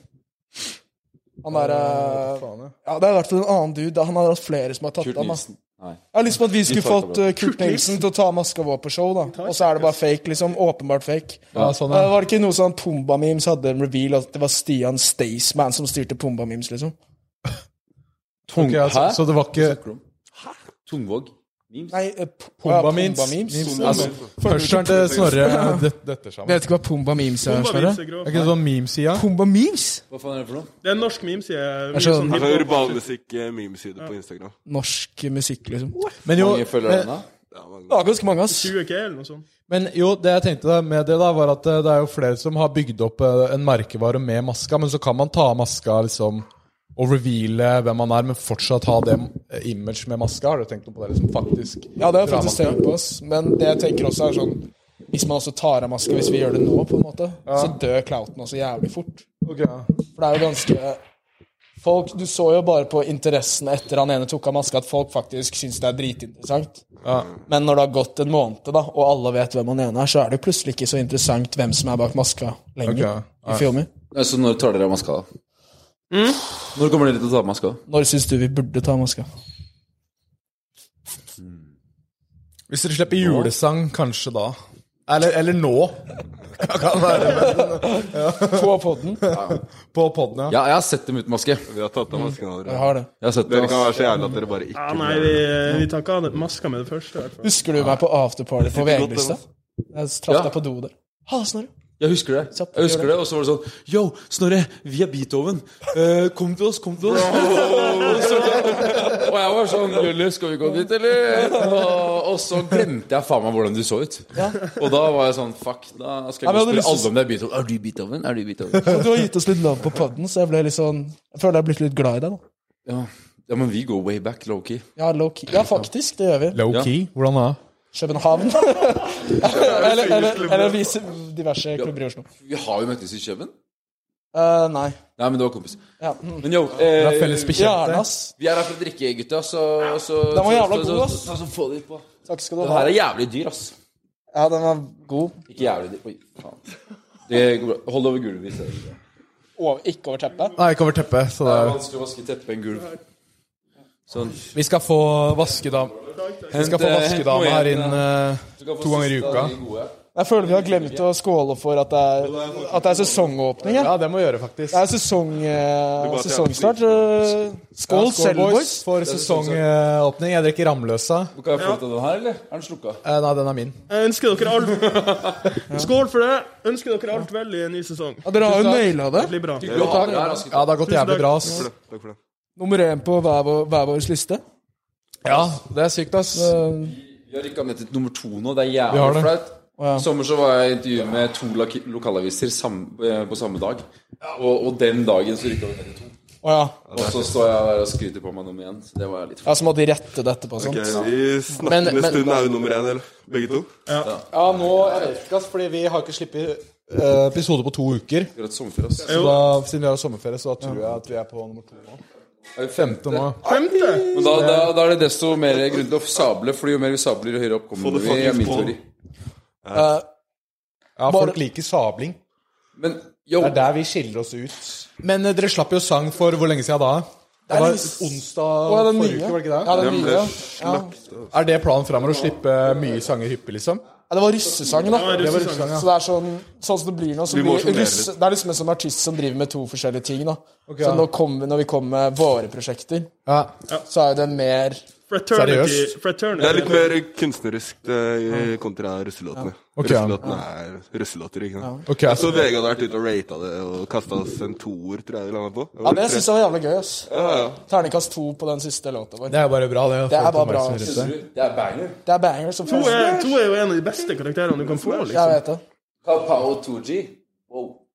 Speaker 6: Han der eh,
Speaker 3: Faen, ja.
Speaker 6: Ja, det er i hvert fall en annen dude. da. Han har hatt flere som har tatt
Speaker 4: Kurt
Speaker 6: av. da.
Speaker 4: Nilsen. Nei.
Speaker 6: Jeg har lyst på at vi skulle
Speaker 4: Gitar-
Speaker 6: fått eh, Kurt Nilsen til å ta maska vår på show, da. Og så er det bare fake, liksom. Åpenbart fake.
Speaker 3: Ja, sånn,
Speaker 6: Eh,
Speaker 3: ja.
Speaker 6: Var det ikke noe sånn Pumba Memes hadde en reveal at det var Stian Staysman som styrte Pumba Memes, liksom?
Speaker 3: Ok, altså,
Speaker 4: Hæ?
Speaker 3: så det var ikke
Speaker 4: Tungvåg. Memes.
Speaker 6: Nei, eh, P- ja,
Speaker 3: Pumba Memes.
Speaker 6: Memes.
Speaker 3: Altså, Førsteren til Snorre [laughs] det- detter sammen.
Speaker 6: Vet ikke hva Pumba Memes er,
Speaker 7: Bomba
Speaker 6: Sverre?
Speaker 7: memes er grov.
Speaker 3: Er ikke det sånn meme-sida?
Speaker 6: Pumba Memes?
Speaker 4: Hva faen er det for noe?
Speaker 7: Det er en norsk memes. Jeg, mye
Speaker 6: skjønner.
Speaker 7: sånn
Speaker 5: Altså
Speaker 7: hiphop.
Speaker 5: Urbanmusikk-memeside på Instagram.
Speaker 6: Norsk musikk, liksom.
Speaker 3: Men jo, eh,
Speaker 4: Mange
Speaker 3: men,
Speaker 4: følgere ennå?
Speaker 6: Ja, ganske mange, ass.
Speaker 7: 20K eller noe sånt.
Speaker 3: men jo, det jeg tenkte da med det, da var at eh, det er jo flere som har bygd opp eh, en merkevare med maska, men så kan man ta av maska liksom og reveale hvem man er, men fortsatt ha det eh, image med maska. Har du tenkt noe på det? liksom faktisk?
Speaker 6: Ja, det har jeg
Speaker 3: drar
Speaker 6: faktisk
Speaker 3: maska?
Speaker 6: tenkt på, ass. Men det jeg tenker også er sånn Hvis man også tar av maska, hvis vi gjør det nå, på en måte, så dør clouten også jævlig fort.
Speaker 3: Ok, ja.
Speaker 6: For det er jo ganske Folk, Du så jo bare på interessen etter han ene tok av maska, at folk faktisk syns det er dritinteressant. Men når det har gått en måned, da, og alle vet hvem han ene er, så er det jo plutselig ikke så interessant hvem som er bak maska lenger.
Speaker 3: Ok, ja.
Speaker 6: Du filmer.
Speaker 4: Nei, Så når tar dere av maska, da? Når kommer dere til å ta av maska?
Speaker 6: Når syns du vi burde ta av maska?
Speaker 3: Hvis dere slipper julesang, kanskje da. Eller, eller nå. Kan være, men,
Speaker 6: På podden?
Speaker 3: på poden, ja.
Speaker 4: Ja, jeg har sett dem uten maske.
Speaker 5: Vi har tatt av maskene
Speaker 6: Jeg
Speaker 5: allerede.
Speaker 6: har det.
Speaker 4: Jeg har sett det,
Speaker 5: Dere kan
Speaker 4: ass.
Speaker 5: være så jævla at dere bare ikke
Speaker 7: Ja, nei, vi, eh, vi tar ikke av det- maska med det første. i hvert fall.
Speaker 6: Husker du meg på afterparty på
Speaker 5: sitter godt,
Speaker 6: VG-lista? Jeg
Speaker 4: Ja.
Speaker 6: traff deg på do der. Halla, Snorre.
Speaker 4: Jeg husker det.
Speaker 6: Kjapt,
Speaker 4: Jeg
Speaker 6: gjør
Speaker 4: husker det, Og så var det sånn Yo, Snorre, vi er Beethoven. Eh, kom til oss, kom til oss. Og så- og jeg var sånn Lully, skal vi gå dit, eller? Og, og så glemte jeg faen meg hvordan du så ut. Og da var jeg sånn Fuck, da skal jeg gå og
Speaker 6: Ja, men jeg hadde
Speaker 4: spørre
Speaker 6: lyst til
Speaker 4: alle om det er Beethoven. Er du Beethoven? Er du Beethoven?
Speaker 6: Og du har gitt oss litt love på podden, så jeg ble litt sånn Jeg føler jeg har blitt litt glad i deg, da.
Speaker 4: Ja, ja men vi går way back, low-key.
Speaker 6: Ja, low key. Ja, faktisk. Det gjør vi.
Speaker 3: Low key? Hvordan da?
Speaker 6: København. [laughs] eller eller, eller vise diverse klubber i Oslo.
Speaker 4: Vi har jo møttes i Kjøben.
Speaker 6: Eh, nei.
Speaker 4: Nei, men det var kompis.
Speaker 6: Ja. mm.
Speaker 4: Men yo,
Speaker 3: Dere
Speaker 4: eh,
Speaker 3: er felles
Speaker 6: Gjerne,
Speaker 3: bekjente?
Speaker 6: ass.
Speaker 4: vi er her for å drikke, gutta, så, så
Speaker 6: Den var jævla
Speaker 4: så- så-
Speaker 6: god, ass.
Speaker 4: så- så- så få det på.
Speaker 6: Takk skal du
Speaker 4: Den her
Speaker 6: ha.
Speaker 4: er jævlig dyr, ass.
Speaker 6: Ja, den var god.
Speaker 4: Ikke jævlig dyr. Oi, faen. Det går bra. Hold over gulvet. hvis det er bra.
Speaker 6: Over, ikke over teppet.
Speaker 3: Nei, ikke over teppet. Så det
Speaker 4: Det er
Speaker 3: er
Speaker 4: vanskelig å vaske teppet en gulv. Sånn.
Speaker 3: Vi skal få vaskedam. Vi skal få
Speaker 4: Hent, eh, hent
Speaker 3: vaskedame
Speaker 4: noe
Speaker 3: her
Speaker 4: igjen,
Speaker 3: inn eh, to ganger i uka.
Speaker 6: Jeg føler vi har glemt å skåle for at det er, at det er sesongåpning. Ja.
Speaker 3: Ja, det må vi gjøre, faktisk.
Speaker 6: Det er sesong, eh,
Speaker 5: bare sier
Speaker 6: sesongstart. eh.
Speaker 3: Ja,
Speaker 6: Skål, selv, boys.
Speaker 3: for sesongåpning. Jeg drikker Ramløsa.
Speaker 4: Kan jeg få til den her, eller? Er den slukka?
Speaker 3: Eh, Nei, den er min.
Speaker 7: Jeg ønsker dere
Speaker 5: [laughs]
Speaker 7: alt Skål for det! Ønsker dere alt vel i en ny sesong.
Speaker 6: Ja, dere har jo naila det.
Speaker 7: Det blir bra.
Speaker 4: Ja, det er raske
Speaker 3: Ja, det har gått jævlig bra, ass.
Speaker 5: Takk for det. Takk for det.
Speaker 6: Nummer én på hver vår- hver vår liste.
Speaker 3: Ja, det er sykt, ass.
Speaker 6: Eh,
Speaker 4: Vi har rykka ned til nummer to nå. Det er
Speaker 3: Vi har
Speaker 4: jævlig
Speaker 3: det.
Speaker 4: flaut.
Speaker 6: ja.
Speaker 4: I sommer så var jeg i intervju med to lak- lokalaviser sam, eh, på samme dag. Og, og den dagen så rykka vi ned til to.
Speaker 6: Å ja.
Speaker 4: Og så står jeg der og skryter på meg nummer én. Det var litt
Speaker 6: ja. Så må de rette dette på sånt.
Speaker 5: Ok, vi
Speaker 6: Men-
Speaker 5: snakkende
Speaker 6: men-
Speaker 5: stund er jo nummer én, eller? Begge to?
Speaker 3: Ja, nå jeg vet ikke, ass, fordi vi har ikke sluppet eh, episode på to uker.
Speaker 4: akkurat sommerferie. ass.
Speaker 3: Så da, siden vi har sommerferie, så da tror jeg at vi er på nummer to nå.
Speaker 4: Er vi femte
Speaker 3: nå.
Speaker 7: Femte!
Speaker 4: Men da, da, da er det desto mer grunn til å sable, Fordi jo mer vi sabler, jo høyere opp
Speaker 5: Få
Speaker 4: kommer
Speaker 5: det
Speaker 4: vi. er
Speaker 5: fuckings
Speaker 4: min
Speaker 5: på.
Speaker 4: teori.
Speaker 6: Eh,
Speaker 3: Ja,
Speaker 6: Bare-
Speaker 3: folk liker sabling.
Speaker 4: Men yo,
Speaker 3: Det er der vi skiller oss ut. Men eh, dere slapp jo sang for hvor lenge siden da? Det var
Speaker 6: lenge s-
Speaker 3: onsdag
Speaker 6: Å, er det
Speaker 3: forrige
Speaker 6: nye?
Speaker 3: uke, var det
Speaker 6: Ja,
Speaker 3: ikke det?
Speaker 6: den nye. Ja.
Speaker 3: Er det planen framover å slippe eh, mye sanger hyppig, liksom?
Speaker 6: Ja, det var russesang, da.
Speaker 7: Ja, det var russesang,
Speaker 6: Så det er sånn, sånn som det blir nå, så
Speaker 5: Vi må
Speaker 6: blir
Speaker 5: sjonglere
Speaker 6: russe, Det er liksom en sånn artist som driver med to forskjellige ting, da.
Speaker 3: ja.
Speaker 6: Så nå kommer- når vi kommer med våre prosjekter,
Speaker 3: Ja.
Speaker 6: så er det mer
Speaker 7: Fraternity.
Speaker 3: Seriøst?
Speaker 7: Fraternity.
Speaker 5: Det er litt mer kunstnerisk eh, kontra russelåtene.
Speaker 3: Ok, ja.
Speaker 5: Russelåtene er russelåter, ikke sant?
Speaker 3: Ok, altså,
Speaker 5: Jeg så Vegard har vært ute og rata det og kasta oss en toer, tror jeg vi landa på.
Speaker 6: Ja, det syns jeg var jævlig gøy, ass. Terningkast to på den siste låta vår.
Speaker 3: Det er jo bare bra, det.
Speaker 6: Det er
Speaker 3: Folk
Speaker 6: bare bra,
Speaker 3: oppmerksomhet
Speaker 6: ass.
Speaker 3: rundt det.
Speaker 4: det er banger.
Speaker 6: Det er banger som
Speaker 7: Eh, To
Speaker 6: først.
Speaker 7: er, to er jo en av de beste karakterene du kan få.
Speaker 6: Jeg
Speaker 7: liksom.
Speaker 6: vet det.
Speaker 4: Kaupao 2G. Wow.
Speaker 6: [laughs]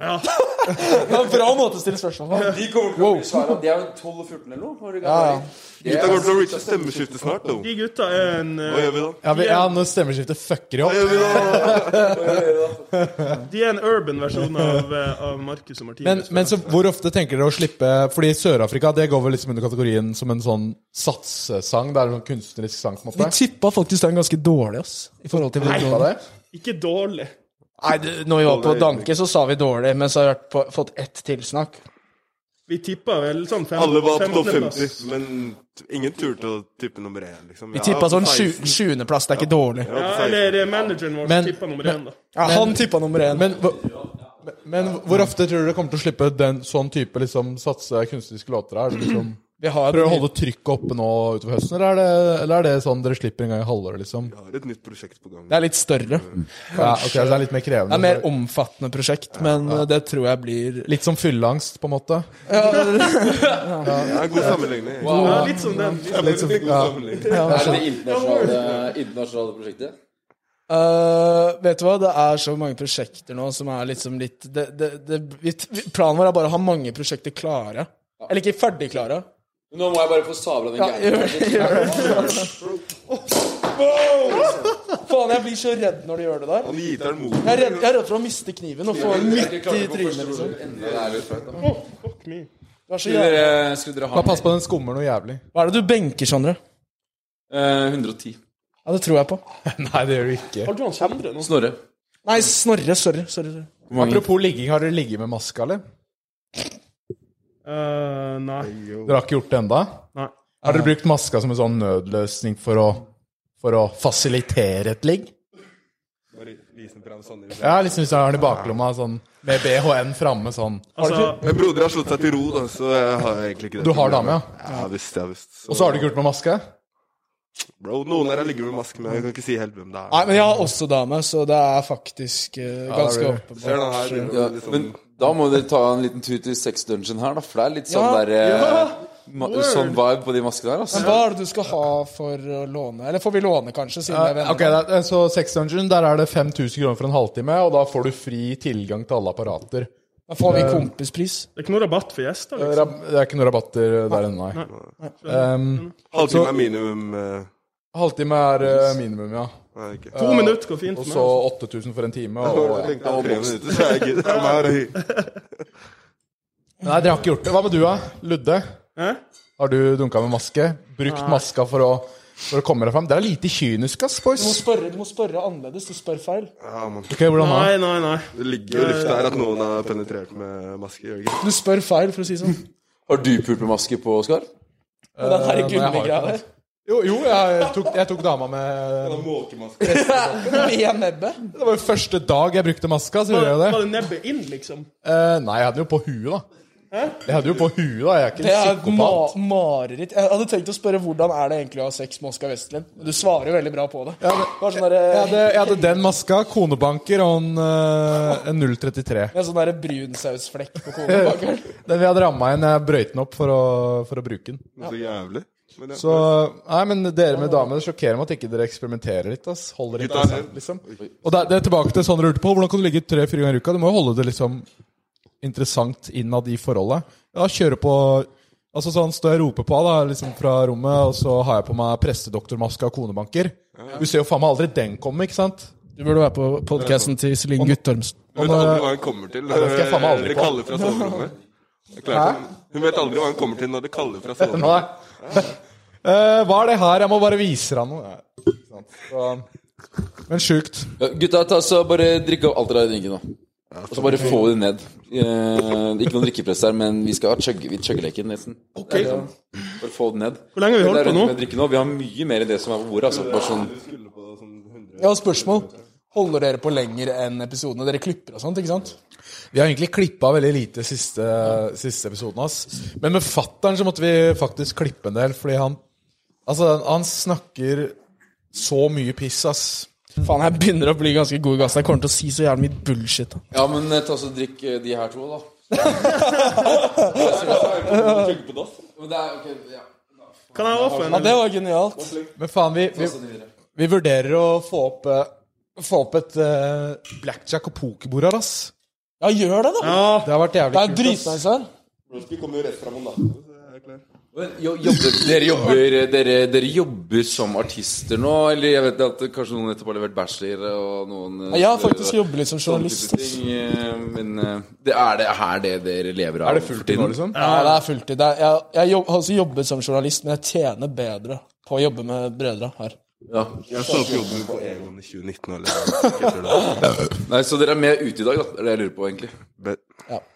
Speaker 7: Ja.
Speaker 6: Det er en bra måte å stille spørsmål på.
Speaker 4: De kommer til å bli svære. og De er jo 12-14 eller noe. var det ikke?
Speaker 6: Ja, ja.
Speaker 4: De
Speaker 5: Gutta
Speaker 4: er-
Speaker 5: kommer til å reache stemmeskifte snart, da.
Speaker 7: De gutta er en
Speaker 5: Hva
Speaker 7: eh,
Speaker 5: gjør vi da?
Speaker 3: Ja, vi, ja når stemmeskiftet fucker jo
Speaker 5: Hva
Speaker 3: opp.
Speaker 5: gjør vi da?
Speaker 7: De er en urban versjon av, eh, av Marcus og
Speaker 3: Men,
Speaker 7: Martinus.
Speaker 3: men så hvor ofte tenker dere å slippe Fordi Sør-Afrika det går vel liksom under kategorien som en sånn satsesang? Det er en sånn kunstnerisk sang, på en
Speaker 6: Vi
Speaker 3: måte?
Speaker 6: tippa faktisk den ganske dårlig, ass. I forhold til
Speaker 3: Tippa
Speaker 6: Nei,
Speaker 3: det?
Speaker 7: Ikke dårlig.
Speaker 6: det, når vi var på Danke, så sa vi dårlig, men så har vi vært på, fått ett tilsnakk.
Speaker 7: Vi tippa vel sånn fem-
Speaker 5: Alle var på topp
Speaker 7: 15. plass.
Speaker 5: 50, men ingen turte å tippe nummer én, liksom.
Speaker 6: Vi tippa sånn sju- sjuendeplass, det er ikke dårlig.
Speaker 7: Ja, eller eh, manageren vår
Speaker 3: Men-
Speaker 7: som tippa nummer én, da.
Speaker 6: Ja, han tippa nummer én.
Speaker 3: Men, hva- men hvor ofte tror dere kommer til å slippe den sånn type liksom, satse kunstneriske låter? Er det liksom,
Speaker 6: vi har
Speaker 3: prøver å holde trykket oppe nå utover høsten, eller er, det, eller er det sånn dere slipper en gang i halvåret? Liksom?
Speaker 5: Jeg har et nytt prosjekt på gang.
Speaker 6: Det er litt større.
Speaker 3: Ja, ok, så det er litt mer
Speaker 6: Det
Speaker 3: krevende.
Speaker 6: er mer omfattende prosjekt, men eh, det tror jeg blir
Speaker 3: Litt som fylleangst, på en måte.
Speaker 5: Ja, god sammenligning.
Speaker 7: Ja, litt som den.
Speaker 5: Ja, men det er god sammenligning.
Speaker 4: Er det det internasjonale, internasjonale prosjektet?
Speaker 6: Eh, vet du hva, det er så mange prosjekter nå som er liksom litt det, det, det, vi, vi- Planen vår er bare å ha mange prosjekter klare. Eller ikke ferdig klare.
Speaker 4: Nå må jeg bare få sabla den
Speaker 6: Ja,
Speaker 4: gærne.
Speaker 6: gjør det. Gjør det. Faen, jeg blir så redd når du gjør det der.
Speaker 5: Han gir deg en
Speaker 6: Jeg er
Speaker 5: mot.
Speaker 6: redd, jeg er redd for å miste kniven og få den midt i trynet. liksom
Speaker 4: liksom.
Speaker 6: Det er så
Speaker 4: Skulle
Speaker 6: jævlig.
Speaker 4: dere, skulle dere ha
Speaker 3: Bare pass på den skummer noe jævlig.
Speaker 6: Hva er det du benker, Sondre?
Speaker 4: Eh, 110.
Speaker 6: Ja, det tror jeg på.
Speaker 3: Nei, det gjør du ikke.
Speaker 7: Har du han Sondre nå?
Speaker 4: Snorre.
Speaker 6: Nei, Snorre. Sorry. sorry, sorry.
Speaker 4: Hvor mange?
Speaker 3: Apropos ligging, har dere ligget med maske, eller?
Speaker 7: Eh, nei.
Speaker 3: Dere har ikke gjort det ennå?
Speaker 7: nei.
Speaker 3: Har dere brukt maska som en sånn nødløsning for å, for å fasilitere et ligg? Ja, liksom hvis du har den i baklomma sånn, med BHN framme sånn.
Speaker 7: Altså,
Speaker 5: Men broder har slått seg til ro, da, så jeg har egentlig ikke det.
Speaker 3: Du har
Speaker 5: problemet.
Speaker 3: dame,
Speaker 5: ja? visst, ja, visst.
Speaker 3: Og så har du ikke gjort med maske?
Speaker 5: Bro, noen her ligger med maske, men jeg kan ikke si helt hvem det
Speaker 6: Nei,
Speaker 5: er.
Speaker 6: men jeg har også dame, så det er faktisk eh, ganske
Speaker 3: blir det.
Speaker 5: Ser du den her?
Speaker 6: åpenbart.
Speaker 5: begynner å
Speaker 4: Ja,
Speaker 5: bli litt
Speaker 4: men
Speaker 5: sånn-
Speaker 4: da må dere ta en liten tur til Sex Dungeon her, da. For det er litt sånn
Speaker 6: Ja,
Speaker 4: der eh,
Speaker 6: ja.
Speaker 4: ma- Sånn vibe på de maskene her,
Speaker 6: Men
Speaker 4: altså.
Speaker 6: hva er det du skal ha for å låne? Eller får vi låne, kanskje? siden det er venner?
Speaker 3: Ok, da, Så Sex Dungeon, der er det 5000 kroner for en halvtime, og da får du fri tilgang til alle apparater.
Speaker 6: Da
Speaker 3: Eh,
Speaker 6: får vi kompispris.
Speaker 7: det er ikke noe rabatt for gjester, liksom.
Speaker 3: Rab- Det er ikke noen rabatter der ennå, nei. Um,
Speaker 5: Halvtime er minimum. eh,
Speaker 3: halvtime er eh, minimum, ja.
Speaker 5: Nei, ikke.
Speaker 7: To minutter går fint
Speaker 3: Og
Speaker 7: for
Speaker 3: så
Speaker 7: meg.
Speaker 3: 8000 for en time.
Speaker 5: Jeg
Speaker 3: Og,
Speaker 5: tenkte tre minutter, så jeg gidder. Jeg må ha det.
Speaker 3: nei, dere har ikke gjort det. Hva med du, da? Ludde?
Speaker 7: Hæ?
Speaker 3: Har du dunka med maske? Brukt maska for å, for å komme deg fram? Dere er lite kyniske, ass, boys.
Speaker 6: Du må spørre, du må spørre annerledes. Du spør feil.
Speaker 5: [laughs] Ja, man.
Speaker 3: Ok, hvordan da?
Speaker 7: Nei, nei, nei.
Speaker 5: Det ligger jo i lufta her at noen har penetrert med maske. gjør det ikke?
Speaker 6: Du spør feil, for å si det sånn.
Speaker 4: Har du pult med maske på, Oskar?
Speaker 6: Og den
Speaker 3: Eh, nei,
Speaker 6: her
Speaker 3: jeg har
Speaker 6: gummigreia
Speaker 3: ikke
Speaker 6: der.
Speaker 3: Jo, jo jeg, tok, jeg tok dama med
Speaker 5: Sånn
Speaker 6: Med nebbet.
Speaker 3: Det var jo første dag jeg brukte maska, så gjorde
Speaker 7: Var,
Speaker 3: jeg
Speaker 7: var
Speaker 3: det.
Speaker 7: det nebbet inn, liksom?
Speaker 3: Eh, nei, jeg hadde den jo på huet, da. Jeg hadde jo på huet, da. Jeg er ikke
Speaker 6: Det
Speaker 3: en
Speaker 6: er et ma
Speaker 3: psykopat.
Speaker 6: mareritt. Jeg hadde tenkt å spørre hvordan er det egentlig å ha sex med Oskar Vestlin. Du svarer jo veldig bra på det.
Speaker 3: Ja, men-
Speaker 6: Det var sånn derre
Speaker 3: Jeg hadde, jeg hadde den maska, konebanker og en, eh, en 033.
Speaker 6: med sånn derre brunsausflekk på kolen.
Speaker 3: [laughs] Den vi hadde ramma inn, jeg brøyt den opp for å, for å bruke den.
Speaker 5: Så jævlig. Men ja.
Speaker 3: Så Nei, men dere med damer, det sjokkerer meg at ikke dere eksperimenterer litt. ass. Holder ikke
Speaker 5: Gutta er
Speaker 3: ass, liksom. Og det, er- det er tilbake til sånn du lurte på. Hvordan kan du ligge tre-fire ganger i uka? Du må jo holde det liksom interessant innad i forholdet. Ja, kjøre på Altså sånn står jeg og roper på da, liksom fra rommet, og så har jeg på meg prestedoktormaske og konebanker. Du ser jo faen meg aldri den komme, ikke sant?
Speaker 6: Du burde være på podkasten til Iselin Guttormsen.
Speaker 5: Hun vet aldri hva hun kommer til når
Speaker 3: det skal jeg faen meg aldri
Speaker 5: det
Speaker 3: på.
Speaker 5: kaller fra soverommet. Det er klart Hun hun vet aldri hva hun kommer til når det kaller fra soverommet.
Speaker 3: Nei. [laughs] Eh, hva er det her? Jeg må bare vise deg noe. Nei, ikke sant. Så, men sjukt.
Speaker 4: Ja, gutta, ta så bare drikk opp alt dere har i drinken, da. Og så bare få det ned. Eh, ikke noen drikkepress her, men vi skal ha chugge- vi chuggeleken, nesten. Det er sånn. Bare få det ned.
Speaker 7: Hvor lenge har vi holdt på nå?
Speaker 4: Med drikke nå? Vi har mye mer enn det som er på bordet. Altså. Bare sånn,
Speaker 6: Jeg har spørsmål. Holder dere på lenger enn episodene? Dere klipper og sånt, ikke sant?
Speaker 3: Vi har egentlig klippa veldig lite siste, siste episoden hans. Men med fattern så måtte vi faktisk klippe en del, fordi han Altså, han snakker så mye piss, ass.
Speaker 6: Faen, jeg begynner å bli ganske god i gassen. Jeg kommer til å si så jævlig mye bullshit. da.
Speaker 4: ja, men eh, ta så drikk eh, de her to, da. Men det er, ok, ja.
Speaker 7: Kan jeg også få
Speaker 6: Ja,
Speaker 7: en?
Speaker 6: det var genialt.
Speaker 3: Men faen, vi,
Speaker 4: Altså,
Speaker 3: vi, vi vurderer å få opp, eh, få opp et eh, blackjack og pokerbord her, ass.
Speaker 6: Ja, gjør det, da!
Speaker 7: Ja,
Speaker 3: Det har vært
Speaker 6: Det
Speaker 3: jævlig
Speaker 6: er dritnice her.
Speaker 5: Roski kommer jo rett fra mandatet. så jeg er klar.
Speaker 4: Men jo- Jobber, dere, jobber, eh, dere, dere jobber som artister nå? Eller jeg vet at kanskje noen nettopp har levert bachelor? Og noen, eh,
Speaker 6: Ja, Jeg har faktisk
Speaker 4: sånne
Speaker 6: jobbet litt som
Speaker 4: Sånn type
Speaker 6: journalist. ass.
Speaker 4: ting, eh, Men eh, det er det her det dere lever av?
Speaker 3: Er det fullt nå,
Speaker 4: for tiden?
Speaker 3: liksom?
Speaker 6: Ja, det er fulltid. Det er, jeg jeg jobb, har også jobbet som journalist, men jeg tjener bedre på å jobbe med brødre her.
Speaker 4: Ja.
Speaker 5: Jeg sa opp jobben på Egon i liksom. 2019 eller
Speaker 4: Nei, Så dere er med ute i dag, da? Det er det jeg lurer på, egentlig.
Speaker 5: Men-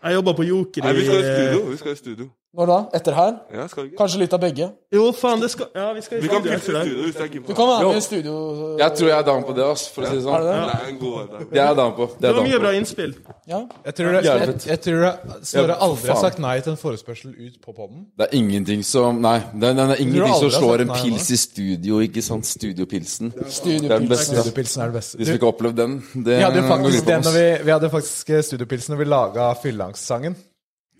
Speaker 7: jeg jobba på Joker
Speaker 5: Nei, vi skal i
Speaker 7: i
Speaker 5: studio. Vi skal i studio.
Speaker 6: Når da? Etter her?
Speaker 5: Ja, skal vi ikke?
Speaker 6: Kanskje litt av begge?
Speaker 7: Jo, faen, det skal Ja, vi skal i
Speaker 5: Vi kan
Speaker 7: studio
Speaker 5: fikse
Speaker 7: etter det.
Speaker 5: studio hvis det er keen på
Speaker 6: Du kan være
Speaker 4: Jo.
Speaker 6: med i studio.
Speaker 4: Jeg tror jeg er down på det, ass, for å si det
Speaker 6: Er
Speaker 4: sånn.
Speaker 6: det det?
Speaker 5: Det er en god idé.
Speaker 4: Det er jeg down på. Det
Speaker 7: Det
Speaker 4: er
Speaker 7: var
Speaker 4: jeg
Speaker 7: mye
Speaker 4: down
Speaker 7: bra
Speaker 4: på.
Speaker 7: innspill.
Speaker 6: Ja.
Speaker 3: Jeg tror det- jeg-
Speaker 4: Jævlig.
Speaker 3: jeg tror det- Snorre
Speaker 4: Ja,
Speaker 3: aldri har
Speaker 4: faen.
Speaker 3: sagt nei til en forespørsel ut på podden.
Speaker 4: Det er ingenting som Nei, det er, det er ingenting
Speaker 3: aldri
Speaker 4: som
Speaker 3: har
Speaker 4: slår
Speaker 3: sett
Speaker 4: en
Speaker 3: meg,
Speaker 4: pils i studio, ikke sant? Studiopilsen.
Speaker 6: Studiopilsen.
Speaker 4: Det er den beste.
Speaker 3: Studiopilsen er det beste.
Speaker 4: De som
Speaker 3: Du,
Speaker 4: ikke har opplevd den, det
Speaker 3: vi hadde jo faktisk
Speaker 4: går
Speaker 3: det
Speaker 4: ut på
Speaker 3: når
Speaker 4: oss.
Speaker 3: vi, vi hadde faktisk eh, studiopilsen når vi laga Fyllangstsangen.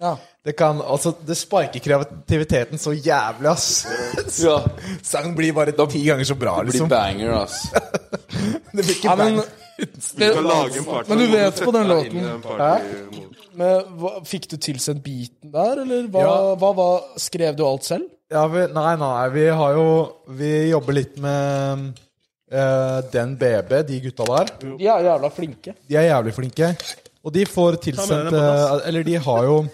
Speaker 6: Ja.
Speaker 3: Det kan, altså, det sparker kreativiteten så jævlig,
Speaker 4: [laughs]
Speaker 3: ass.
Speaker 4: [laughs] Ja,
Speaker 3: Sangen blir bare ti ganger så bra,
Speaker 4: blir
Speaker 3: liksom.
Speaker 4: banger, ass.
Speaker 3: Det blir ikke
Speaker 6: ja, men eh,
Speaker 3: bang.
Speaker 5: Vi kan lage en party.
Speaker 6: Men du vet på den låten.
Speaker 5: Ja, inn i en party-
Speaker 6: med, hva, Fikk du tilsendt beaten der, eller hva,
Speaker 3: Ja.
Speaker 6: hva, var- Skrev du alt selv?
Speaker 3: Ja, vi, nei, nei, vi har jo Vi jobber litt med eh, den BB, de gutta der.
Speaker 6: De er jævla flinke.
Speaker 3: De er jævlig flinke. Og de får
Speaker 7: Ta med
Speaker 3: tilsendt
Speaker 7: den på dass.
Speaker 3: eh, Eller de har jo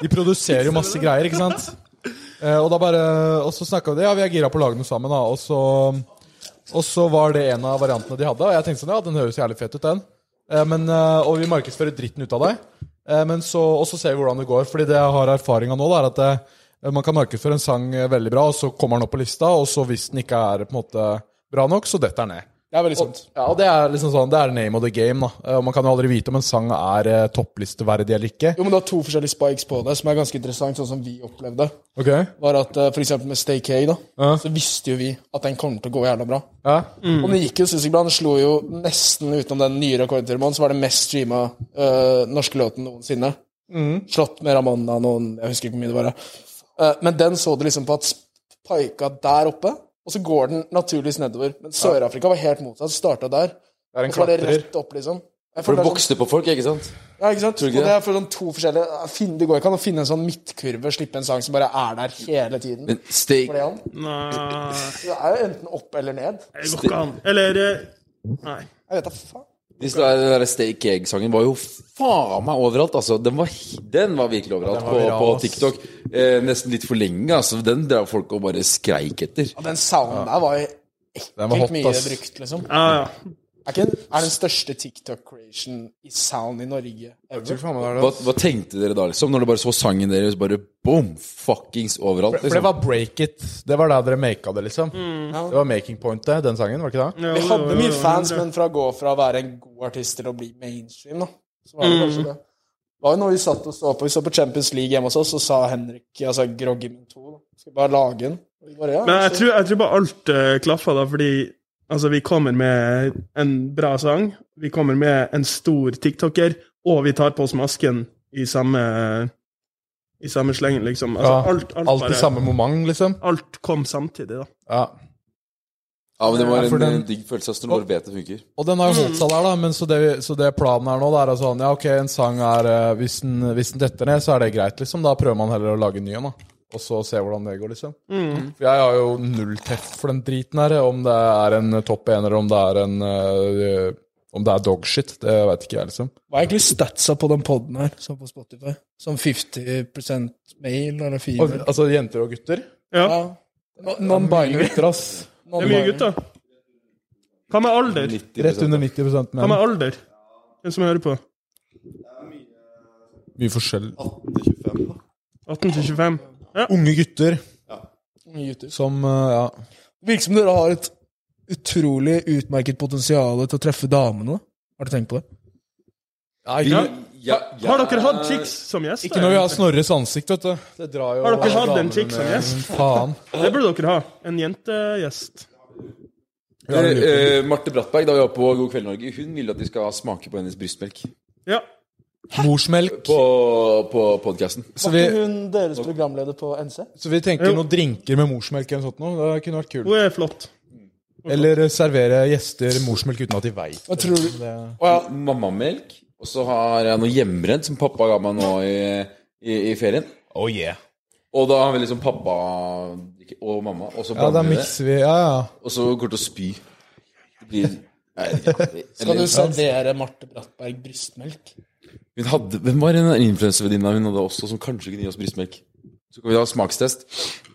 Speaker 3: De produserer jo masse greier, ikke sant? Eh, og da bare Og så snakka vi det, ja, vi er gira på å lage noe sammen, da. Og så Og så var det en av variantene de hadde, og jeg tenkte sånn, ja, den høres jævlig fet ut, den. Eh, men, eh, og vi markedsfører dritten ut av deg. Eh, men så, og så ser vi hvordan det går. Fordi det jeg har erfaring av nå, da, er at eh, man kan markedsføre en sang eh, veldig bra, og så kommer den opp på lista, og så hvis den ikke er på en måte bra nok, så detter den ned.
Speaker 6: Det er veldig sant.
Speaker 3: Ja, og det er liksom sånn, det er name of the game, da. Eh, Og man kan jo aldri vite om en sang er eh, topplisteverdig eller ikke.
Speaker 6: Jo, men du har to forskjellige spikes på det, som er ganske interessant, sånn som vi opplevde.
Speaker 3: Ok?
Speaker 6: Var at eh, for eksempel med Stay K, da,
Speaker 3: Ja. Mm.
Speaker 6: så visste jo vi at den kommer til å gå jævla bra.
Speaker 3: Ja.
Speaker 6: Og den gikk jo sinnssykt bra. Den slo jo nesten utenom den nye rekordfirmaen, så var det mest streama eh, norske låten noensinne.
Speaker 3: Mm.
Speaker 6: Slått med Ramona noen Jeg husker ikke hvor mye det var. ja. Eh, men den så du liksom på at spika der oppe, og så går den naturligvis nedover. Men Sør-Afrika var helt motsatt. Starta der,
Speaker 3: Det er
Speaker 6: og
Speaker 3: en
Speaker 6: så var det
Speaker 3: klatrer.
Speaker 6: rett opp, liksom. Jeg
Speaker 4: For
Speaker 6: føler
Speaker 4: det
Speaker 6: det er sånn-
Speaker 4: vokste på folk, ikke sant?
Speaker 6: ja, ikke sant?
Speaker 4: Tror du ikke
Speaker 6: og det
Speaker 4: det?
Speaker 6: er for sånn to forskjellige Finn- Det går ikke an å finne en sånn midtkurve, slippe en sang som bare er der hele tiden.
Speaker 4: Men steak
Speaker 6: For det, er han.
Speaker 7: Nei,
Speaker 6: det er jo enten opp eller ned.
Speaker 7: det går ikke an. Eller eh, Nei.
Speaker 6: Jeg vet da faen.
Speaker 4: hvis det er- Den der Steak Egg-sangen var jo faen meg overalt, altså. Den var, hi- den var virkelig overalt
Speaker 3: var viral,
Speaker 4: på, på
Speaker 3: ass.
Speaker 4: TikTok. Eh, nesten litt for lenge, altså. Den drev folk og bare skreik etter.
Speaker 6: Og den sounden der var jo
Speaker 3: Den var
Speaker 6: ekkelt
Speaker 3: hot,
Speaker 6: mye
Speaker 3: ass.
Speaker 6: brukt, liksom.
Speaker 7: Ja, ja.
Speaker 6: Er ikke den, er den største TikTok-creation i sound i Norge ever?
Speaker 4: Hva, hva tenkte dere da, liksom? Når dere bare så sangen deres bare boom! Fuckings overalt,
Speaker 3: For det
Speaker 4: liksom.
Speaker 3: var Break It. Det var der dere maka det, liksom.
Speaker 6: Mm.
Speaker 3: Det var making pointet, den sangen, var ikke det?
Speaker 7: Jo,
Speaker 6: Vi
Speaker 7: jo,
Speaker 6: hadde
Speaker 7: jo,
Speaker 6: mye
Speaker 7: jo,
Speaker 6: fans,
Speaker 7: det-
Speaker 6: men fra å gå fra å være en god artist til å bli mainstream, da, så var det kanskje det. Det var jo noe vi satt og så på. Vi så på Champions League hjemme hos oss, og sa Henrik, altså Groggy min 2, da. Skal vi bare lage en? Og vi bare, ja,
Speaker 7: Men jeg
Speaker 6: så-
Speaker 7: tror, jeg tror bare alt uh, klaffa, da, fordi altså, vi kommer med en bra sang, vi kommer med en stor tiktoker, og vi tar på oss masken i samme i samme slengen, liksom. Altså,
Speaker 3: Ja,
Speaker 7: alt, alt,
Speaker 3: Alt i
Speaker 7: bare,
Speaker 3: samme moment, liksom.
Speaker 7: alt kom samtidig, da.
Speaker 3: Ja.
Speaker 4: Ja, men det var
Speaker 3: Ja, for
Speaker 4: en
Speaker 3: den-
Speaker 4: eh, digg følelse, ass. Når du bare vet det funker.
Speaker 3: Og den har jo
Speaker 7: Mhm.
Speaker 3: holdt seg der, da, men så det, så det planen er nå, det er altså sånn Ja, ok, en sang er eh, hvis den, hvis den detter ned, så er det greit, liksom. Da prøver man heller å lage en ny en, da. Og så se hvordan det går, liksom.
Speaker 7: Mhm.
Speaker 3: For jeg har jo null treff for den driten her. Om det er en topp ener, om det er en eh, Om det er dogshit, det veit ikke jeg, liksom.
Speaker 6: Hva er egentlig statsa på den poden her, som på Spotify? Som 50 male eller
Speaker 3: Og,
Speaker 6: female?
Speaker 3: altså jenter og gutter.
Speaker 7: Ja,
Speaker 6: Non-binary.
Speaker 3: Gutter, ass.
Speaker 7: det er mye gutter. Hva med alder?
Speaker 4: 90
Speaker 3: Rett under 90
Speaker 7: Hva
Speaker 3: menn.
Speaker 7: med alder? Hvem som hører på?
Speaker 3: Mye forskjell.
Speaker 5: 18-25, da.
Speaker 7: 18 til 25?
Speaker 3: Unge gutter
Speaker 6: gutter.
Speaker 3: som eh, Ja.
Speaker 6: Virker som dere har et utrolig utmerket potensial til å treffe damene. Har du tenkt på det?
Speaker 4: Vi-
Speaker 7: Ja.
Speaker 4: ja, ja. Eh,
Speaker 7: Har dere hatt chicks som gjester?
Speaker 3: Ikke når vi har Snorres ansikt, vet du. Det drar jo
Speaker 7: Har dere hatt en
Speaker 3: damene
Speaker 7: chick som
Speaker 3: ned.
Speaker 7: gjest?
Speaker 3: Faen.
Speaker 7: Det burde dere ha. En jentegjest.
Speaker 3: Ja, det lurer
Speaker 4: Eh, eh, Marte Brattberg, da vi var på God kveld Norge, hun ville at vi skal smake på hennes brystmelk
Speaker 7: Ja.
Speaker 3: Morsmelk.
Speaker 4: på, på podkasten.
Speaker 3: Så vi,
Speaker 6: hun deres programleder på NC?
Speaker 3: så vi tenker noen drinker med morsmelk eller noe sånt noe. Det kunne vært kult. eh,
Speaker 7: Hun er flott.
Speaker 3: Eller servere gjester morsmelk uten at de veit.
Speaker 6: Jeg tror,
Speaker 4: Mammamelk? Og så har jeg noe hjemmebrent som pappa ga meg nå i, i, i ferien.
Speaker 3: Oh yeah.
Speaker 4: Og da har vi liksom pappa og mamma, og så
Speaker 3: Ja, da
Speaker 4: blander vi det.
Speaker 3: mikser vi. Ja, ja.
Speaker 4: Og så går det til å spy. Det blir [laughs] Nei, jeg vet ikke.
Speaker 6: Skal du
Speaker 4: Eller-
Speaker 6: servere Marte Brattberg brystmelk?
Speaker 4: Hun hadde, hvem var en influensevenninne hun hadde også, som kanskje kunne gi oss brystmelk? Så kan vi ha smakstest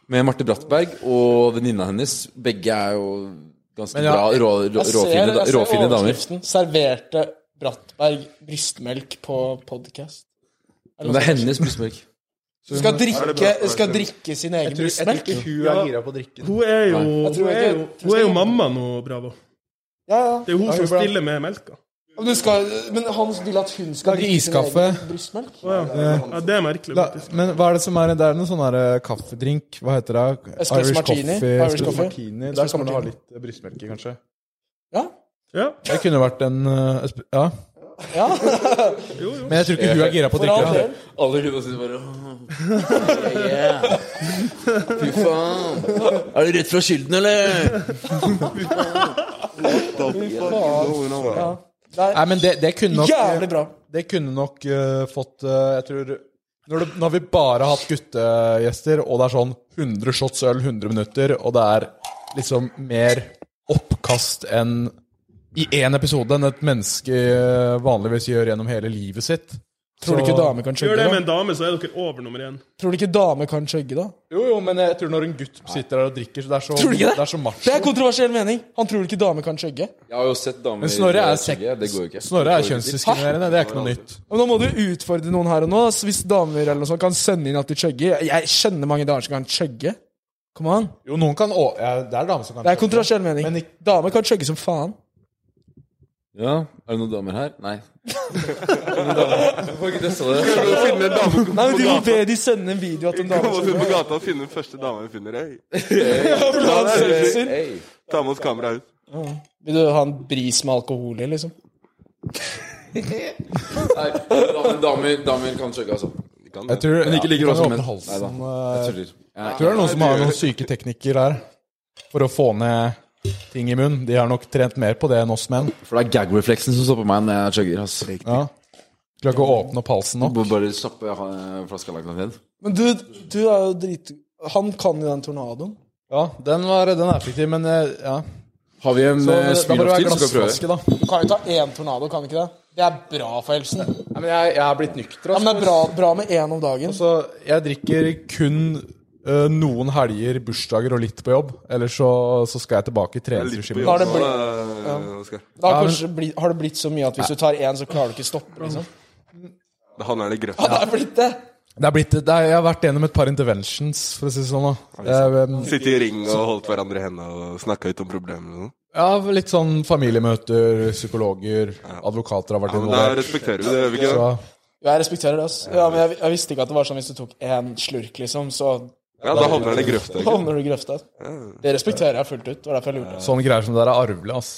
Speaker 4: med Marte Brattberg og venninna hennes. Begge er jo ganske
Speaker 3: Men ja,
Speaker 4: bra, rå, rå, råfine, da- råfine damer.
Speaker 6: altså, overskriften. Serverte Brattberg brystmelk på podcast.
Speaker 4: Men det er hennes brystmelk.
Speaker 6: Du skal
Speaker 5: det
Speaker 6: drikke,
Speaker 5: Brattberg?
Speaker 6: skal drikke sin egen brystmelk?
Speaker 3: hun
Speaker 7: er
Speaker 3: gira på å drikke.
Speaker 7: Hun er jo,
Speaker 6: Jeg tror
Speaker 7: hun er
Speaker 6: ikke-
Speaker 7: jo,
Speaker 6: jeg tror
Speaker 7: hun er jo
Speaker 6: ikke-
Speaker 7: mamma nå, Bravo.
Speaker 6: Ja, ja.
Speaker 7: Det er hun
Speaker 6: Ja,
Speaker 7: som
Speaker 6: bra.
Speaker 7: stiller med melka.
Speaker 6: Men, du skal, men han vil at hun skal
Speaker 3: Lage
Speaker 6: drikke sin
Speaker 3: iskaffe.
Speaker 6: egen brystmelk?
Speaker 7: Å, ja. ja, det er merkelig.
Speaker 3: La,
Speaker 7: faktisk.
Speaker 3: men hva er det som er Det er noe sånn her eh, kaffedrink. Hva heter det?
Speaker 6: Espresso martini. Irish
Speaker 3: Espresso
Speaker 6: coffee.
Speaker 3: martini. Der
Speaker 6: Espresso
Speaker 3: kan man ha
Speaker 6: martini.
Speaker 3: litt eh, brystmelke, kanskje.
Speaker 6: Ja.
Speaker 7: Ja,
Speaker 3: Det kunne vært en eh, esp- Ja.
Speaker 6: ja.
Speaker 7: jo,
Speaker 3: [laughs]
Speaker 7: jo.
Speaker 3: Men jeg tror ikke hun er gira på å
Speaker 6: For all
Speaker 3: drikke det.
Speaker 6: del.
Speaker 4: Alle gutta sitter bare «Åh, yeah. Fy faen. Er det rett fra kilden, eller?
Speaker 6: Ja. Det
Speaker 3: Nei, men det, det kunne
Speaker 6: er
Speaker 3: nok
Speaker 6: jævlig bra.
Speaker 3: Det kunne nok eh, fått eh, Jeg tror når, du, når vi bare har hatt guttegjester, og det er sånn 100 shots øl, 100 minutter, og det er liksom mer oppkast enn i én episode enn et menneske eh, vanligvis gjør gjennom hele livet sitt
Speaker 6: Tror du ikke dame kan
Speaker 7: Gjør
Speaker 6: chugge,
Speaker 7: det med
Speaker 6: da?
Speaker 7: en dame, så er dere over nummer én.
Speaker 6: Tror du ikke dame kan chugge, da?
Speaker 3: Jo, jo, men jeg tror når en gutt sitter der og drikker, så det er så,
Speaker 6: Tror du ikke det?
Speaker 3: det er så macho.
Speaker 6: Det er kontroversiell mening. Han tror ikke dame kan chugge.
Speaker 4: Jeg har jo sett damer
Speaker 3: Men Snorre er, sek-
Speaker 4: skjegge, Det går jo ikke.
Speaker 3: Snorre er
Speaker 4: Det går ikke.
Speaker 3: kjønnsdiskriminerende, det er ikke noe nytt.
Speaker 6: Men nå må du utfordre noen her og nå. Altså, hvis damer eller noe sånt kan sende inn at de chugger Jeg kjenner mange damer som kan chugge. Kom an.
Speaker 3: Jo, noen kan å, ja, Det er damer som kan
Speaker 6: Det er kontroversiell mening.
Speaker 3: Men ikke-
Speaker 6: Damer kan chugge som faen.
Speaker 4: Ja, er det noen damer her?
Speaker 3: [laughs]
Speaker 4: Nei. Er det noen damer? Hvorfor ikke testa det?
Speaker 5: Prøver å finne en dame
Speaker 6: Nei, men
Speaker 5: på
Speaker 6: De må
Speaker 5: gata.
Speaker 6: be de sende en video at en dame
Speaker 5: Kommer
Speaker 6: chugger.
Speaker 5: ut på gata og finner den første dama vi finner. Hey.
Speaker 4: Hey, hey.
Speaker 5: Ta med oss kameraet ut.
Speaker 6: Vil du ha en bris med alkohol i, liksom?
Speaker 4: Nei, damer, damer, damer kan chugge, altså. De kan det.
Speaker 3: Jeg tror,
Speaker 4: Men ikke like
Speaker 3: ja,
Speaker 4: bra som
Speaker 3: kan
Speaker 4: menn.
Speaker 3: åpne halsen,
Speaker 4: Neida.
Speaker 3: eh,
Speaker 4: Jeg tuller. Jeg-
Speaker 3: Jeg tror det er noen som har noen syke teknikker her for å få ned ting i munnen. De har nok trent mer på det enn oss menn.
Speaker 4: For det er gag-refleksen som stopper meg når jeg chugger. ass.
Speaker 3: Ja. Klarer ikke å åpne opp halsen nå.
Speaker 4: Må Bare kjappe eh, flaska langt ned.
Speaker 6: Men du, du er jo drit... Han kan jo den tornadoen.
Speaker 3: Ja, den, var, den er effektiv, men eh, ja.
Speaker 4: Har vi en
Speaker 3: Så,
Speaker 4: eh,
Speaker 3: da må det
Speaker 4: spin-off
Speaker 3: være
Speaker 4: til, så skal vi prøve.
Speaker 3: glassflaske, da.
Speaker 6: Du kan jo ta én tornado, kan du ikke det? Det er bra for helsen. Ja,
Speaker 3: Nei, men jeg, jeg er blitt nykter,
Speaker 6: men det er bra, bra med én om dagen.
Speaker 3: Så jeg drikker kun eh, noen helger, bursdager og litt på jobb. Ellers så, så skal jeg tilbake i
Speaker 5: Litt på
Speaker 3: treningsregimet.
Speaker 6: Har
Speaker 5: jobb.
Speaker 6: det
Speaker 5: nå, eh, Oskar.
Speaker 6: Da har, kanskje blitt, har det blitt så mye at hvis du tar én, så klarer du ikke stoppe, liksom.
Speaker 5: Han er det
Speaker 6: Ja,
Speaker 5: grøfta.
Speaker 6: det er blitt det.
Speaker 3: Det er blitt, det er, jeg har vært gjennom et par interventions, for å si det sånn. da. Jeg, eh,
Speaker 5: Sitte i ring og holdt hverandre i hendene og snakka ut om problemene. og sånn.
Speaker 3: ja, litt sånn familiemøter, psykologer, advokater har vært
Speaker 5: Ja, men da
Speaker 3: involvert.
Speaker 5: respekterer vi det, gjør vi ikke det?
Speaker 3: Så
Speaker 6: Jo, Jeg respekterer det, altså. Ja, men jeg, jeg visste ikke at det var sånn hvis du tok én slurk, liksom, så
Speaker 5: Ja, da havner han i grøfta. ikke sant?
Speaker 6: havner du i grøfta. Det respekterer jeg fullt ut. Det var derfor jeg lurte.
Speaker 3: Sånne greier som det der er arvelig, ass.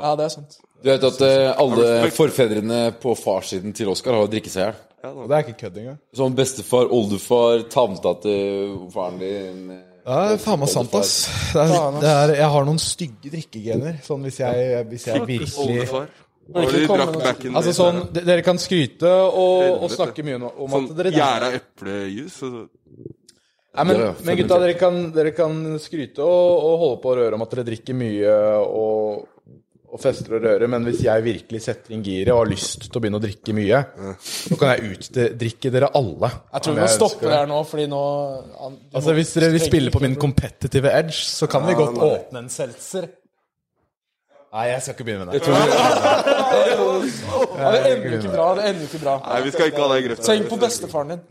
Speaker 6: Ja, det er sant.
Speaker 4: Du vet at eh, alle forfedrene på farssiden til Oskar har drikket seg i hjel.
Speaker 3: Og det er ikke kødd engang.
Speaker 4: Sånn bestefar, oldefar, tanta til faren din eh,
Speaker 3: Det er faen meg sant, ass. Det er, Altså, det er, jeg har noen stygge drikkegener. Sånn hvis jeg, hvis jeg virkelig
Speaker 5: Oldefar.
Speaker 6: Burde
Speaker 5: Og
Speaker 6: ikke
Speaker 5: de
Speaker 6: komme
Speaker 5: drakk
Speaker 6: noe-
Speaker 5: backen
Speaker 3: Altså sånn, de- Dere kan skryte og, og snakke mye om om
Speaker 5: Sånn altså.
Speaker 3: at dere
Speaker 5: gjæra eplejus. og så-
Speaker 3: Nei, men,
Speaker 4: Ja, ja,
Speaker 3: men gutta, dere kan, dere kan skryte og, og holde på å røre om at dere drikker mye og, og fester og rører, men hvis jeg virkelig setter inn giret og har lyst til å begynne å drikke mye, så kan jeg utdrikke dere alle.
Speaker 6: Jeg tror
Speaker 3: Om
Speaker 6: vi må
Speaker 3: ønsker
Speaker 6: stoppe
Speaker 3: det.
Speaker 6: der nå, fordi nå han- du
Speaker 3: Altså
Speaker 6: må-
Speaker 3: Hvis dere vil spille på min competitive edge, så kan vi godt åpne en seltzer. Nei, jeg skal ikke begynne med det.
Speaker 6: Ja, Det ender jo ikke bra. Det ender jo ikke bra.
Speaker 5: Nei, vi skal ikke ha det i grøfta.
Speaker 6: Tenk på bestefaren din.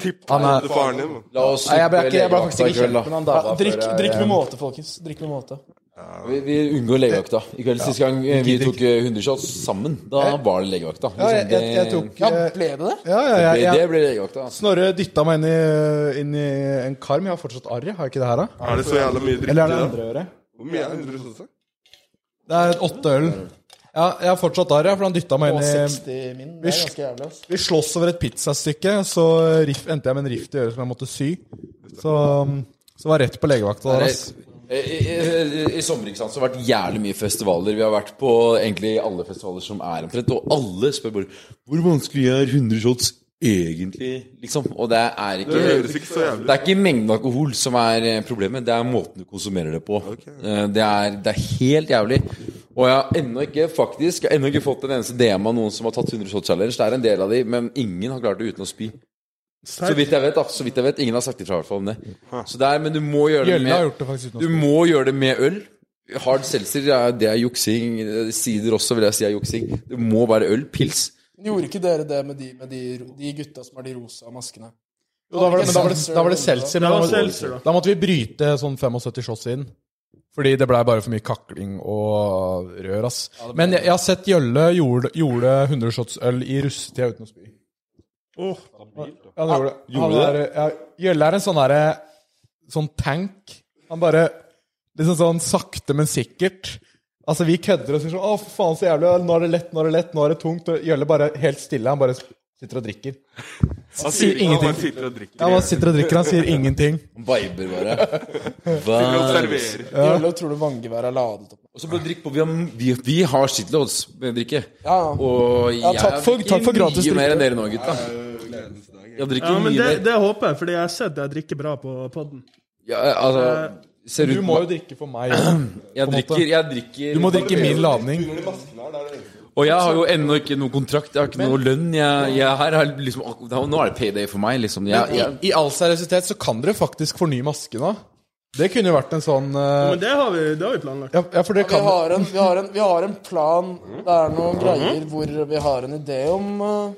Speaker 5: Tipp
Speaker 3: Han er-
Speaker 5: til faren din. da.
Speaker 4: La oss
Speaker 3: Nei, jeg ble,
Speaker 4: slippe
Speaker 3: ikke, jeg ble
Speaker 4: legevakta
Speaker 3: faktisk
Speaker 4: i
Speaker 3: ikke
Speaker 4: kveld, da.
Speaker 3: kjent med han
Speaker 6: Ja,
Speaker 3: dama.
Speaker 6: drikk,
Speaker 3: før jeg-
Speaker 6: drikk med måte, folkens. Drikk med måte.
Speaker 4: Vi, vi unngår legevakta. I kveld Sist gang eh, vi tok eh, 100 shots sammen, da var det legevakta.
Speaker 3: Ja, jeg,
Speaker 4: Liksom,
Speaker 3: jeg, jeg tok
Speaker 6: Ja,
Speaker 3: eh,
Speaker 6: ble det det?
Speaker 3: ja, ja, ja,
Speaker 4: det,
Speaker 3: ja.
Speaker 4: det ble legevakta. Altså.
Speaker 3: Snorre dytta meg inn i, inn i en karm. Jeg har fortsatt arr, jeg. har jeg ikke det her, da?
Speaker 5: Er det så jævla mye drikke
Speaker 3: Eller er det
Speaker 5: i det?
Speaker 3: andre øret?
Speaker 5: Hvor mye er 100 sånn?
Speaker 3: Det er et åtte øl. Ja, jeg har fortsatt arr, ja, for han dytta meg
Speaker 6: Og
Speaker 3: inn i
Speaker 6: 60 min. Det er ganske jævlig, altså.
Speaker 3: Vi sloss over et pizzastykke, så um, riff, endte jeg med en rift i øret som jeg måtte sy. Så, så var jeg rett på legevakta der, ass.
Speaker 4: Jeg I, i, eh, i sommer ikke sant, så har det vært jævlig mye festivaler. Vi har vært på egentlig alle festivaler som er omtrent, og alle spør bare Hvor vanskelig er 100 shots egentlig? Liksom. Og det er ikke
Speaker 5: Det høres ikke så jævlig
Speaker 4: Det er ikke mengden alkohol som er eh, problemet, det er måten du konsumerer det på. Eh, Det, er, det er helt jævlig. Og jeg har ennå ikke faktisk Jeg har ennå ikke fått en eneste DM av noen som har tatt 100 shot challenge. Det er en del av de, men ingen har klart det uten å spy. Så vidt jeg vet, da. Så vidt jeg vet Ingen har sagt ifra i hvert fall om det. Så det er, men du må gjøre det
Speaker 3: Gjølle har
Speaker 4: med
Speaker 3: gjort det faktisk uten å
Speaker 4: Du må gjøre det med øl. Hard seltzer, det er- det er juksing. Sider også, vil jeg si, er juksing. Det må være øl. Pils.
Speaker 6: Gjorde ikke dere det med de, med de, ro- de gutta som har de rosa maskene?
Speaker 3: Jo, da var det, men da var det, da var det seltzer.
Speaker 7: Det
Speaker 3: Men da,
Speaker 7: var
Speaker 3: må-
Speaker 7: seltzer, da.
Speaker 3: da måtte vi bryte sånn 75 shots inn. Fordi det blei bare for mye kakling og rør, ass. Men jeg, jeg har sett Gjølle gjorde, gjorde 100 shots øl i russetida uten å spy.
Speaker 7: Åh,
Speaker 3: Ja, han gjorde det. Han er- ja, Gjølle er en sånn derre Sånn tank. Han bare Liksom sånn sakte, men sikkert. Altså, vi kødder og sier sånn Å, for faen, så jævlig. Nå er det lett, nå er det lett, nå er det tungt. Og Gjølle bare helt stille. Han bare sitter og drikker.
Speaker 5: Han
Speaker 3: sier ingenting.
Speaker 5: Han bare sitter og drikker.
Speaker 3: Ja, han bare sitter og drikker, han sier ingenting.
Speaker 4: Viber bare.
Speaker 5: og
Speaker 4: Vibes.
Speaker 5: serverer.
Speaker 6: Gjølle tror du vanngevær er ladet opp.
Speaker 4: Og så bare drikk på. Vi har, vi, vi har shitloads med drikke.
Speaker 6: Ja, ja.
Speaker 4: Og jeg
Speaker 6: takk for- takk for gratis
Speaker 4: drikke.
Speaker 6: drikke.
Speaker 4: mer enn dere nå, gutta. Jeg drikker
Speaker 7: Ja, men
Speaker 4: mye
Speaker 7: det,
Speaker 4: mer.
Speaker 7: det håper jeg, fordi jeg har sett jeg drikker bra på podden.
Speaker 4: Ja, altså, ser
Speaker 3: Du
Speaker 4: ut
Speaker 3: må jo drikke for meg.
Speaker 4: Jeg drikker, jeg drikker
Speaker 3: Du må drikke min ladning.
Speaker 4: Og jeg har jo ennå ikke noen kontrakt, jeg har ikke noe lønn. Jeg, jeg her er liksom, nå er det payday for meg, liksom. Jeg,
Speaker 3: I,
Speaker 4: jeg,
Speaker 3: I all seriøsitet så kan dere faktisk fornye masken òg. Det kunne jo vært en sånn eh,
Speaker 7: Men det har vi, det har vi planlagt.
Speaker 3: ja, ja, for det
Speaker 6: Vi
Speaker 3: kan
Speaker 6: har, en, vi, har en, vi har en plan. Det er noen greier hvor vi har en idé om eh,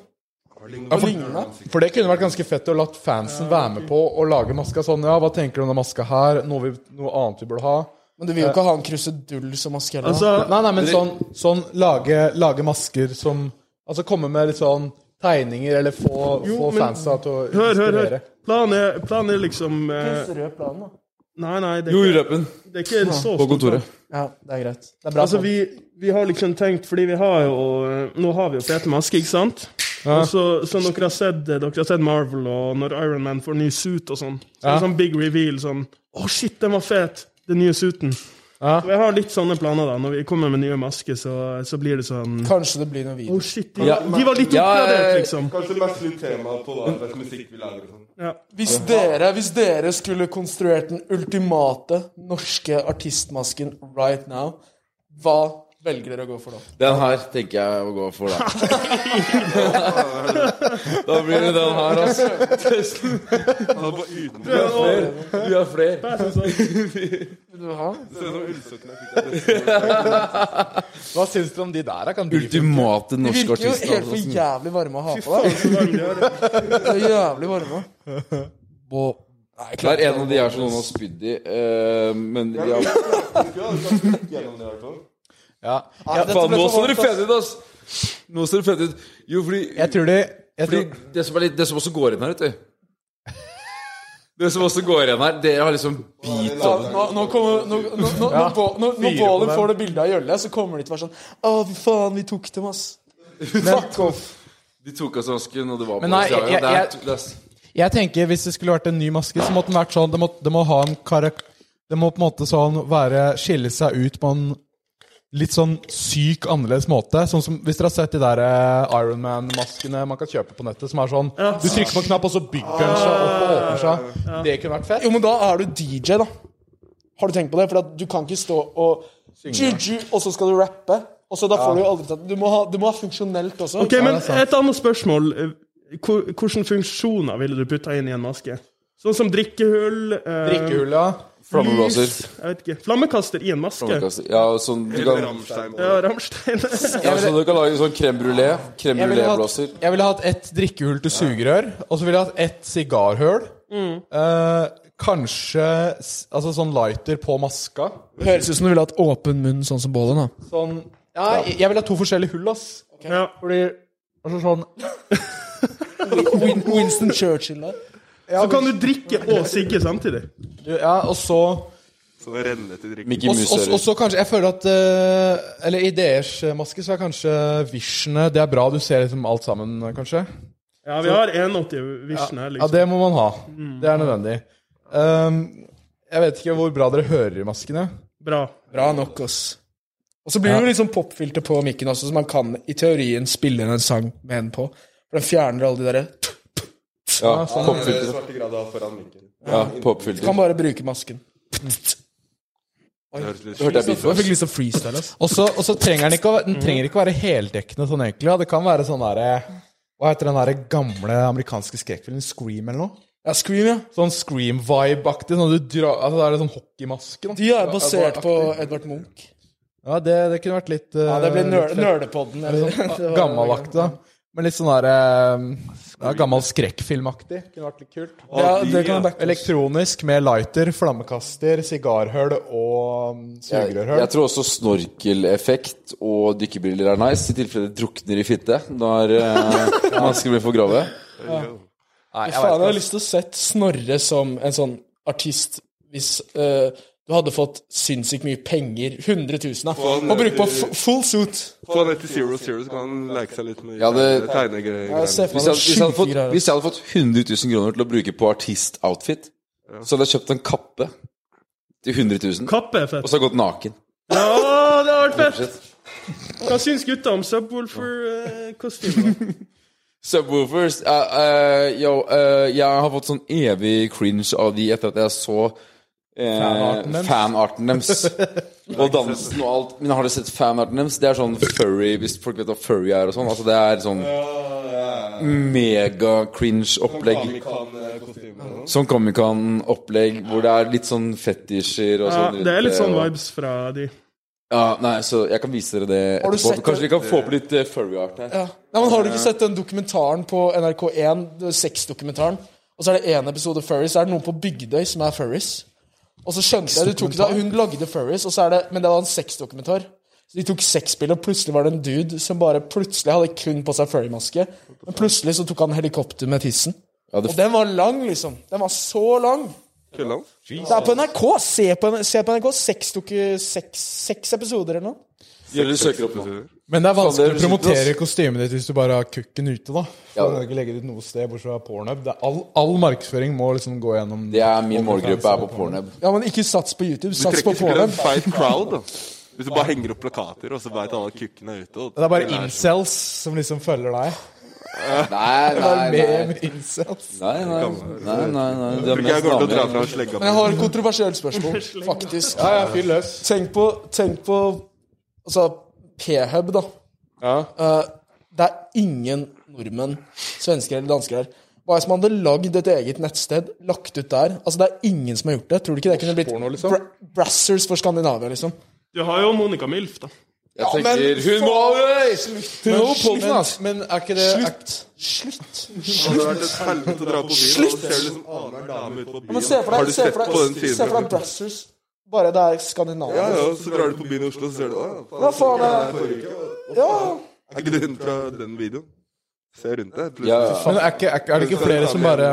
Speaker 3: ja, for, for det kunne vært ganske fett å latt fansen være med på å lage maska sånn. Ja, hva tenker du om den maska her? Noe, vi, noe annet vi burde ha?
Speaker 6: Men du vil jo ikke ha en krusedull som maske heller.
Speaker 7: Altså,
Speaker 6: da.
Speaker 3: Nei, nei, men sånn, sånn lage, lage masker som Altså komme med litt sånn tegninger, eller få, få
Speaker 7: men-
Speaker 3: fansa til å
Speaker 7: hør, hør, hør.
Speaker 3: inspirere.
Speaker 7: Planen er, planen er liksom eh,
Speaker 6: Rød plan, da.
Speaker 7: Nei, nei, det
Speaker 4: jo,
Speaker 7: er ikke,
Speaker 4: Røpen.
Speaker 7: det er ikke en så
Speaker 4: På kontoret.
Speaker 6: Ja, det er greit. Det er bra.
Speaker 7: Altså,
Speaker 6: plan.
Speaker 7: vi, vi har liksom tenkt, fordi vi har jo eh, Nå har vi jo fete masker, ikke sant? Og så, så dere, har sett, eh, dere har sett Marvel, og når Iron Man får ny suit og sånn. Så er det sånn big reveal sånn Å, shit, den var fet! Den nye suiten.
Speaker 3: Ja.
Speaker 7: Og jeg har litt sånne planer, da. Når vi kommer med nye masker, så, så blir det sånn Å,
Speaker 6: Kanskje det blir noe video.
Speaker 7: shit, de, de var litt
Speaker 4: Ja,
Speaker 7: oppgradert,
Speaker 4: eh,
Speaker 7: liksom.
Speaker 5: Kanskje det mest litt tema på da, hva slags musikk vi lager og sånn.
Speaker 7: Ja.
Speaker 6: Hvis dere, hvis dere skulle konstruert den ultimate norske artistmasken right now, hva velger dere å gå for da?
Speaker 4: Den her tenker jeg å gå [laughs] for, da. da blir det den her, altså. Tusen-
Speaker 5: Han er bare utenfor.
Speaker 4: Vi har flere.
Speaker 5: [laughs]
Speaker 6: Vil du ha?
Speaker 5: sånn Det er sånn ullsøkende, jeg fikk det.
Speaker 3: Hva syns dere om de der? da? Kan de
Speaker 4: Ultimate
Speaker 6: De
Speaker 4: norske altså.
Speaker 6: virker jo
Speaker 4: artister.
Speaker 6: helt for jævlig varme å ha på deg. Det er jævlig varme. Bo- Nei, jeg
Speaker 4: Hver
Speaker 6: klarer
Speaker 4: en av de er som noen har spydd i, eh, men de har [laughs]
Speaker 5: Gjennom det, i hvert fall.
Speaker 3: ja.
Speaker 4: Ja, faen, nå ser dere fete ut, ass! Nå ser dere fete ut. Jo, fordi,
Speaker 3: Jeg tror de jeg
Speaker 4: fordi
Speaker 3: tror,
Speaker 4: det, som er litt, det som også går igjen her, vet du Det som også går igjen her, dere har liksom bit over
Speaker 6: Nå, nå kommer, nå, nå, nå, når Bo- når- når
Speaker 3: på
Speaker 6: Bålen
Speaker 3: dem.
Speaker 6: får det bildet av Gjølle, så kommer de til å være sånn Å, fy faen, vi tok dem, ass. [laughs] Fuck off.
Speaker 4: De tok av seg hansken, og det var på
Speaker 3: Men nei,
Speaker 4: oss, ja, ja,
Speaker 3: jeg-
Speaker 4: det er-
Speaker 3: jeg-
Speaker 4: det er-
Speaker 3: Jeg tenker Hvis det skulle vært en ny maske, så måtte den vært sånn Det må, det må ha en karak... Det må på en måte sånn være skille seg ut på en litt sånn syk annerledes måte. Sånn som Hvis dere har sett de der eh, Iron Man-maskene man kan kjøpe på nettet, som er sånn Du trykker på en knapp, og så bygger den seg opp og åpner
Speaker 7: Ah,
Speaker 3: seg. Det kunne vært fett.
Speaker 6: Jo, men da er du DJ, da. Har du tenkt på det? For at du kan ikke stå og Juju, og så skal du rappe. Og så da får du jo aldri tatt Du må ha, du må ha funksjonelt også.
Speaker 7: Ok, men et annet spørsmål. Eh, hvor- Hvilke funksjoner ville du putta inn i en maske? Sånn som drikkehull, eh,
Speaker 3: Drikkehull, ja.
Speaker 4: Flammeblåser.
Speaker 7: lys Jeg vet ikke. Flammekaster i en maske.
Speaker 4: Flammekaster. Ja, og sånn du kan,
Speaker 5: Rammstein.
Speaker 7: Ja, Rammstein.
Speaker 4: ja, så du kan lage sånn crème brulé. Crème
Speaker 3: Jeg ville hatt,
Speaker 4: brulé-blåser.
Speaker 3: jeg ville hatt ett drikkehull til sugerør, og så ville jeg hatt ett sigarhull.
Speaker 6: Mm.
Speaker 3: Eh, kanskje s- altså sånn lighter på maska.
Speaker 6: Høres ut som du ville hatt åpen munn, sånn som Bålen. da
Speaker 3: Sånn ja, Jeg, jeg vil ha to forskjellige hull, ass.
Speaker 7: Ja.
Speaker 3: Fordi altså sånn
Speaker 6: [laughs] Win Winston Churchill der.
Speaker 7: Så kan du drikke og sigge samtidig.
Speaker 3: du, Ja, og så
Speaker 5: Så det renner til drikking.
Speaker 4: Mickey
Speaker 3: og, og, og
Speaker 4: Mouse-ører.
Speaker 3: så kanskje Jeg føler at eh, Eller i deres maske så er kanskje visjene Det er bra du ser liksom alt sammen, kanskje.
Speaker 7: Ja, vi har 81 Vision
Speaker 3: Ja,
Speaker 7: her, liksom.
Speaker 6: Mm.
Speaker 3: det må man ha. Det er nødvendig. Um, Jeg vet ikke hvor bra dere hører i maskene.
Speaker 7: Bra.
Speaker 6: Bra nok, ass. Og så blir det jo litt sånn popfilter på mikken også, så man kan i teorien spille inn en sang med den på. For den fjerner alle de derre
Speaker 5: Ja,
Speaker 3: sånn.
Speaker 5: popfilter. Ja, popfilter.
Speaker 6: Kan bare bruke masken.
Speaker 5: Det høres litt
Speaker 4: Hørte jeg
Speaker 6: Jeg
Speaker 4: Beatles?
Speaker 6: fikk lyst til å freestyle, ass.
Speaker 3: Og så og så trenger den ikke å, den trenger ikke å være heldekkende sånn egentlig. Ja. Det kan være sånn derre Hva heter den derre gamle amerikanske skrekkfilmen? Scream eller noe?
Speaker 6: Ja, Scream, ja.
Speaker 3: Sånn Scream-vibe-aktig. Sånn du drar Altså det er litt sånn hockeymaske. Da.
Speaker 6: De er basert på Edvard Munch.
Speaker 3: Ja, det, det kunne vært litt
Speaker 6: Ja, det blir
Speaker 3: eh,
Speaker 6: nøle,
Speaker 3: litt fett.
Speaker 6: nølepodden. eller sånn.
Speaker 3: [laughs]
Speaker 6: Det var-
Speaker 3: Gammelaktig, da. Men litt sånn derre eh, ja, Gammel skrekkfilmaktig. Kunne vært litt kult.
Speaker 6: Ja, det kan jeg backe.
Speaker 3: Elektronisk med lighter, flammekaster, sigarhull og mm,
Speaker 4: Jeg,
Speaker 3: sugerørhull.
Speaker 4: jeg tror også snorkeleffekt og dykkerbriller er nice, i tilfelle det drukner i fitte når eh, masker blir for grove.
Speaker 3: Nei, jeg
Speaker 6: Faen, jeg har
Speaker 3: vet ikke.
Speaker 6: lyst til å sett Snorre som en sånn artist hvis eh, du hadde fått sinnssykt mye penger, 100 000, da, og brukt på f full suit.
Speaker 5: Få ned til zero zero, så kan han leke seg litt med
Speaker 4: Ja, det-
Speaker 5: tegnegreier.
Speaker 6: ser for
Speaker 4: Hvis jeg,
Speaker 6: meg
Speaker 4: hadde- hvis, jeg hadde fått,
Speaker 6: sjuke greier.
Speaker 4: hvis jeg hadde fått 100 000 kroner til å bruke på artistoutfit, så hadde jeg kjøpt en kappe til 100 000,
Speaker 7: Kappe er fett.
Speaker 4: og så hadde jeg gått naken.
Speaker 7: Ja, det har vært fett! Hva syns gutta om eh, Subwoolfer-kostymer?
Speaker 4: Subwoofers eh, eh, Yo, eh, jeg har fått sånn evig cringe av de etter at jeg så
Speaker 3: Fanarten
Speaker 4: eh,
Speaker 3: deres.
Speaker 4: fanarten
Speaker 7: [laughs]
Speaker 4: deres. og dansen og alt. Men har dere sett fanarten deres? Det er sånn furry, hvis folk vet hva furry er og sånn. Altså, det er sånn mega-cringe-opplegg. Sånn Comic-Con-opplegg hvor det er litt sånn fetisjer og
Speaker 7: ja,
Speaker 4: sånn. rundt
Speaker 7: det er litt sånn
Speaker 4: og-
Speaker 7: vibes fra de.
Speaker 4: Ja, nei, så jeg kan vise dere det
Speaker 6: Har du
Speaker 4: etterpå.
Speaker 6: sett
Speaker 4: Kanskje vi
Speaker 6: det?
Speaker 4: kan få opp litt eh, furry-art her.
Speaker 6: Ja. Nei, men Har du ikke sett den dokumentaren på NRK1, det- sexdokumentaren? Og så er det én episode Furries, så er det noen på Bygdøy som er Furries. Og så skjønte jeg de tok det, Hun lagde Furries, og så er det, men det var en sexdokumentar. Så De tok sexbilder, og plutselig var det en dude som bare plutselig hadde kun på seg furrymaske. Men plutselig så tok han helikopter med tissen.
Speaker 4: Ja, det
Speaker 6: Og den var lang, liksom. Den var så lang.
Speaker 5: Kølla hans?
Speaker 6: Det er på NRK! Se på, se på NRK. Seks, doku- seks, seks episoder eller noe.
Speaker 4: Gjør det du søker opp nå.
Speaker 3: Men det er vanskelig å
Speaker 4: Faen, det er
Speaker 3: promotere kostymet ditt hvis du bare har kukken ute, da. For
Speaker 4: Ja.
Speaker 3: Du kan ikke legge det ut noe sted bortsett fra pornhub. Det er all, all markedsføring må liksom gå gjennom
Speaker 4: Det er min målgruppe er på
Speaker 7: [laughs]
Speaker 4: pornhub.
Speaker 6: Ja, men ikke sats på YouTube.
Speaker 5: Du
Speaker 6: Sats på
Speaker 5: trekker sikkert
Speaker 6: Pornhub.
Speaker 5: en feit crowd, da. Hvis du bare henger opp plakater, og så veit alle at kukken er ute. Og
Speaker 3: Det er bare incels som liksom følger deg.
Speaker 4: Nei, nei,
Speaker 3: Med,
Speaker 4: nei.
Speaker 3: med [laughs] incels.
Speaker 4: Nei, nei, nei, nei, nei. Det er
Speaker 5: Jeg
Speaker 4: mest
Speaker 5: kommer til å dra
Speaker 4: damer.
Speaker 5: fra slegga
Speaker 6: Men jeg har et kontroversielt spørsmål, faktisk.
Speaker 3: Ja, ja, fyr løs.
Speaker 6: Tenk på, tenk på altså, P-hub, da. Eh, det er ingen nordmenn, svensker eller dansker der. Hva hvis man hadde lagd et eget nettsted, lagt ut der? Altså, det er ingen som har gjort det. Tror du ikke det kunne blitt
Speaker 3: porno, liksom?
Speaker 6: bra Brassers for Skandinavia, liksom?
Speaker 7: Du har jo Monica Milf, da.
Speaker 4: Jeg tenker Hun må
Speaker 3: Men,
Speaker 6: No
Speaker 3: men,
Speaker 6: porno, ass.
Speaker 3: men er ikke det er,
Speaker 6: Slutt! Slutt!
Speaker 5: Det hadde vært et helvete å dra på byen.
Speaker 6: Slutt!
Speaker 5: og så ser du liksom annenhver dame ute på byen.
Speaker 6: Men se for
Speaker 5: Har du
Speaker 6: deg, se
Speaker 5: sett på
Speaker 6: for
Speaker 5: den
Speaker 6: deg, se for
Speaker 5: filmen?
Speaker 6: deg Brassers, bare det er Skandinavia.
Speaker 5: Ja, ja, så drar du på byen i Oslo, så ser du Å, ja, faen,
Speaker 6: Hva faen er Ja!
Speaker 5: Er ikke det hun fra den videoen? Se rundt deg.
Speaker 4: Ja,
Speaker 5: plutselig.
Speaker 3: men er, ikke, er, ikke- er det ikke flere som bare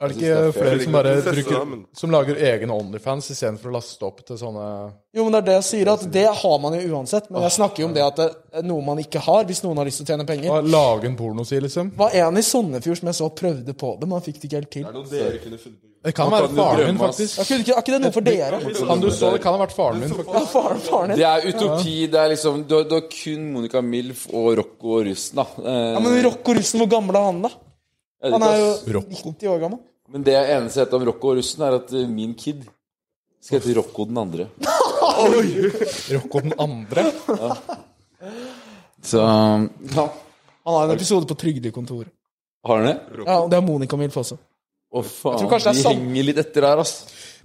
Speaker 3: er det ikke flere som bare bruker Som lager egne Onlyfans istedenfor å laste opp til sånne
Speaker 6: Jo, men det er det jeg sier, at det har man jo uansett. Men
Speaker 3: Ah,
Speaker 6: jeg snakker jo om det at det er noe man ikke har, hvis noen har lyst til å tjene penger.
Speaker 3: Bare Lage en pornoside, liksom.
Speaker 6: Det var en i Sandefjord som jeg så prøvde på det, men han fikk det ikke helt til.
Speaker 3: Det kan være
Speaker 4: kan jo
Speaker 3: faren min,
Speaker 4: drømme, ass.
Speaker 3: faktisk.
Speaker 6: Jeg kunne ikke, Er ikke det noe for dere?
Speaker 3: Han du så, det kan ha vært faren min, faktisk.
Speaker 6: Ja, faren, faren din.
Speaker 4: Det er utopi. Det er liksom Du har, du har kun Monica Milf og Rocco og russen, da. Eh,
Speaker 6: Ja, men Rocco Russen, hvor gammel er han, da?
Speaker 4: jeg vet
Speaker 6: Han
Speaker 4: ikke,
Speaker 6: er jo
Speaker 4: ass.
Speaker 6: 90 år gammel.
Speaker 4: Men det eneste jeg vet om Rocco og russen, er at eh, min kid skal hete Rocco den andre.
Speaker 3: Rocco den andre.
Speaker 4: Så ja.
Speaker 6: Han har en episode på Trygdekontoret.
Speaker 4: Har han det?
Speaker 6: Ja, og det er Monica Milf også.
Speaker 4: Å, faen.
Speaker 6: tror kanskje det er
Speaker 4: De
Speaker 6: sant.
Speaker 4: henger litt etter der, ass.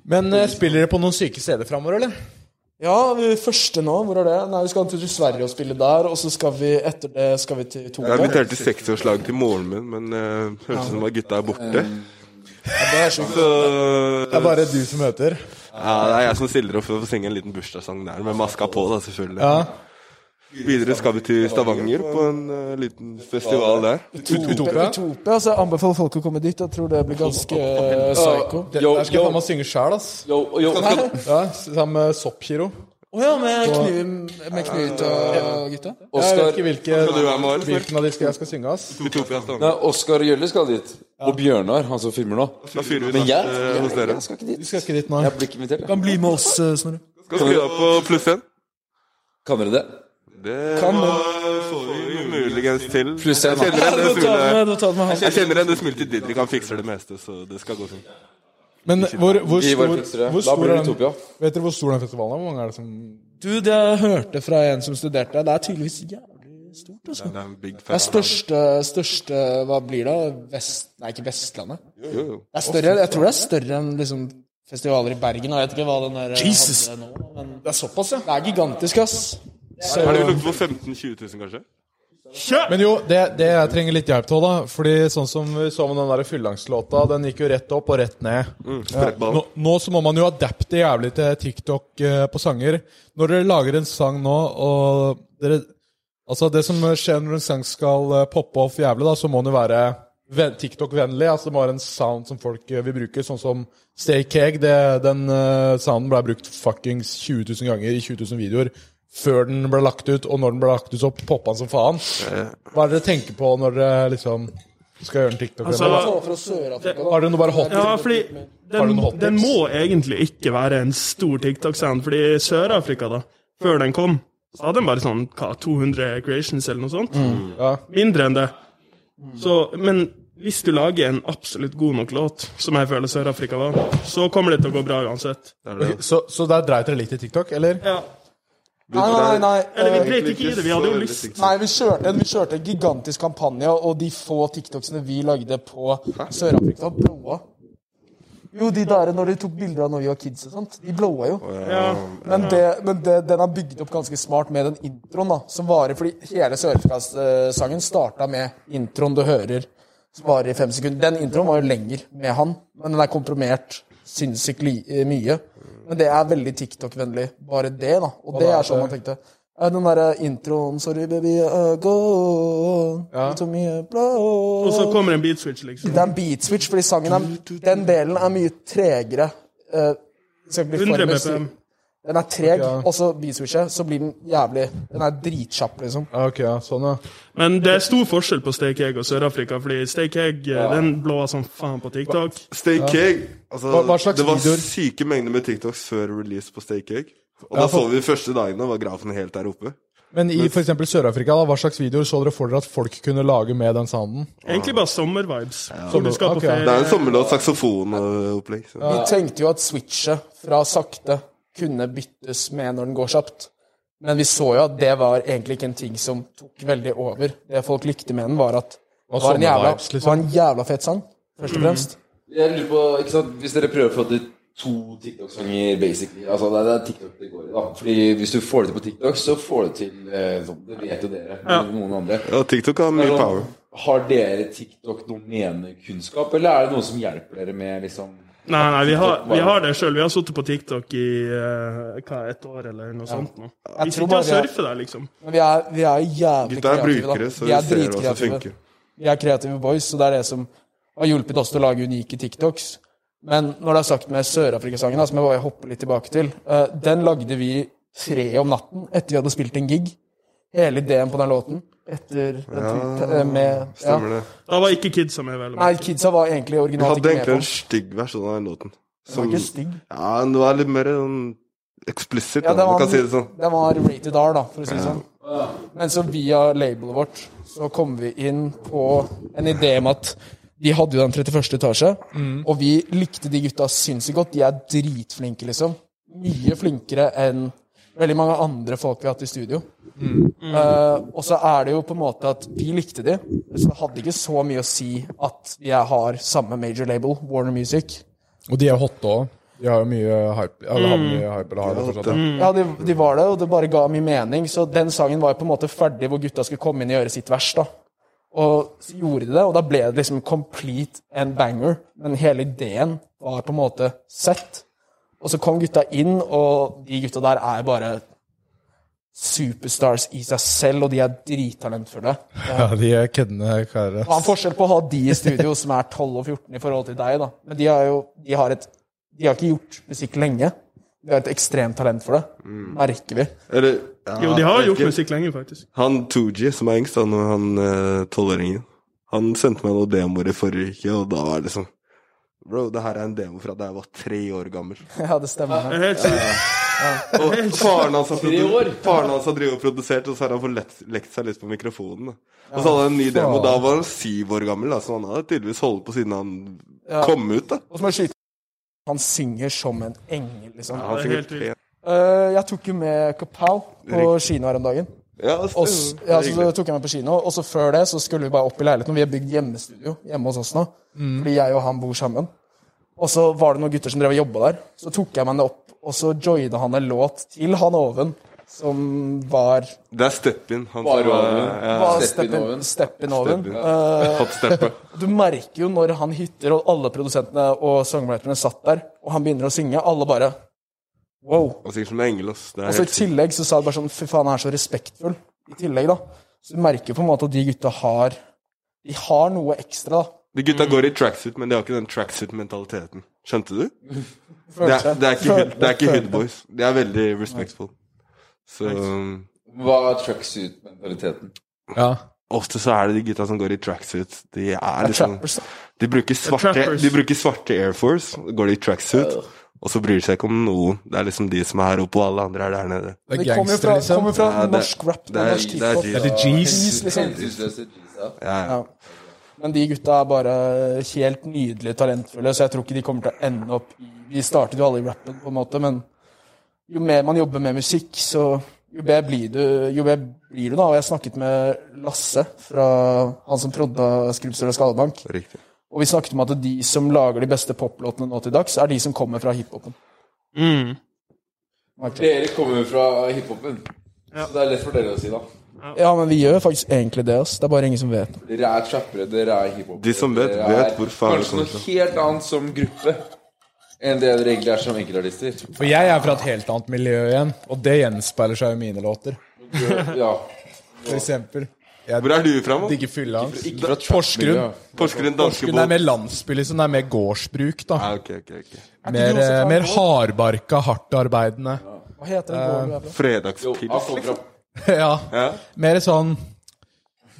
Speaker 3: Men eh, spiller dere på noen syke steder framover, eller?
Speaker 6: Ja, vi- første nå, hvor er det? Nei, vi skal til Sverige og spille der, og så skal vi etter det skal vi til
Speaker 5: Jeg
Speaker 6: Toga.
Speaker 5: inviterte til seksårslag til moren min, men uh, hørtes ut som at gutta er borte. Så
Speaker 3: Det er bare du som møter.
Speaker 5: ja, Det er jeg som stiller opp for å synge en liten bursdagssang der, med maska på, da, selvfølgelig. Videre skal vi til Stavanger på en eh, liten festival der.
Speaker 3: Utopia.
Speaker 6: Utopia, så jeg anbefaler folk å komme dit. Jeg tror det blir ganske eh, psycho.
Speaker 3: Det,
Speaker 4: Yo,
Speaker 3: der skal
Speaker 4: yo.
Speaker 3: jeg faen meg synge sjæl, ass.
Speaker 4: Yo, yo,
Speaker 3: Ja, sammen med Soppgiro.
Speaker 6: Å ja, med, knu, med Knut og gutta?
Speaker 3: Jeg vet
Speaker 4: Oskar,
Speaker 3: ikke hvilke,
Speaker 5: Skal du være med, eller?
Speaker 3: hvilken av de skal jeg skal synge. ass.
Speaker 5: Utopia
Speaker 4: Nei,
Speaker 5: Stavanger.
Speaker 4: Oskar Gjølle skal dit. Og Bjørnar, han som filmer nå.
Speaker 5: Da fyrer vi
Speaker 4: Men jeg,
Speaker 5: nachspiel hos dere.
Speaker 4: jeg skal ikke dit.
Speaker 3: Du skal ikke dit nå.
Speaker 4: Jeg blir ikke invitert. jeg.
Speaker 6: Kan bli med oss, eh, Snorre.
Speaker 5: Skal skru av på pluss én.
Speaker 4: Kan dere det?
Speaker 5: Det får vi muligens til.
Speaker 4: Pluss én,
Speaker 5: Jeg kjenner
Speaker 4: da.
Speaker 5: igjen det smilet.
Speaker 6: Ta det med, ta det med han.
Speaker 5: Jeg kjenner igjen det smilet til Didrik. Han fikser det meste, så det skal gå fint.
Speaker 3: Men hvor, hvor
Speaker 4: Vi
Speaker 3: stor,
Speaker 4: bare fikser det.
Speaker 3: hvor
Speaker 4: Da
Speaker 3: stor
Speaker 4: blir
Speaker 3: er
Speaker 4: det
Speaker 3: den?
Speaker 4: Utopia.
Speaker 3: Vet dere hvor stor den festivalen er? Hvor mange er det som
Speaker 6: Du, det jeg hørte fra en som studerte der, det er tydeligvis jævlig stort, altså.
Speaker 5: Det er en big
Speaker 6: Det er
Speaker 5: fan.
Speaker 6: største, største Hva blir det? Vest... Nei, ikke Vestlandet.
Speaker 5: Jo, jo.
Speaker 6: Det er større, jeg tror det er større enn liksom festivaler i Bergen. og Jeg vet ikke hva den der Jesus. hadde nå. Men det er såpass, ja? Det er gigantisk, ass. Så,
Speaker 5: Er det vi lukter på 15 000-20 000, kanskje?
Speaker 3: Men jo, det, det jeg trenger litt hjelp til, da. Fordi sånn som vi så med den der Fyllangslåta, den gikk jo rett opp og rett ned. Nå,
Speaker 5: Sprettball.
Speaker 3: nå så må man jo adapte jævlig til TikTok eh, på sanger. Når dere lager en sang nå, og dere Altså, det som skjer når en sang skal eh, poppe off jævlig, da, så må den jo være ven- TikTok-vennlig. Altså, det må være en sound som folk eh, vil bruke, sånn som Stay Cake. Det, den eh, sounden ble brukt fuckings 20 000 ganger i 20 000 videoer før den ble lagt ut, og når den ble lagt ut, så poppa den som faen. Hva er det dere tenker på når dere liksom skal gjøre en TikTok-vennlig?
Speaker 7: Altså,
Speaker 6: fra Sør-Afrika, da.
Speaker 3: har dere noe bare hot?
Speaker 7: Ja, fordi
Speaker 3: Har du
Speaker 7: den,
Speaker 3: noen hot
Speaker 7: den
Speaker 3: tips?
Speaker 7: må egentlig ikke være en stor TikTok-sound, fordi i Sør-Afrika, da, før den kom, så hadde den bare sånn hva, 200 creations eller noe sånt.
Speaker 3: ja.
Speaker 7: Mindre enn det.
Speaker 3: Mm.
Speaker 7: Så, men hvis du lager en absolutt god nok låt, som jeg føler Sør-Afrika var, så kommer det til å gå bra uansett.
Speaker 3: Ok, Så, så der dreit dere litt i TikTok, eller?
Speaker 7: Ja.
Speaker 6: Nei, nei, nei.
Speaker 7: Eller vi
Speaker 6: eh,
Speaker 7: dreit ikke i det, vi hadde jo lyst.
Speaker 6: Nei, vi kjørte, en- vi kjørte en gigantisk kampanje, og de få TikToksene vi lagde på Sør-Afrika, blåa. Jo, de der når de tok bilder av når vi var kids og sånt, de blåa jo.
Speaker 7: Ja.
Speaker 6: Men, det, men det, den er bygd opp ganske smart med den introen, da, som varer fordi hele Sør-Afrika-sangen starta med introen du hører, som varer i fem sekunder. Den introen var jo lenger med han, men den er komprimert sinnssykt li eh, mye. Men det er veldig TikTok-vennlig, bare det, da. Og det er sånn man tenkte. Eh, Den derre introen Sorry, baby, uh, go on. You took me a blow.
Speaker 7: Og så kommer en beat switch, liksom.
Speaker 6: Det er en beat switch, fordi sangen er, den delen er mye tregere. Eh, skal ikke bli for
Speaker 7: 100
Speaker 6: mye-
Speaker 7: BPM.
Speaker 6: den er treg, og så biswishet, så blir den jævlig Den er dritkjapp, liksom.
Speaker 3: Ja, Ok, ja, sånn, ja.
Speaker 7: Men det er stor forskjell på Steak Egg og Sør-Afrika, fordi Steak Egg eh, den blåa som faen på TikTok.
Speaker 5: Stay Cake. Altså,
Speaker 3: Hva- hva slags
Speaker 5: det var
Speaker 3: videoer?
Speaker 5: syke mengder med TikToks før release på Stay Cake. Og
Speaker 3: Ja,
Speaker 5: da
Speaker 3: for-
Speaker 5: så vi de første dagene, var grafen helt der oppe.
Speaker 3: Men i f.eks. Sør-Afrika, da, hva slags videoer så dere for dere at folk kunne lage med den sounden?
Speaker 7: Egentlig bare sommervibes. Hvor du skal på
Speaker 3: Ok.
Speaker 5: Det er en
Speaker 7: ferie.
Speaker 5: sommerlåt, saksofon og opplegg. Så.
Speaker 6: Vi tenkte jo at switchet fra sakte kunne byttes med når den går kjapt. Men vi så jo at det var egentlig ikke en ting som tok veldig over. Det folk likte med den, var at det var en jævla,
Speaker 3: sommervibes, liksom.
Speaker 6: det var en jævla fet sang, først og fremst.
Speaker 7: Mm.
Speaker 4: Jeg lurer på, ikke sant, Hvis dere prøver å få til to TikTok-sanger, basically altså Det er- det er TikTok det går i. da Fordi Hvis du får det til på TikTok, så får du til eh, sånn. Det vet jo dere. eller Noen andre. Sånn,
Speaker 5: Ja, TikTok har mye power.
Speaker 4: Har dere TikTok noen menekunnskap, eller er det noen som hjelper dere med liksom
Speaker 7: Nei, nei, vi har, vi har det sjøl. Vi har sittet på TikTok i eh, hva, et år eller noe sånt nå. Vi
Speaker 6: tror
Speaker 7: sitter
Speaker 6: bare
Speaker 7: og
Speaker 6: vi har-
Speaker 7: surfer der, liksom.
Speaker 6: Men vi er, vi er jævlig
Speaker 5: Gutta er
Speaker 6: kreative,
Speaker 5: brukere,
Speaker 6: da.
Speaker 5: så
Speaker 6: Vi
Speaker 5: vi
Speaker 6: er
Speaker 5: ser hva som
Speaker 6: dritkreative.
Speaker 5: funker.
Speaker 6: Vi er kreative boys, så det er det som har hjulpet oss til å lage unike TikToks. Men når det er sagt med Sør-Afrika-sangen, da, som jeg bare hopper litt tilbake til eh, Den lagde vi tre om natten etter vi hadde spilt en gig. Hele ideen på den låten etter den tweet- eh, med, ja.
Speaker 5: Stemmer det.
Speaker 7: Da var ikke kidsa med, vel. å
Speaker 6: Nei,
Speaker 7: merke.
Speaker 6: kidsa var egentlig
Speaker 5: Vi hadde
Speaker 6: originalt ikke med
Speaker 5: egentlig
Speaker 6: på.
Speaker 5: en stygg versjon av den låten.
Speaker 6: Den var
Speaker 5: Som,
Speaker 6: ikke stygg.
Speaker 5: ja, den var litt mer sånn eksplisitt,
Speaker 6: Ja,
Speaker 5: da,
Speaker 6: den
Speaker 5: om
Speaker 6: var,
Speaker 5: du kan si det sånn.
Speaker 6: den var rated R, da, for å si det sånn. Men så via labelet vårt så kom vi inn på en idé om at de hadde jo den 31. etasje, og vi likte de gutta sinnssykt godt. De er dritflinke, liksom. Mye flinkere enn veldig mange andre folk vi har hatt i studio.
Speaker 5: Mm.
Speaker 6: Eh, og så er det jo på en måte at vi likte de, så det hadde ikke så mye å si at jeg har samme major label, Warner Music.
Speaker 3: Og de er hotte òg. De har jo mye hype. Eller hadde mye hype, eller har det fortsatt. ja.
Speaker 6: Ja, de, de var det, og det bare ga mye mening. Så den sangen var jo på en måte ferdig, hvor gutta skulle komme inn og gjøre sitt vers. da. Og så gjorde de det, og da ble det liksom complete and banger. Men hele ideen var på en måte sett. Og så kom gutta inn, og de gutta der er bare superstars i seg selv, og de er drittalentfulle.
Speaker 3: Ja, de er køddende karer.
Speaker 6: Det er en forskjell på å ha de i studio som er 12 og 14 i forhold til deg, da. Men de har jo de har et De har ikke gjort musikk lenge. De har et ekstremt talent for det. Merker vi.
Speaker 5: Eller ja,
Speaker 7: Jo, de
Speaker 5: jeg
Speaker 7: har
Speaker 5: vet
Speaker 7: gjort
Speaker 5: ikke.
Speaker 7: musikk lenge, faktisk.
Speaker 5: Han Tooji, som er yngst, han, og han tolvåringen, han sendte meg noen demoer i forrige uke, og da var det sånn Bro, det her er en demo fra da jeg var tre år gammel.
Speaker 6: Ja, det stemmer.
Speaker 7: Det er helt sykt.
Speaker 5: Og faren hans har, produ
Speaker 4: år?
Speaker 5: faren hans har drevet og produsert, og så har han fått lekt, lekt seg litt på mikrofonen. Da. Og så hadde han en ny demo, da var han syv år gammel, da, så han hadde tydeligvis holdt på siden han kom ut. da.
Speaker 6: Og som er skyte. Han synger som en engel, liksom.
Speaker 5: Han
Speaker 7: det er helt
Speaker 5: sikkert
Speaker 7: vilt.
Speaker 5: tre.
Speaker 6: Eh, jeg tok jo med Kapow på kino her om dagen.
Speaker 5: Ja,
Speaker 6: Og, s-
Speaker 5: stemmer.
Speaker 6: ja,
Speaker 5: Mm. Det er
Speaker 6: så
Speaker 5: hyggelig.
Speaker 6: tok jeg meg på kino, og så før det så skulle vi bare opp i leiligheten. og Vi har bygd hjemmestudio hjemme hos oss nå,
Speaker 5: Mm.
Speaker 6: fordi jeg og han bor sammen. Og så var det noen gutter som drev og jobba der. Så tok jeg meg det opp, og så joina han en låt til han oven, som var
Speaker 5: Det er Steppin. Han
Speaker 4: Bare
Speaker 5: som var
Speaker 4: over.
Speaker 5: ja,
Speaker 6: var
Speaker 4: Step in
Speaker 6: Step in-
Speaker 4: Oven.
Speaker 6: Step in Oven.
Speaker 5: Step in.
Speaker 6: Eh,
Speaker 5: hot steppet.
Speaker 6: du merker jo når han hytter, og alle produsentene og songwriterne satt der, og han begynner å synge, alle bare Wow.
Speaker 5: Han er sikkert som en engel, ass. Det er
Speaker 6: Og så i
Speaker 5: helt sykt.
Speaker 6: tillegg så sa de bare sånn Fy faen, han er så respektfull. I tillegg, da. Så du merker på en måte at de gutta har De har noe ekstra, da.
Speaker 5: De gutta går i tracksuit, men de har ikke den tracksuit-mentaliteten. Skjønte du? Det
Speaker 6: Følte
Speaker 5: er,
Speaker 6: jeg.
Speaker 5: det er ikke,
Speaker 6: Følte-
Speaker 5: hood, det er ikke
Speaker 6: følte-
Speaker 5: hood boys. De er veldig respectful. Så um,
Speaker 4: Hva er tracksuit-mentaliteten?
Speaker 3: Ja.
Speaker 5: ofte så er det de gutta som går i tracksuit. De er
Speaker 6: Det er
Speaker 5: liksom
Speaker 6: trappers, da.
Speaker 5: De bruker svarte,
Speaker 7: trappers.
Speaker 5: de bruker svarte Air Force, går de i tracksuit, og så bryr de seg ikke om noen. Det er liksom de som er her oppe, og alle andre er der nede.
Speaker 3: Det
Speaker 6: De
Speaker 3: er
Speaker 6: kommer jo
Speaker 3: gangster,
Speaker 6: fra,
Speaker 3: liksom.
Speaker 6: kommer fra
Speaker 5: Ja, det-
Speaker 6: norsk rap
Speaker 5: det
Speaker 6: og
Speaker 5: er-
Speaker 6: norsk
Speaker 5: det er
Speaker 6: hiphop.
Speaker 5: G's.
Speaker 3: Er det G's?
Speaker 6: Jeez, liksom.
Speaker 4: Hensynsløse jeans, ja.
Speaker 5: Ja, ja.
Speaker 6: Ja. Men de gutta er bare helt nydelig talentfulle, så jeg tror ikke de kommer til å ende opp i Vi startet jo alle i rappen, på en måte, men jo mer man jobber med musikk, så jo bedre blir du, jo bedre blir du da. Og jeg snakket med Lasse, fra han som prodda Skrubbstøl og Skallebank.
Speaker 5: Riktig.
Speaker 6: Og vi snakket om at de som lager de beste poplåtene nå til dags, er de som kommer fra hiphopen.
Speaker 4: Dere kommer jo fra hiphopen, så det er lett for dere å si, da.
Speaker 6: Ja, men vi gjør faktisk egentlig det, ass. Det er bare ingen som vet.
Speaker 4: Dere er trappere, dere er hiphopere.
Speaker 5: De som vet,
Speaker 4: dere
Speaker 5: vet
Speaker 4: er
Speaker 5: hvor faen det
Speaker 4: Kanskje
Speaker 5: kommer
Speaker 4: noe helt annet som gruppe enn det dere egentlig er som enkeltartister.
Speaker 3: For jeg er fra et helt annet miljø igjen, og det gjenspeiler seg i mine låter.
Speaker 4: Ja.
Speaker 3: For eksempel.
Speaker 5: Hvor er du fra, mann?
Speaker 3: Digger fyllehans.
Speaker 4: Ikke fra
Speaker 3: Porsgrunn.
Speaker 4: trappmiljø.
Speaker 3: Porsgrunn
Speaker 5: Porsgrunn
Speaker 3: er
Speaker 5: danskebåt.
Speaker 3: mer landsby, liksom. Det er mer gårdsbruk, da.
Speaker 5: Ja, ok, ok, ok.
Speaker 3: Mer, eh, mer hardbarka, hardtarbeidende.
Speaker 6: Hva heter den gården du er fra?
Speaker 4: Jo, han
Speaker 5: Fredagspils.
Speaker 4: kommer fra
Speaker 3: Ja.
Speaker 5: Ja.
Speaker 3: Mer sånn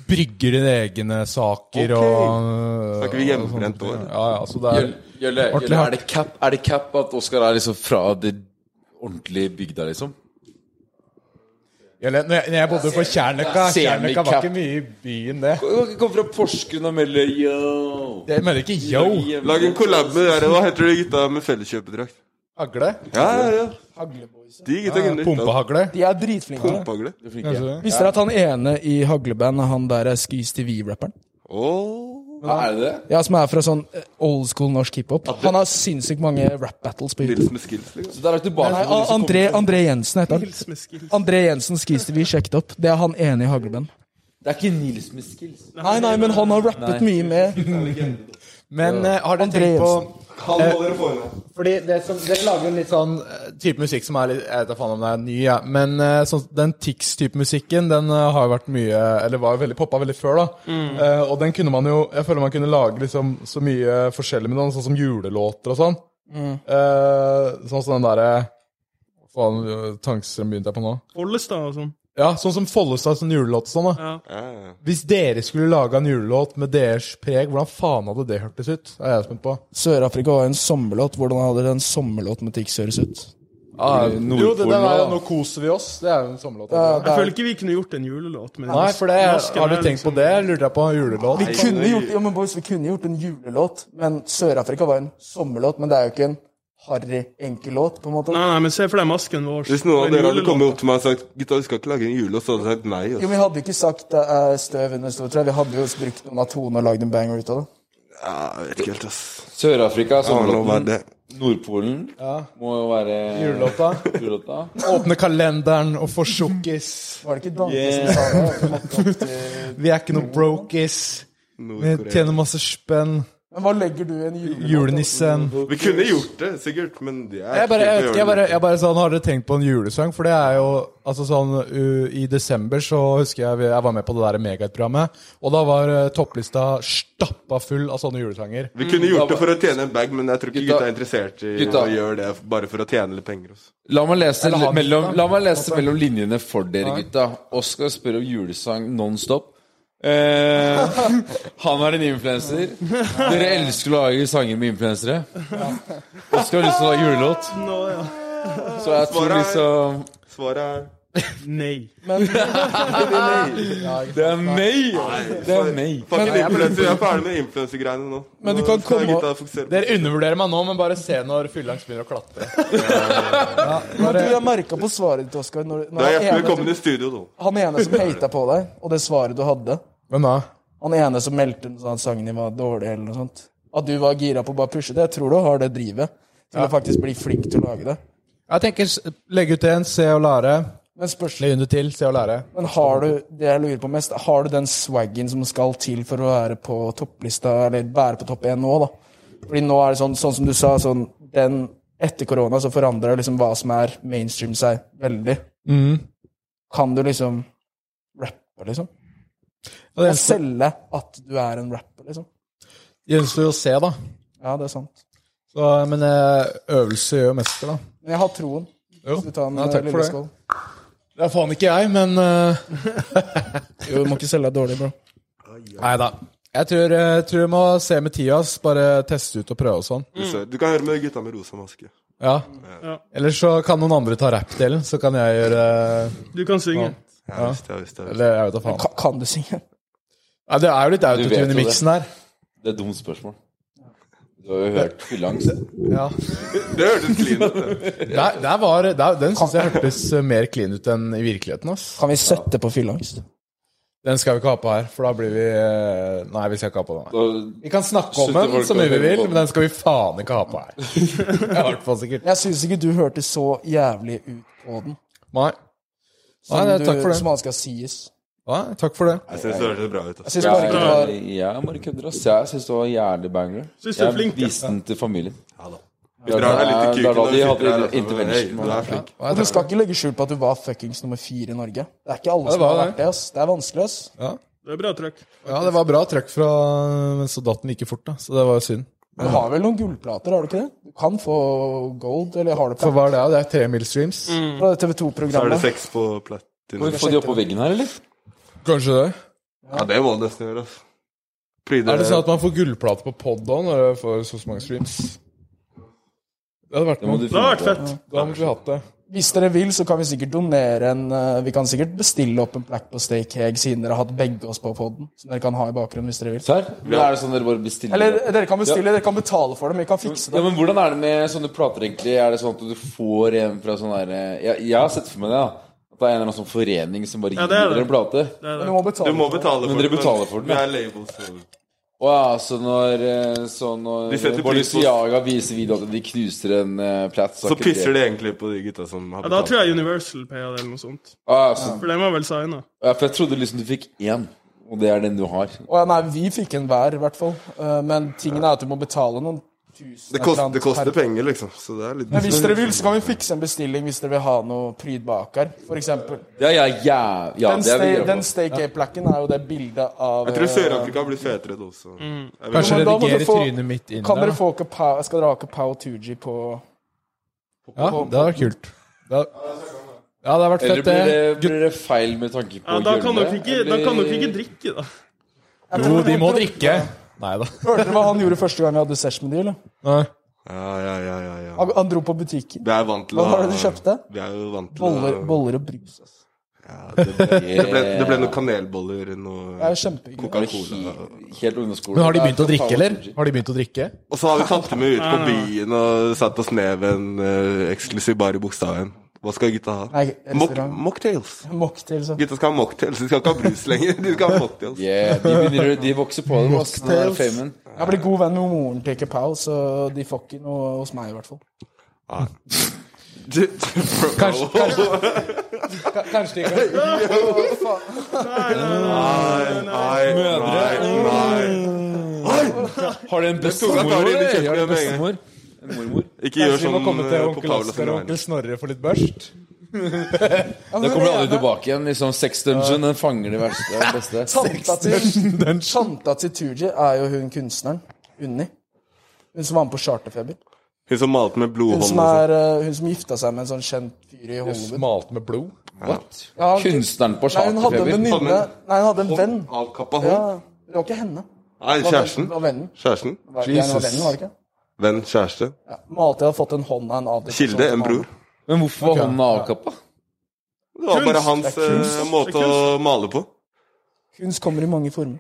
Speaker 3: Brygger dine egne saker
Speaker 5: Ok.
Speaker 3: og
Speaker 5: Snakker vi hjemmebrent
Speaker 3: og sånne
Speaker 5: nå,
Speaker 3: ting.
Speaker 5: eller?
Speaker 3: Ja, ja, så det er
Speaker 4: Gjølle, Gjølle,
Speaker 3: Ordentlig
Speaker 4: Gjølle,
Speaker 3: hardt.
Speaker 4: er, det cap, er det cap at Oskar er liksom fra det ordentlige bygda, liksom?
Speaker 3: Gjølle, Når jeg, når jeg bodde på Kjernøkka
Speaker 4: Ser vi
Speaker 3: Kjernøkka var
Speaker 4: kapp?
Speaker 3: ikke mye i byen, det.
Speaker 4: Kom kom fra Porsgrunn og melder yo.
Speaker 3: Jeg mener ikke yo.
Speaker 5: Lag en kollab med dere. Hva heter de gutta med felleskjøpedrakt?
Speaker 3: Hagle.
Speaker 5: Ja, ja, ja. De gutta kunne lytta.
Speaker 3: Pumpehagle.
Speaker 6: De er dritflinke.
Speaker 5: Pumpehagle.
Speaker 3: Kanskje det.
Speaker 6: Visste dere at han ene i Hagleband er han der Skys TV-rapperen?
Speaker 5: Åh.
Speaker 4: Ja, er det det?
Speaker 6: Ja, som er fra sånn eh, old school norsk hiphop. Han har sinnssykt mange rap battles på YouTube.
Speaker 5: Nils med skills, liksom.
Speaker 4: Så der er vi tilbake
Speaker 6: Nei,
Speaker 4: til noen som
Speaker 6: André, André Jensen heter han.
Speaker 7: Hils med skills.
Speaker 6: André Jensen Skys TV, sjekk det opp. Det er han ene i Hagleband.
Speaker 4: kommer- Det er ikke Nils med skills.
Speaker 6: Nei, nei, men han har rappet mye med
Speaker 3: Men eh, har dere
Speaker 6: André
Speaker 3: tenkt på eh,
Speaker 5: Han må dere få inn.
Speaker 3: Fordi det som, Dere lager en litt sånn eh, type musikk som er litt Jeg vet da faen om det er ny, ja. men eh, sånn, den Tix-type musikken den eh, har jo vært mye Eller var jo veldig poppa veldig før, da. Eh, og den kunne man jo Jeg føler man kunne lage liksom så mye forskjellig med den, sånn som julelåter og sånn. Eh, sånn som den derre Hva faen tankestrøm begynte jeg på nå?
Speaker 7: Ollestad og sånn.
Speaker 3: Ja, sånn som Follestad sånn julelåt og sånn, da.
Speaker 5: Ja, ja.
Speaker 3: Hvis dere skulle lage en julelåt med deres preg, hvordan faen hadde det hørtes ut? Det er jeg spent på.
Speaker 6: Sør-Afrika var en sommerlåt. Hvordan hadde en sommerlåt med Tix høres ut?
Speaker 3: Ah, jo, det
Speaker 4: Nordpolen
Speaker 3: der var jo
Speaker 4: da.
Speaker 3: 'Nå koser vi oss'. Det er jo en sommerlåt.
Speaker 7: Jeg føler ikke vi kunne gjort en julelåt med
Speaker 3: Nei, for det
Speaker 7: Norsken
Speaker 3: har du
Speaker 7: er liksom-
Speaker 3: tenkt på det? Lurte jeg på julelåt?
Speaker 6: Vi kunne gjort, ja, men boys, vi kunne gjort en julelåt, men Sør-Afrika var en sommerlåt. Men det er jo ikke en harry enkel låt, på en måte.
Speaker 7: Nei, nei, men se for deg masken vår.
Speaker 5: Hvis noen av
Speaker 7: Og en
Speaker 5: dere hadde
Speaker 7: julelåt.
Speaker 5: kommet opp til meg og sagt Gutta, vi skal ikke lage en julelåt, så hadde jeg sagt nei.
Speaker 6: Jo,
Speaker 5: Altså.
Speaker 6: Vi hadde ikke sagt det er støv under stor tre. Vi hadde jo brukt noen av tonene og lagd en banger ut av det.
Speaker 5: Ja, jeg vet ikke helt, ass.
Speaker 4: Sør-Afrika,
Speaker 5: Ja, nå var
Speaker 4: sommerlåten.
Speaker 5: det.
Speaker 4: Nordpolen må jo være
Speaker 3: Julelåta.
Speaker 4: Julelåta.
Speaker 3: Åpne kalenderen og få sjokkis.
Speaker 6: Var det ikke Dante
Speaker 4: Yeah.
Speaker 6: som sa det? At- at, eh,
Speaker 3: Vi er ikke noe brokis. Vi
Speaker 5: Nord-Korea.
Speaker 3: tjener masse spenn.
Speaker 6: Men hva legger du i en julenisse?
Speaker 3: Julenissen.
Speaker 5: Vi kunne gjort det, sikkert, men det er
Speaker 3: Jeg bare, jeg, vet ikke, jeg, bare,
Speaker 5: jeg,
Speaker 3: jeg bare sånn, Har dere tenkt på en julesang? For det er jo altså sånn u- I desember så husker jeg vi- jeg var med på det der Megahit-programmet. Og da var eh, topplista stappa full av sånne julesanger.
Speaker 5: Vi kunne
Speaker 4: da
Speaker 5: gjort
Speaker 3: Mm.
Speaker 5: det
Speaker 4: bare-
Speaker 5: for å tjene en bag, men jeg tror ikke
Speaker 4: Gutta-
Speaker 5: gutta er interessert i
Speaker 4: Gutta.
Speaker 5: å gjøre det bare for å tjene litt penger. Også.
Speaker 4: La meg lese,
Speaker 3: Eller han,
Speaker 4: mellom,
Speaker 3: da.
Speaker 4: la meg lese
Speaker 7: Altså.
Speaker 4: mellom linjene for dere, gutta. Oskar spør om julesang
Speaker 7: [laughs]
Speaker 4: nonstop. Eh, han er en influenser. Dere elsker å lage sanger med influensere. Oskar har lyst til å lage julelåt.
Speaker 7: Nå, ja.
Speaker 4: Så jeg tror liksom
Speaker 5: Svaret er
Speaker 7: Nei.
Speaker 4: Det er nei! Det er nei.
Speaker 5: Fuck influenser. Jeg er ferdig med influensergreiene nå.
Speaker 6: Men du
Speaker 5: Nå
Speaker 6: kan
Speaker 5: skal
Speaker 6: komme-
Speaker 5: gutta fokusere på-
Speaker 3: Dere undervurderer meg nå, men bare se når fyllangs begynner å klatre.
Speaker 6: Men du, jeg merka på svaret ditt, Oskar. Når,
Speaker 5: Da
Speaker 6: når
Speaker 5: er
Speaker 6: han,
Speaker 5: hjertelig
Speaker 6: ene
Speaker 5: velkommen
Speaker 6: som,
Speaker 5: i studio, da.
Speaker 3: Mm.
Speaker 6: han ene som hata på deg, og det svaret du hadde
Speaker 3: Men da?
Speaker 6: Han ene som meldte noe sånn at sangen din var dårlig, eller noe sånt. At du var gira på å bare pushe det. Jeg tror du har det drivet til å faktisk bli flink til å lage det.
Speaker 3: Jeg tenker s- legge ut en, se og lære.
Speaker 6: Men spørsmålet
Speaker 3: Legge under til, se og lære.
Speaker 6: Men har du det jeg lurer på mest, har du den swaggen som skal til for å være på topplista, eller være på topp 1 nå, da? Fordi nå er det sånn, sånn som du sa, sånn den etter korona så forandrer liksom hva som er mainstream seg veldig. Mm. Kan du liksom rappe, liksom?
Speaker 3: Og det
Speaker 6: Og
Speaker 3: gjenstår-
Speaker 6: selge at du er en rapper, liksom?
Speaker 3: gjenstår jo å se, da.
Speaker 6: Ja, det er sant.
Speaker 3: Så, men eh, øvelse gjør mester, da.
Speaker 6: Men jeg har troen.
Speaker 3: Jo.
Speaker 6: Skal vi ta en
Speaker 3: Ja,
Speaker 6: eh,
Speaker 3: takk for
Speaker 6: lille
Speaker 3: det.
Speaker 6: skål?
Speaker 3: Det er faen ikke jeg, men
Speaker 6: [laughs]
Speaker 3: eh,
Speaker 6: Jo, du må ikke selge deg dårlig, bro.
Speaker 3: Nei da. Jeg tror, jeg tror jeg må se med tida. ass. Bare teste ut og prøve og sånn.
Speaker 5: Du ser- Du kan høre med gutta med rosa maske.
Speaker 3: Ja. Eller så kan noen andre ta rappdelen, så kan jeg gjøre eh,
Speaker 7: Du kan synge.
Speaker 5: Ja, visst, ja, visst, ja, visst.
Speaker 3: Eller jeg vet da faen.
Speaker 6: Ka kan du synge?
Speaker 3: Nei, det er jo litt
Speaker 4: Du vet
Speaker 3: autotune
Speaker 4: jo
Speaker 3: i miksen her.
Speaker 4: Det er et dumt spørsmål. Du har jo hørt Fyllangs.
Speaker 3: Ja.
Speaker 5: Det hørtes clean ut. det.
Speaker 3: Der, der var, der, den syns jeg hørtes eh, mer clean ut enn i virkeligheten. ass.
Speaker 6: Kan vi sette på fyllangst?
Speaker 3: Den skal vi ikke ha på her, for da blir vi eh, Nei, vi skal ikke ha på den her. Vi kan snakke om
Speaker 4: Slutter
Speaker 3: den
Speaker 4: folk
Speaker 3: så mye
Speaker 4: å
Speaker 3: vi
Speaker 4: høre
Speaker 3: vil,
Speaker 4: på?
Speaker 3: men den skal vi faen ikke ha på
Speaker 4: [laughs]
Speaker 3: her. I hvert fall sikkert.
Speaker 6: Jeg syns ikke du hørtes så jævlig ut på den.
Speaker 3: Nei. Nei,
Speaker 6: Som
Speaker 3: nei,
Speaker 6: du-
Speaker 3: takk for
Speaker 6: Som
Speaker 3: det.
Speaker 6: han skal sies.
Speaker 3: Nei, takk for det.
Speaker 5: Jeg syns det hørtes bra ut.
Speaker 6: Jeg
Speaker 5: Altså.
Speaker 6: syns bare ikke det var
Speaker 4: Jeg bare kødder, ass. Jeg syns det var jævlig banger.
Speaker 7: Synes du er
Speaker 4: Jeg
Speaker 7: flink, ja.
Speaker 4: viste den til familien.
Speaker 5: Vi drar deg
Speaker 4: Det er
Speaker 5: litt i kuken
Speaker 4: da
Speaker 5: når
Speaker 4: de
Speaker 5: vi
Speaker 4: hadde
Speaker 5: sitter her. Altså. men, Hey,
Speaker 4: intervention.
Speaker 5: du er flink.
Speaker 6: Og du skal ikke legge skjul på at du var fuckings nummer fire i Norge. Det er ikke alle som
Speaker 3: var
Speaker 6: har
Speaker 3: det.
Speaker 6: vært det. ass. Det er vanskelig, ass.
Speaker 7: Det er bra trøkk.
Speaker 3: Ja, det var bra trøkk fra Men så datt den like fort, da. Så det var jo synd.
Speaker 6: Du har vel noen gullplater, har du ikke det? Du kan få gold, eller har du
Speaker 3: For
Speaker 6: plater
Speaker 3: hva er det? da? Det er tre mil streams?
Speaker 6: fra det
Speaker 5: Så er det
Speaker 6: TV2-programmet?
Speaker 5: sex på platinum.
Speaker 4: Får de opp på veggen her, eller?
Speaker 3: Kanskje det.
Speaker 5: Ja, det må du nesten gjøre. Altså. Pryde
Speaker 3: Er det sånn at man får gullplate på pod òg når du får så mange streams? Det hadde vært
Speaker 4: Det må
Speaker 3: noe.
Speaker 4: du
Speaker 7: Det
Speaker 4: finne
Speaker 7: har vært
Speaker 4: på.
Speaker 7: fett.
Speaker 3: Da måtte vi hatt det.
Speaker 6: Hvis dere vil, så kan vi sikkert donere en eh, Vi kan sikkert bestille opp en plaque på Steak Heg, siden dere har hatt begge oss på poden. Som dere kan ha i bakgrunnen hvis dere vil.
Speaker 4: Serr? Eller er det sånn dere bare bestiller?
Speaker 6: Eller dere kan bestille, dere kan betale for dem, vi kan fikse
Speaker 4: Ja,
Speaker 6: det.
Speaker 4: men Hvordan er det med sånne plater, egentlig? Er det sånn at du får en fra sånn derre jeg, jeg har sett for meg det, da. At det er en eller annen sånn forening som bare gir
Speaker 7: Ja, det er
Speaker 4: dere
Speaker 7: det.
Speaker 4: en plate.
Speaker 7: Det er
Speaker 6: Men
Speaker 7: det.
Speaker 6: Du må betale.
Speaker 5: Du må betale for
Speaker 4: Men dere betaler for den,
Speaker 5: Vi
Speaker 4: ja.
Speaker 5: er labels. så-
Speaker 4: Å ja, så når, eh, så
Speaker 5: De setter
Speaker 4: når
Speaker 5: pris på-
Speaker 4: Balenciaga viser video at de knuser en eh, plat
Speaker 5: Så pisser de egentlig på de gutta som har
Speaker 7: Ja, da
Speaker 5: betalt.
Speaker 7: tror jeg Universal paya det, eller noe sånt.
Speaker 4: Ah, så,
Speaker 7: For den var vel signa.
Speaker 4: ja, for jeg trodde liksom du fikk én, og det er den du har.
Speaker 6: Å, ja, nei, vi fikk en hver, i hvert fall. Eh, Men tingen er at du må betale noen tusen.
Speaker 5: Det,
Speaker 6: eller
Speaker 5: kost,
Speaker 6: annet
Speaker 5: det
Speaker 6: per-
Speaker 5: koster penger, liksom. Så det er litt
Speaker 6: Men hvis dere vil, så kan vi fikse en bestilling hvis dere vil ha noe pryd bak her. For eksempel.
Speaker 4: Ja, ja, ja, ja
Speaker 6: Den,
Speaker 4: det er vi
Speaker 6: stay,
Speaker 4: greie
Speaker 6: den
Speaker 4: på.
Speaker 6: staycay-plakken er jo det bildet av
Speaker 5: Jeg tror
Speaker 6: eh,
Speaker 5: Sør-Afrika blir fetere da også.
Speaker 7: Mm.
Speaker 5: Jeg vet
Speaker 3: Kanskje
Speaker 6: men da må
Speaker 3: redigere
Speaker 6: du få-
Speaker 3: trynet mitt inn
Speaker 6: Kan
Speaker 3: der.
Speaker 6: dere
Speaker 3: da.
Speaker 6: få Kapow, skal dere ha Kapow Tooji på
Speaker 3: Ja, det hadde vært kult. Det hadde... Ja, det hadde vært
Speaker 4: Eller
Speaker 3: fett,
Speaker 4: blir det,
Speaker 3: det.
Speaker 4: blir det feil med tanke på
Speaker 7: Ja, da kan
Speaker 4: gjøre det,
Speaker 7: dere ikke, da kan dere ikke
Speaker 4: eller-
Speaker 7: drikke, da.
Speaker 3: Jo, de må drikke. Nei da.
Speaker 6: Hørte dere hva han gjorde første gang vi hadde sesh med de, eller?
Speaker 3: Nei.
Speaker 5: ikke. Ja, ja, ja, ja, ja.
Speaker 6: Han, han dro på butikken.
Speaker 5: Vi er vant til
Speaker 6: Hva var det du kjøpte?
Speaker 5: Vi er jo vant til
Speaker 6: Boller,
Speaker 5: å-
Speaker 6: boller og brus. altså. ass.
Speaker 5: Ja, det, ble, det, ble, det ble noen kanelboller,
Speaker 6: Det
Speaker 5: noe
Speaker 6: er jo kjempehyggelig.
Speaker 5: Coca-Cola.
Speaker 4: Helt- Helt ungdomsskole.
Speaker 3: Men har de begynt å
Speaker 4: Det er
Speaker 3: drikke, eller?
Speaker 4: kaos.
Speaker 3: Har de begynt å drikke?
Speaker 5: Og så har vi tatt med ut på byen og satt oss ned ved en eh, eksklusiv bar i Bogstadveien. Hva skal gutta ha?
Speaker 6: Nei,
Speaker 5: Mock-
Speaker 6: restaurant.
Speaker 5: Mocktails.
Speaker 6: Mocktail, så.
Speaker 5: Gutta skal ha mocktails, de skal ikke ha brus lenger. De skal ha mocktails.
Speaker 4: Yeah, de, begynner, de vokser på dem. ass, den der famen.
Speaker 6: Jeg ble god venn med moren til Kapow, så de får ikke noe hos meg, i hvert fall.
Speaker 5: Kanskje, kanskje.
Speaker 6: Kanskje de kan.
Speaker 5: Nei, nei, nei. nei.
Speaker 4: Har du en bestemor?
Speaker 5: tar de
Speaker 4: eller?
Speaker 5: i kjeften
Speaker 4: Har du en
Speaker 5: med en gang.
Speaker 4: bestemor? En mormor?
Speaker 5: Ikke
Speaker 3: vi
Speaker 5: gjør
Speaker 3: må
Speaker 5: sånn
Speaker 3: komme til
Speaker 5: eh, på
Speaker 3: onkel
Speaker 5: Paula
Speaker 3: Oskar
Speaker 5: sine
Speaker 3: og onkel
Speaker 5: vegne.
Speaker 3: Snorre for litt børst.
Speaker 4: Da kommer alle tilbake igjen. liksom Sex Dungeon, den fanger de verste og beste.
Speaker 6: Tanta til,
Speaker 3: [laughs]
Speaker 6: tanta til Tooji er jo hun kunstneren. Unni. Hun som var med på Charterfeber.
Speaker 5: Hun som malte med
Speaker 6: Hun
Speaker 5: blodhånd
Speaker 6: som,
Speaker 5: og sånn.
Speaker 6: er, eh, hun som gifta seg med en sånn kjent fyr i Hollywood.
Speaker 3: Smalt med blod.
Speaker 6: Ja, hun-
Speaker 4: Kunstneren på
Speaker 6: Nei, hun hadde en
Speaker 4: charterfeber.
Speaker 6: venninne Nei, hun hadde en venn.
Speaker 5: Avkappa
Speaker 6: Ja,
Speaker 5: hånd.
Speaker 6: det var ikke henne. Det
Speaker 5: Nei,
Speaker 6: var
Speaker 5: kjæresten.
Speaker 6: vennen- Det var vennen.
Speaker 5: Kjæresten.
Speaker 6: Det var- det var
Speaker 3: Jesus.
Speaker 6: vennen, var det ikke?
Speaker 5: Venn, kjæreste.
Speaker 6: Ja. Malte hadde fått en hånd av en sånn avdød.
Speaker 5: Kilde, en bror.
Speaker 4: Men hvorfor var hånda avkappa?
Speaker 5: Det var
Speaker 7: Kunst.
Speaker 5: bare hans
Speaker 6: Det er kunst.
Speaker 5: eh,
Speaker 7: Det er
Speaker 5: måte å male på.
Speaker 6: Kunst kommer i mange former.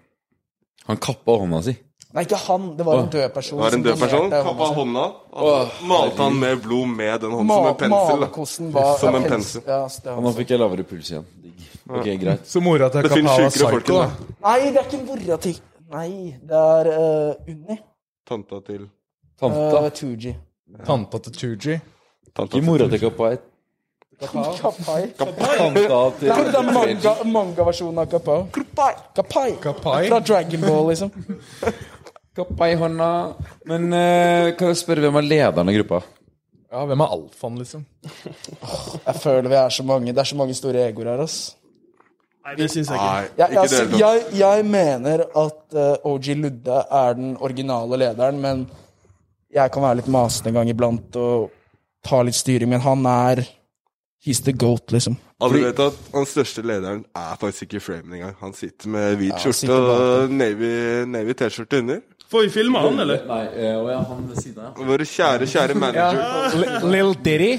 Speaker 4: Han kappa hånda si.
Speaker 6: Nei, ikke han. Det var en død person.
Speaker 5: Det var en
Speaker 6: som altså.
Speaker 5: død person.
Speaker 6: donerte
Speaker 5: Kappa
Speaker 6: hånda si.
Speaker 5: hånda. og Malte han med blod med den hånden som
Speaker 6: Ma-
Speaker 5: en pensel. da.
Speaker 6: Malerkosten var
Speaker 5: Som
Speaker 6: ja,
Speaker 5: en
Speaker 6: pens-
Speaker 5: pensel.
Speaker 6: Ja, så det var
Speaker 4: Nå
Speaker 6: sånn.
Speaker 4: fikk jeg lavere puls igjen. Digg. Ok, greit.
Speaker 3: Så mora til
Speaker 5: Det finnes
Speaker 3: Kappa var
Speaker 5: sjukere folk
Speaker 3: psycho,
Speaker 5: enn
Speaker 3: da.
Speaker 5: det.
Speaker 6: Nei, det er ikke mora til Nei, det er eh, Unni.
Speaker 5: Tanta til
Speaker 4: Tanta.
Speaker 6: Uh, Tooji.
Speaker 3: Tanta til Tooji.
Speaker 5: Tanta
Speaker 4: Ikke mora til Kapai.
Speaker 6: Kapai.
Speaker 4: Tanta til
Speaker 6: Nei, det er manga, mangaversjonen av Kapao. Kapai.
Speaker 3: Kapai.
Speaker 6: Fra Dragon Ball, liksom.
Speaker 4: Kappa i hånda. Men eh, kan jeg spørre hvem er lederen av gruppa?
Speaker 3: Ja, hvem er alfaen, liksom?
Speaker 6: Jeg føler vi er så mange. Det er så mange store egoer her, ass.
Speaker 7: Nei, det syns jeg
Speaker 5: Nei,
Speaker 7: ikke.
Speaker 5: ikke
Speaker 6: Jeg,
Speaker 5: i det
Speaker 6: altså,
Speaker 5: hele tatt.
Speaker 6: jeg, jeg mener at eh, OG Ludde er den originale lederen, men jeg kan være litt masete en gang iblant og ta litt styring, men han er He's the goat, liksom.
Speaker 5: Alle vet at han største lederen er faktisk ikke Framen engang. Han sitter med hvit skjorte
Speaker 6: sitter bak
Speaker 5: og navy navy T-skjorte under.
Speaker 7: Får vi filma han, eller?
Speaker 4: Nei, eh, å ja, han ved siden av. ja.
Speaker 5: Våre kjære, kjære manager.
Speaker 3: Lil Diddy.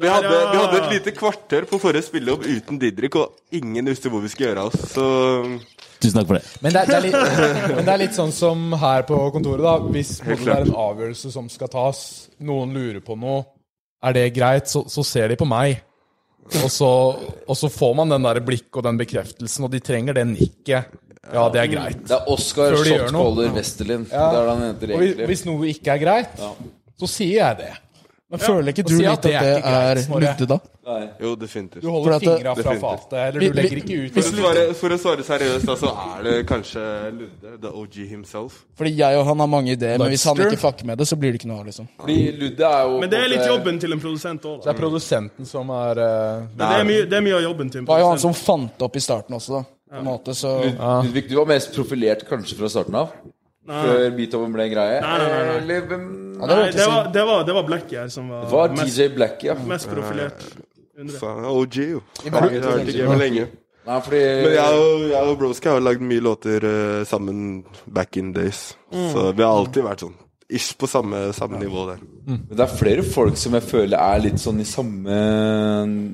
Speaker 5: Vi hadde, vi hadde et lite kvarter på forrige spillejobb uten Didrik, og ingen visste hvor vi skulle gjøre av oss. Så
Speaker 8: Tusen takk for det.
Speaker 3: Men det, er, det er litt, men det er litt sånn som her på kontoret, da. Hvis på en måte, det
Speaker 5: klart.
Speaker 3: er en avgjørelse som skal tas, noen lurer på noe, er det greit, så, så ser de på meg. Og så, og så får man den der blikket og den bekreftelsen, og de trenger det nikket. Ja, det er greit.
Speaker 4: Det er Oskar
Speaker 3: Før de gjør noe.
Speaker 4: Shotcaller Westerlin. Det er det han heter
Speaker 3: Og hvis,
Speaker 4: egentlig.
Speaker 3: hvis noe ikke er greit, så sier jeg det.
Speaker 6: Men føler ikke du
Speaker 3: si
Speaker 6: litt
Speaker 3: at
Speaker 6: at
Speaker 3: det
Speaker 6: det
Speaker 3: er ikke greit,
Speaker 6: er
Speaker 3: Snorre.
Speaker 6: Ludde, da?
Speaker 5: jo, definitivt.
Speaker 3: Du
Speaker 6: For
Speaker 3: holder
Speaker 6: at det-
Speaker 3: fingra fra
Speaker 5: Definitivt.
Speaker 3: fatet, eller du
Speaker 6: Vi-
Speaker 3: legger
Speaker 6: vi-
Speaker 3: ikke ut.
Speaker 5: For å svare, for å svare seriøst, da, så er det kanskje Ludde, the OG himself.
Speaker 6: Fordi jeg og han har mange ideer, men hvis han
Speaker 3: Lobster.
Speaker 6: ikke fucker med det, så blir det ikke noe av, liksom.
Speaker 4: Fordi Ludde er jo
Speaker 7: Men det
Speaker 4: på en
Speaker 7: er litt
Speaker 4: måte-
Speaker 7: jobben til en produsent òg,
Speaker 3: Det
Speaker 7: da.
Speaker 3: er produsenten som er eh,
Speaker 7: Det er, mye, det er mye av jobben til en
Speaker 6: Det var jo han
Speaker 7: produsent.
Speaker 6: som fant det opp i starten også, da. På en måte, så
Speaker 4: Lud- Ludvig, du var mest profilert kanskje fra starten av? Før Beethoven ble en greie?
Speaker 7: Nei, nei, nei, nei.
Speaker 4: Eller hvem
Speaker 7: Nei, det var, det var, det var Blackie her som var,
Speaker 4: var
Speaker 7: mest,
Speaker 4: DJ Black, ja?
Speaker 7: mest profilert. Undre.
Speaker 5: Faen, OG, jo. Jeg har vært i gamet lenge.
Speaker 4: Nei, fordi
Speaker 5: Men jeg og, jeg og Broska har lagd mye låter eh, sammen back in days. Så vi har alltid vært sånn ish på samme, samme nivå der.
Speaker 4: Men det er flere folk som jeg føler er litt sånn i samme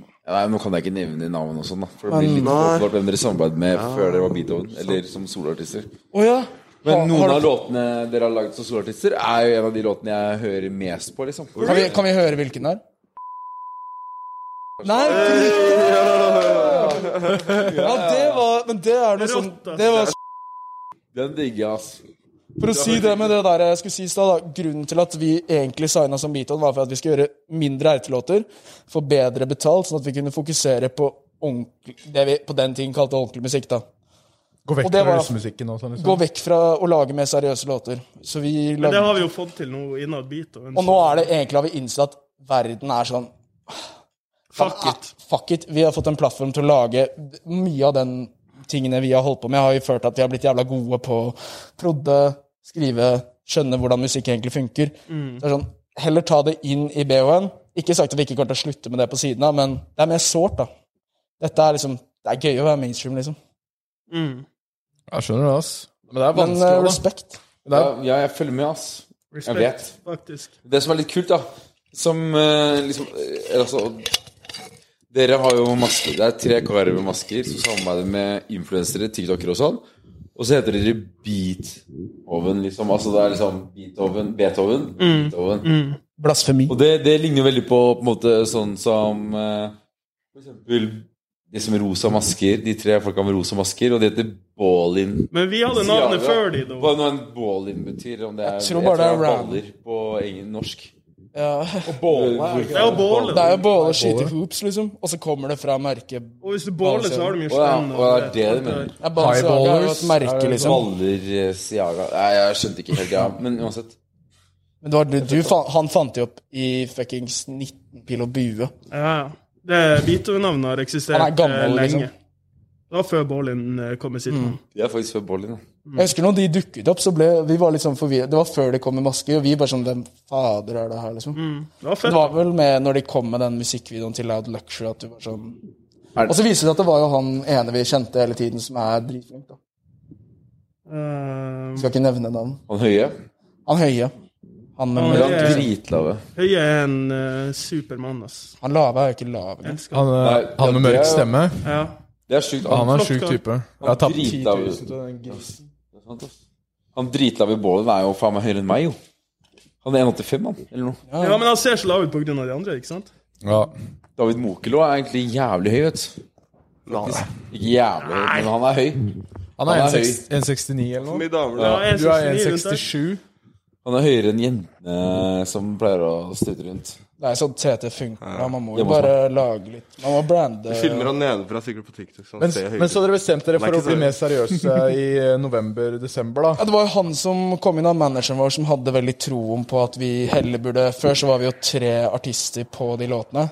Speaker 4: Nei, Nå kan jeg ikke nevne navn og sånn, da. For det blir litt
Speaker 5: Nei.
Speaker 4: åpenbart hvem dere samarbeidet med før dere var Beethoven. Eller som soloartister.
Speaker 6: Å ja!
Speaker 4: Men
Speaker 6: Har-
Speaker 4: noen
Speaker 6: har du-
Speaker 4: av låtene dere har lagd som soloartister, er jo en av de låtene jeg hører mest på, liksom.
Speaker 6: kan vi, kan vi høre hvilken det er? Nei, ikke riktig. Ja, det var Men det er noe sånn
Speaker 7: Rått, da.
Speaker 6: Det var
Speaker 4: Den digger jeg, ass.
Speaker 6: For å si det med det der jeg skulle si i stad, da. Grunnen til at vi egentlig signa som Beaton, var for at vi skulle gjøre mindre ertelåter, få bedre betalt, sånn at vi kunne fokusere på ordentlig Det vi på den tiden kalte ordentlig musikk, da.
Speaker 3: Gå vekk
Speaker 6: Og det
Speaker 3: fra
Speaker 6: var-
Speaker 3: russemusikken og sånn.
Speaker 6: Gå
Speaker 3: Liksom.
Speaker 6: vekk fra å lage mer seriøse låter. Så vi
Speaker 7: Men det
Speaker 6: lagde
Speaker 7: har vi jo fått til nå innad Beethoven.
Speaker 6: Og nå er det egentlig har vi innsett at verden er sånn
Speaker 7: Fuck it.
Speaker 6: Fuck it. Vi har fått en plattform til å lage mye av den tingene vi har holdt på med, har jo ført til at vi har blitt jævla gode på å prodde, skrive, skjønne hvordan musikk egentlig funker.
Speaker 3: Mm.
Speaker 6: Det er sånn, Heller ta det inn i BHN. Ikke sagt at vi ikke kommer til å slutte med det på siden av, men det er mer sårt, da. Dette er liksom Det er gøy å være mainstream, liksom.
Speaker 3: Jeg skjønner det, ass. Mm. Men det er
Speaker 6: Men eh,
Speaker 3: vanskelig, da.
Speaker 6: respekt.
Speaker 4: Ja, ja, jeg følger med, ass. Jeg vet.
Speaker 7: faktisk.
Speaker 4: Det som er litt kult, da Som eh, liksom eh, altså, Dere har jo masker. Det er tre karer med masker som samarbeider med influensere, tiktokere og sånn. Og så heter dere Beethoven, liksom. Altså det er liksom Beethoven, Beethoven, Beethoven.
Speaker 6: Mm. Blasfemi.
Speaker 4: Og det, det ligner jo veldig på, på en måte sånn som eh, For eksempel de som rosa masker. De tre folka med rosa masker, og de heter Ballin.
Speaker 7: Men vi hadde navnet
Speaker 4: Ciara.
Speaker 7: før de, da.
Speaker 4: Hva nå en ballin betyr? Om det er,
Speaker 6: tror bare det er
Speaker 4: tror
Speaker 6: round.
Speaker 4: baller på eng- norsk.
Speaker 6: Ja.
Speaker 7: Det er jo bålet.
Speaker 6: Det er jo båle og skyte hoops, liksom. Og så kommer det fra merket
Speaker 7: Og hvis du båler, så har du mye
Speaker 4: Å ja,
Speaker 7: spenn.
Speaker 4: å ja, det er det du mener.
Speaker 6: ja, Balenciaga er jo et merke, liksom.
Speaker 4: Balenciaga eh, Nei, jeg skjønte ikke helt, ja. Men uansett.
Speaker 6: Men det var, du, du, fa- han fant det opp i fuckings 19 pil og bue.
Speaker 7: Ja, ja. Det Vito-navnet har eksistert
Speaker 6: Han er gammel,
Speaker 7: eh, lenge.
Speaker 6: liksom.
Speaker 7: Det var før Bålin eh, kom med sitt navn.
Speaker 4: De er faktisk før Bollin, da.
Speaker 6: Jeg husker når de dukket opp, så ble vi var litt sånn forvirret. Det var før de kom med masker, og vi bare sånn Hvem fader er det her, liksom?
Speaker 7: Det var
Speaker 6: Det
Speaker 7: fett.
Speaker 6: var vel med når de kom med den musikkvideoen til Loud Luxury, at du var sånn Og så viser det seg at det var jo han ene vi kjente hele tiden, som er dritflink, da.
Speaker 7: Eh,
Speaker 6: Skal ikke nevne navn.
Speaker 4: Han høye.
Speaker 6: Han høye. Han,
Speaker 7: Han
Speaker 6: med,
Speaker 4: Men han
Speaker 7: Eh.
Speaker 4: dritlave.
Speaker 7: Høie er en eh, supermann, ass.
Speaker 6: han lave er jo ikke lav. engang.
Speaker 7: Elsker.
Speaker 3: Han,
Speaker 4: Nei,
Speaker 3: eh, han med
Speaker 4: det er
Speaker 3: mørk
Speaker 4: jo-
Speaker 3: stemme.
Speaker 7: Ja.
Speaker 4: Det er sjukt.
Speaker 3: Han er en
Speaker 7: flott
Speaker 3: sjuk
Speaker 7: kar.
Speaker 3: type. Jeg har tapt 10
Speaker 4: dritlave.
Speaker 3: 000 til den grisen.
Speaker 4: Det er sant, ass. Han dritlave i Bålin er jo faen meg høyere enn meg, jo. Han er 1,85, han. Eller noe.
Speaker 7: ja, men han ser så lav ut på grunn av de andre, ikke sant?
Speaker 3: Ja.
Speaker 4: David Mokelo er egentlig jævlig høy, vet du. Ikke jævlig høy, men han er høy.
Speaker 3: Han er
Speaker 4: Han er
Speaker 3: 1,6 1,69 eller noe.
Speaker 5: Mye damer,
Speaker 4: Ja.
Speaker 5: da.
Speaker 7: Ja,
Speaker 3: Du er
Speaker 7: 1,69 rundt der.
Speaker 3: 1,67.
Speaker 4: Han er høyere enn jentene som pleier å støte rundt.
Speaker 6: Det er sånn TT funker. da. Man må
Speaker 4: Det
Speaker 6: jo
Speaker 4: må
Speaker 6: bare lage litt Man må brande
Speaker 5: Filmer han nedenfra sikkert på TikTok. Så han
Speaker 3: Men,
Speaker 5: ser høyere
Speaker 3: men så dere bestemte dere
Speaker 5: Nei,
Speaker 3: for å
Speaker 5: ikke
Speaker 3: bli
Speaker 5: så-
Speaker 3: mer
Speaker 5: [laughs]
Speaker 3: seriøse i eh, november-desember, da?
Speaker 6: Ja, det var jo han som kom inn, han manageren vår, som hadde veldig troen på at vi heller burde Før så var vi jo tre artister på de låtene,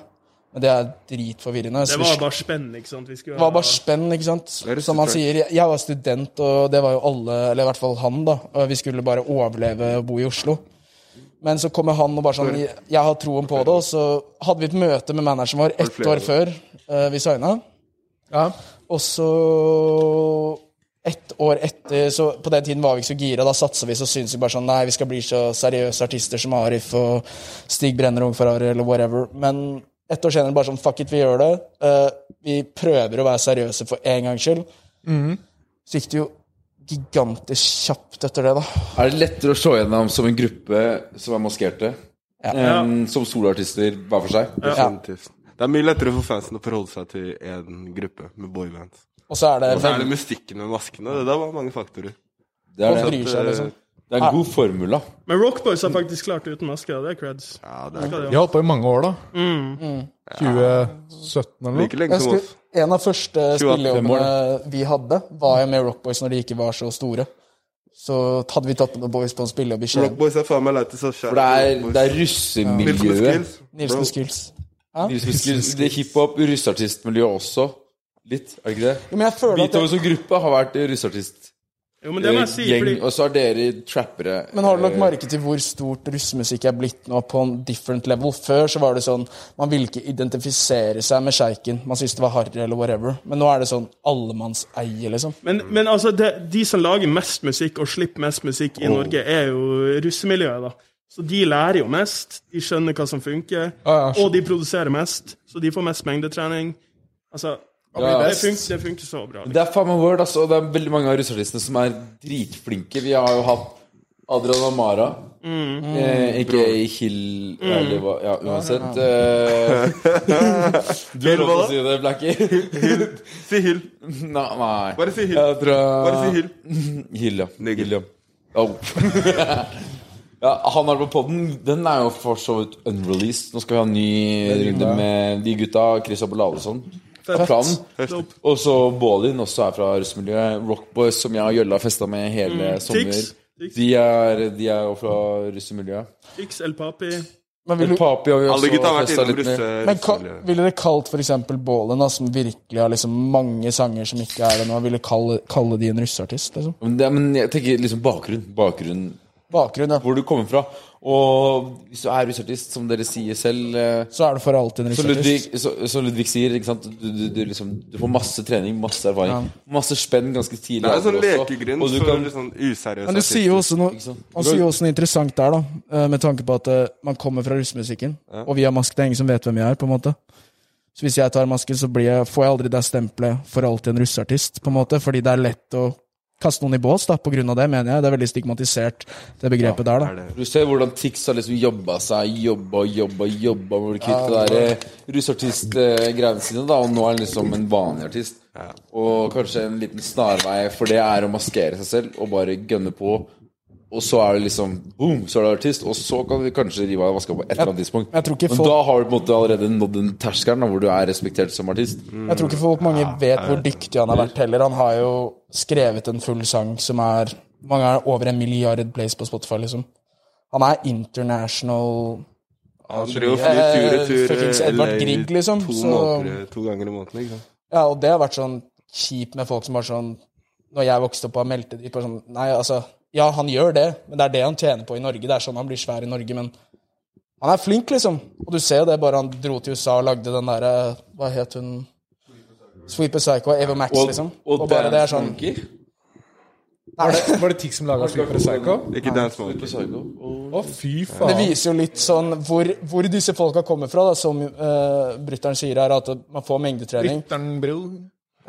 Speaker 6: men det er dritforvirrende.
Speaker 7: Det
Speaker 6: så vi
Speaker 7: var
Speaker 6: sl-
Speaker 7: bare spenn, ikke sant? Vi skulle,
Speaker 6: det var bare spenn, ikke sant.
Speaker 5: er
Speaker 6: Som han
Speaker 5: rett og
Speaker 6: sier, jeg- jeg var student, og det var jo alle, eller i hvert fall han, da. og Vi skulle bare overleve og bo i Oslo. Men så kommer han og bare sånn Jeg jeg har troen på det. Og så hadde vi et møte med manageren vår ett
Speaker 5: flere
Speaker 6: år før eh, vi signa.
Speaker 3: Ja.
Speaker 6: Og så ett år etter så På den tiden var vi ikke så gira. Da satsa vi, så syntes vi bare sånn Nei, vi skal bli så seriøse artister som Arif og Stig Brenner og Ung Ferrari eller whatever. Men ett år senere bare sånn Fuck it, vi gjør det. Eh, vi prøver å være seriøse for en gangs skyld. Så gikk det jo gigantisk kjapt etter det, da.
Speaker 4: Er det lettere å se gjennom som en gruppe som er maskerte, enn som soloartister hver for seg?
Speaker 5: Definitivt. Det er mye lettere for fansen å forholde seg til én gruppe med boybands.
Speaker 6: Og så er det
Speaker 5: Og så er det mystikken med maskene. Det der var mange faktorer. eh,
Speaker 4: Det er,
Speaker 6: Folk
Speaker 4: det.
Speaker 6: bryr seg, liksom.
Speaker 4: Det er en god formula.
Speaker 7: Men Rockboys har faktisk klart det uten masker, det er creds.
Speaker 5: Ja, det er
Speaker 3: Jeg har holdt på i mange år, da. 2017 eller noe.
Speaker 5: like lenge
Speaker 6: Jeg
Speaker 5: som
Speaker 6: husker,
Speaker 5: oss.
Speaker 6: en av første spillejobbene
Speaker 4: år.
Speaker 6: vi hadde, var jo med Rockboys når de ikke var så store. Så hadde vi tatt med noen boys på en spillejobb i Skien.
Speaker 5: Rockboys er faen meg lei til seg
Speaker 4: For det er, det er russemiljøet.
Speaker 6: Nilsen Skills.
Speaker 4: Russisk- Det er hiphop, russeartistmiljøet også. Litt, er det ikke det?
Speaker 6: Jo, men jeg føler at
Speaker 4: Beethoven som gruppe har vært russeartistgjeng,
Speaker 7: Jo, men det må jeg si, fordi
Speaker 4: og så er dere trappere.
Speaker 6: Men har du lagt
Speaker 4: Eh,
Speaker 6: merke til hvor stort russemusikk er blitt nå på en different level? Før så var det sånn Man ville ikke identifisere seg med sjeiken. Man syntes det var harry eller whatever. Men nå er det sånn allemannseie, liksom.
Speaker 7: Men, men altså, det, de som lager mest musikk og slipper mest musikk i Norge, er jo russemiljøet, da. Så de lærer jo mest, de skjønner hva som funker,
Speaker 3: Ja, ja, skjønner.
Speaker 7: og de produserer mest, så de får mest mengdetrening. Altså, det, funker, det funker så bra.
Speaker 4: Det er faen meg word, altså. og Det er veldig mange av russeartistene som er dritflinke. Vi har jo hatt Adrian Amara. Eh, ikke Hill eller hva Ja, uansett. Eh, du har lov til å si det,
Speaker 5: [laughs]
Speaker 4: Blackie.
Speaker 5: Si hyll.
Speaker 4: nei, nei.
Speaker 5: Bare si hyll.
Speaker 4: Jeg tror
Speaker 5: Bare si hyll.
Speaker 4: Hill, ja.
Speaker 5: Nigger.
Speaker 4: Hill, ja. Au. [laughs] ja, han har vært på podden. Den er jo for så vidt unreleased. Nå skal vi ha en ny runde med de gutta. Chris Abelade og sånn. er planen.
Speaker 7: Dope.
Speaker 4: Og så Baalin, også er fra russmiljøet. Rockboys, som jeg og Jølla har festa med hele
Speaker 5: Mm.
Speaker 4: sommer.
Speaker 7: Tix. Tix.
Speaker 4: De er, de er jo fra russemiljøet.
Speaker 7: Fix El Papi.
Speaker 6: Men vil, du,
Speaker 4: Papi har vi
Speaker 5: Alle
Speaker 4: også
Speaker 5: gutta har vært
Speaker 4: festa
Speaker 5: innom
Speaker 4: litt med.
Speaker 5: russe...
Speaker 6: men ka,
Speaker 5: russemiljøet.
Speaker 6: ville dere kalt for eksempel Bålen, da, som virkelig har liksom mange sanger som ikke er det nå, ville kalle, kalle de en russeartist, liksom?
Speaker 4: Men, det, men jeg tenker liksom bakgrunn. Bakgrunn
Speaker 6: Bakgrunn, ja.
Speaker 4: hvor du kommer fra. Og hvis du er russeartist, som dere sier selv eh,
Speaker 6: Så er det for alltid en
Speaker 4: Så
Speaker 6: russeartist.
Speaker 4: Ludvig, så, så Ludvig sier, ikke sant? Du, du, du, liksom, du får masse trening, masse erfaring. Masse spenn ganske tidlig.
Speaker 5: Det er en sånn
Speaker 4: også,
Speaker 5: lekegrunn
Speaker 4: og du
Speaker 5: for
Speaker 4: kan-
Speaker 5: litt sånn useriøse
Speaker 6: Men du sier jo også noe,
Speaker 4: sant?
Speaker 6: han sier jo også noe interessant der, da. eh, Med tanke på at eh, man kommer fra russemusikken, og vi har mask. Det er ingen som vet hvem jeg er, på en måte. Så hvis jeg tar masken, så blir jeg, får jeg aldri det stempelet 'for alltid en russeartist', på en måte. Fordi det er lett å kaste noen i bås, da, på grunn av det, mener jeg. Det er veldig stigmatisert, det begrepet der, da.
Speaker 4: Du ser hvordan Tix har liksom jobba seg, jobba, jobba, jobba med å kvitte det der eh, russeartist-greiene sine, da, og nå er han liksom en vanlig artist. Og kanskje en liten snarvei for det er å maskere seg selv og bare gønne på og så er det liksom boom, så er du artist, og så kan vi kanskje rive av vaska på et eller annet tidspunkt.
Speaker 6: jeg tror ikke
Speaker 4: Men
Speaker 6: folk-
Speaker 4: da har du på en måte allerede nådd den terskelen da, hvor du er respektert som artist.
Speaker 6: Jeg tror ikke folk mange vet hvor dyktig han har vært heller. Han har jo skrevet en full sang som er hvor mange er det? over en milliard plays på Spotify, liksom. Han er international
Speaker 5: Han driver og flyr tur og tur.
Speaker 6: Fuckings
Speaker 5: eh,
Speaker 6: Edvard
Speaker 5: LA
Speaker 6: Grieg, liksom,
Speaker 5: To,
Speaker 6: så-
Speaker 5: måneder, to ganger i måneden, ikke sant.
Speaker 6: Ja, og det har vært sånn kjipt med folk som var sånn Når jeg vokste opp og meldte dritt bare sånn Nei, altså Ja, han gjør det, men det er det han tjener på i Norge. Det er sånn han blir svær i Norge, men han er flink, liksom. Og du ser jo det, bare han dro til USA og lagde den derre Hva het hun Sweeper Psycho Ava Max, liksom. Og, bare det er sånn
Speaker 4: Monkey.
Speaker 3: Var det, var det Tix som laga Sleeper Psycho?
Speaker 5: Ikke Dance Monkey.
Speaker 4: Psycho. Og
Speaker 3: Å, fy
Speaker 6: Det
Speaker 3: faen.
Speaker 6: viser jo litt sånn hvor, hvor disse folka kommer fra, da, som uh, brutter'n sier her, at man får mengdetrening.
Speaker 3: Lytteren, bro.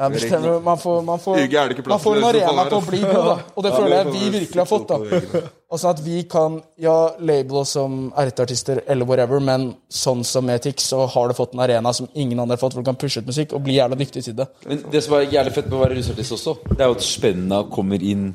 Speaker 6: Ja, men stemmer, man får, man får,
Speaker 5: Uge er det ikke plass
Speaker 6: man får
Speaker 5: til
Speaker 6: en
Speaker 5: det, så
Speaker 6: arena
Speaker 5: faen er
Speaker 6: til å
Speaker 5: det.
Speaker 6: bli god, da. Og det
Speaker 5: Ja,
Speaker 6: føler
Speaker 5: det
Speaker 6: jeg
Speaker 5: får
Speaker 6: vi
Speaker 5: være
Speaker 6: virkelig har fått,
Speaker 5: fotball på
Speaker 6: da.
Speaker 5: veggene.
Speaker 6: Og sånn at vi kan ja, label oss som RT-artister eller whatever, men sånn som Etix, så har du fått en arena som ingen andre har fått, hvor du kan pushe ut musikk og bli jævla dyktig til det.
Speaker 4: Men det som er jævlig fett med å være russeartist også, det er jo at spennene kommer inn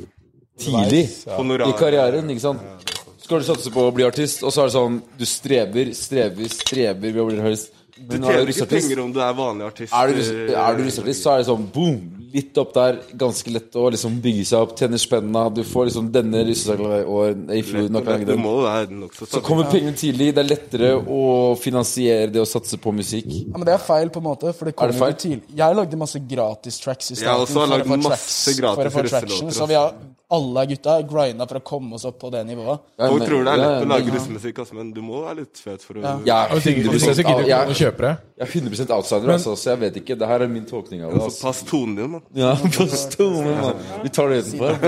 Speaker 4: tidlig
Speaker 5: Honorar.
Speaker 4: i karrieren. ikke sant? Skal du satse på å bli artist, og så er det sånn Du strever, strever, strever ved å bli artist.
Speaker 5: Du
Speaker 4: Men når du er
Speaker 5: tjener ikke
Speaker 4: russeartist,
Speaker 5: penger om du er vanlig artist.
Speaker 4: er du, russ- er du
Speaker 5: eh,
Speaker 4: russeartist, så er det sånn boom! Litt opp der, ganske lett å liksom bygge seg opp, tjene spenna. Du får liksom denne russesakla og i fjor nok
Speaker 5: Men
Speaker 4: lenger
Speaker 5: Du
Speaker 4: den.
Speaker 5: må jo være nokså
Speaker 4: Så kommer pengene tidlig. Det er lettere å finansiere det å satse på musikk.
Speaker 6: Ja, men det er feil, på en måte. For
Speaker 4: Er
Speaker 6: det
Speaker 4: det
Speaker 6: kommer jo
Speaker 4: feil?
Speaker 6: ikke tidlig. Jeg lagde masse gratis tracks i starten.
Speaker 5: også
Speaker 6: for å
Speaker 5: lagd
Speaker 6: få
Speaker 5: masse gratis
Speaker 6: for å få
Speaker 5: russelåter,
Speaker 6: traction,
Speaker 5: ass.
Speaker 6: Så vi har alle gutta grinda for å komme oss opp på det nivået.
Speaker 4: Ja,
Speaker 5: Folk
Speaker 4: men-
Speaker 5: tror det er
Speaker 4: ja,
Speaker 5: lett å
Speaker 4: men-
Speaker 5: lage russemusikk, ass, men du må være litt fet for å
Speaker 4: Jeg
Speaker 3: Og
Speaker 4: er
Speaker 3: ting, og ting,
Speaker 4: 100
Speaker 3: så gidder
Speaker 4: av-
Speaker 3: ikke
Speaker 4: jeg
Speaker 3: noen å kjøpe det.
Speaker 4: Jeg er 100 outsider, altså, så jeg vet ikke. Det her er min tolkning av det.
Speaker 5: Så
Speaker 4: Altså.
Speaker 5: pass tonen din, mann.
Speaker 4: Ja, [laughs] på stolen, mann. Vi tar det utenfor.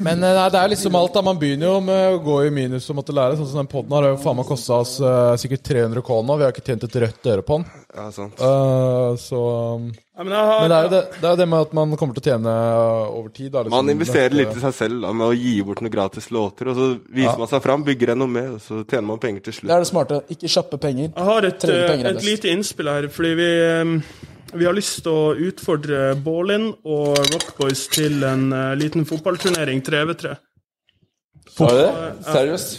Speaker 3: Men eh, nei, det er jo litt som alt. da Man begynner jo med å gå i minus og måtte lære. Sånn som den poden har jo faen meg kosta oss eh, sikkert 300 K nå. Vi har ikke tjent et rødt øre på den.
Speaker 5: Ja, sant.
Speaker 3: Eh, så um,
Speaker 7: Ja, men jeg har,
Speaker 3: Men det er jo det, det, er jo det med at man kommer til å tjene over tid. Da, liksom.
Speaker 6: sånn
Speaker 5: Man investerer
Speaker 3: Dette-
Speaker 5: litt i seg selv da, med å gi bort noen gratis låter, og så viser man seg fram, bygger en noe med, og så tjener man penger til
Speaker 6: Det er
Speaker 5: slutt.
Speaker 6: det smarte. Ikke kjappe penger.
Speaker 7: jeg har et, eh,
Speaker 6: Trenger penger er
Speaker 7: et
Speaker 6: best.
Speaker 7: lite innspill her, fordi vi, em, vi har lyst til å utfordre Ballin og Rockboys til en eh, liten fotballturnering 3v3.
Speaker 4: Har du det? Seriøst?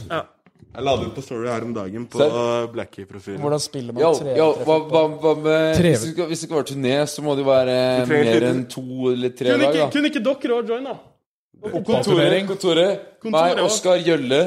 Speaker 5: Jeg la det ut på Story her om dagen på
Speaker 4: Ser-
Speaker 5: Blackie-profilen.
Speaker 6: Hvordan spiller man
Speaker 4: Yo,
Speaker 6: tre?
Speaker 4: yo,
Speaker 6: tre-
Speaker 4: hva, hva, hva med
Speaker 3: Treve.
Speaker 4: Hvis det skal, hvis det skal være turné, så må det jo være
Speaker 5: Du trenger
Speaker 4: mer
Speaker 5: litt-
Speaker 4: enn to eller tre
Speaker 7: Kunne
Speaker 4: lag,
Speaker 7: ikke,
Speaker 4: da.
Speaker 7: kunne ikke dere òg joine?
Speaker 4: Kontoret, kontoret.
Speaker 7: Kontoret,
Speaker 4: Meg,
Speaker 7: ja.
Speaker 4: Oskar Gjølle.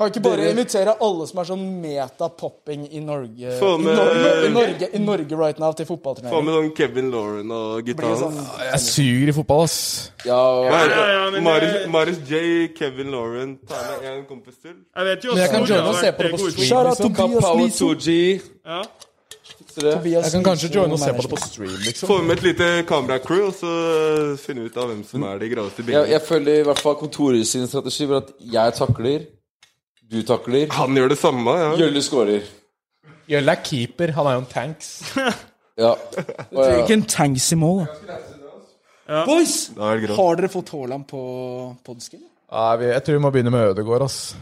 Speaker 6: Kan ikke bare invitere alle som er sånn meta-popping i Norge
Speaker 5: Få med-
Speaker 6: i Norge, i Norge, i Norge right now, til
Speaker 5: Få
Speaker 6: fotballturnering?
Speaker 5: med sånn Kevin Lauren og gutta
Speaker 6: Blir
Speaker 5: hans.
Speaker 6: sånn-
Speaker 3: Jeg suger i fotball, ass.
Speaker 4: Ja, og-
Speaker 5: Mar-
Speaker 7: Ja, ja, men
Speaker 5: Marius,
Speaker 7: det-
Speaker 5: Marius J, Kevin Lauren, ta med en kompis til.
Speaker 7: Jeg vet jo
Speaker 3: Men jeg kan
Speaker 7: Snorre
Speaker 3: joine
Speaker 7: har
Speaker 3: og se
Speaker 7: vært eh,
Speaker 3: på det på
Speaker 7: god i-
Speaker 3: stream.
Speaker 6: Shout out
Speaker 3: Liksom.
Speaker 6: Tobias
Speaker 4: Power
Speaker 6: Nilsen.
Speaker 4: 2G.
Speaker 7: Ja.
Speaker 4: Ser du det?
Speaker 6: Tobias
Speaker 3: Jeg kan kanskje
Speaker 6: Nilsen,
Speaker 3: joine og se på
Speaker 6: manager.
Speaker 3: det på stream, liksom.
Speaker 5: Få med et lite kameracrew, og så finne ut av hvem som er de groveste
Speaker 4: Jeg,
Speaker 5: bingene.
Speaker 4: jeg føler i hvert fall kontoret sin strategi var at jeg takler, du takler,
Speaker 5: Han gjør det samme, ja.
Speaker 4: Gjølle scorer.
Speaker 3: Gjølle er keeper. Han er jo en tanks.
Speaker 4: Ja. Og, ja.
Speaker 6: Ikke en tanks i mål, da. Boys!
Speaker 5: Det er grovt.
Speaker 6: Har dere fått Haaland på podskill?
Speaker 3: Nei, vi- jeg tror vi må begynne med Ødegaard, ass.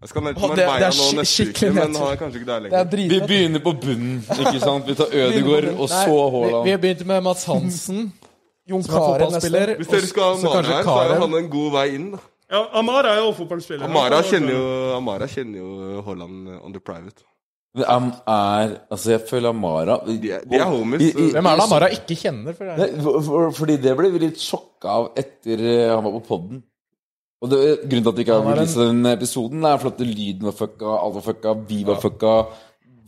Speaker 5: Jeg skal ned
Speaker 6: Å,
Speaker 5: til
Speaker 6: det- det er
Speaker 5: Marbella nå
Speaker 6: skik-
Speaker 5: neste uke,
Speaker 6: skikkelig
Speaker 5: men
Speaker 6: nedtur.
Speaker 5: han er kanskje ikke der
Speaker 6: Det er
Speaker 5: lenger.
Speaker 4: Vi
Speaker 6: dritfett.
Speaker 4: begynner på bunnen, ikke sant? Vi tar Ødegaard, og så
Speaker 3: Vi, vi
Speaker 4: Haaland.
Speaker 3: har begynt med Mats Hansen, [laughs]
Speaker 6: Jon
Speaker 3: som er
Speaker 6: Carew neste.
Speaker 3: fotballspiller.
Speaker 5: Hvis dere skal ha
Speaker 3: Så
Speaker 5: Amara
Speaker 3: kanskje
Speaker 5: her, så er
Speaker 3: Karev.
Speaker 5: jo han en god vei inn. da.
Speaker 7: Ja, Amara er jo fotballspiller.
Speaker 5: Amara kjenner jo, Amara kjenner jo Haaland eh, on the private.
Speaker 4: Men Am er Altså, jeg føler Amara
Speaker 5: De er- de er homies.
Speaker 3: Hvem er det Amara ikke kjenner? For det?
Speaker 4: Nei, for- for- Fordi det ble vi litt sjokka av etter eh, han var på podden. Og det, grunnen til at vi ikke har
Speaker 3: er en-
Speaker 4: releaset den episoden, er fordi at lyden var fucka, alt var fucka, vi var fucka.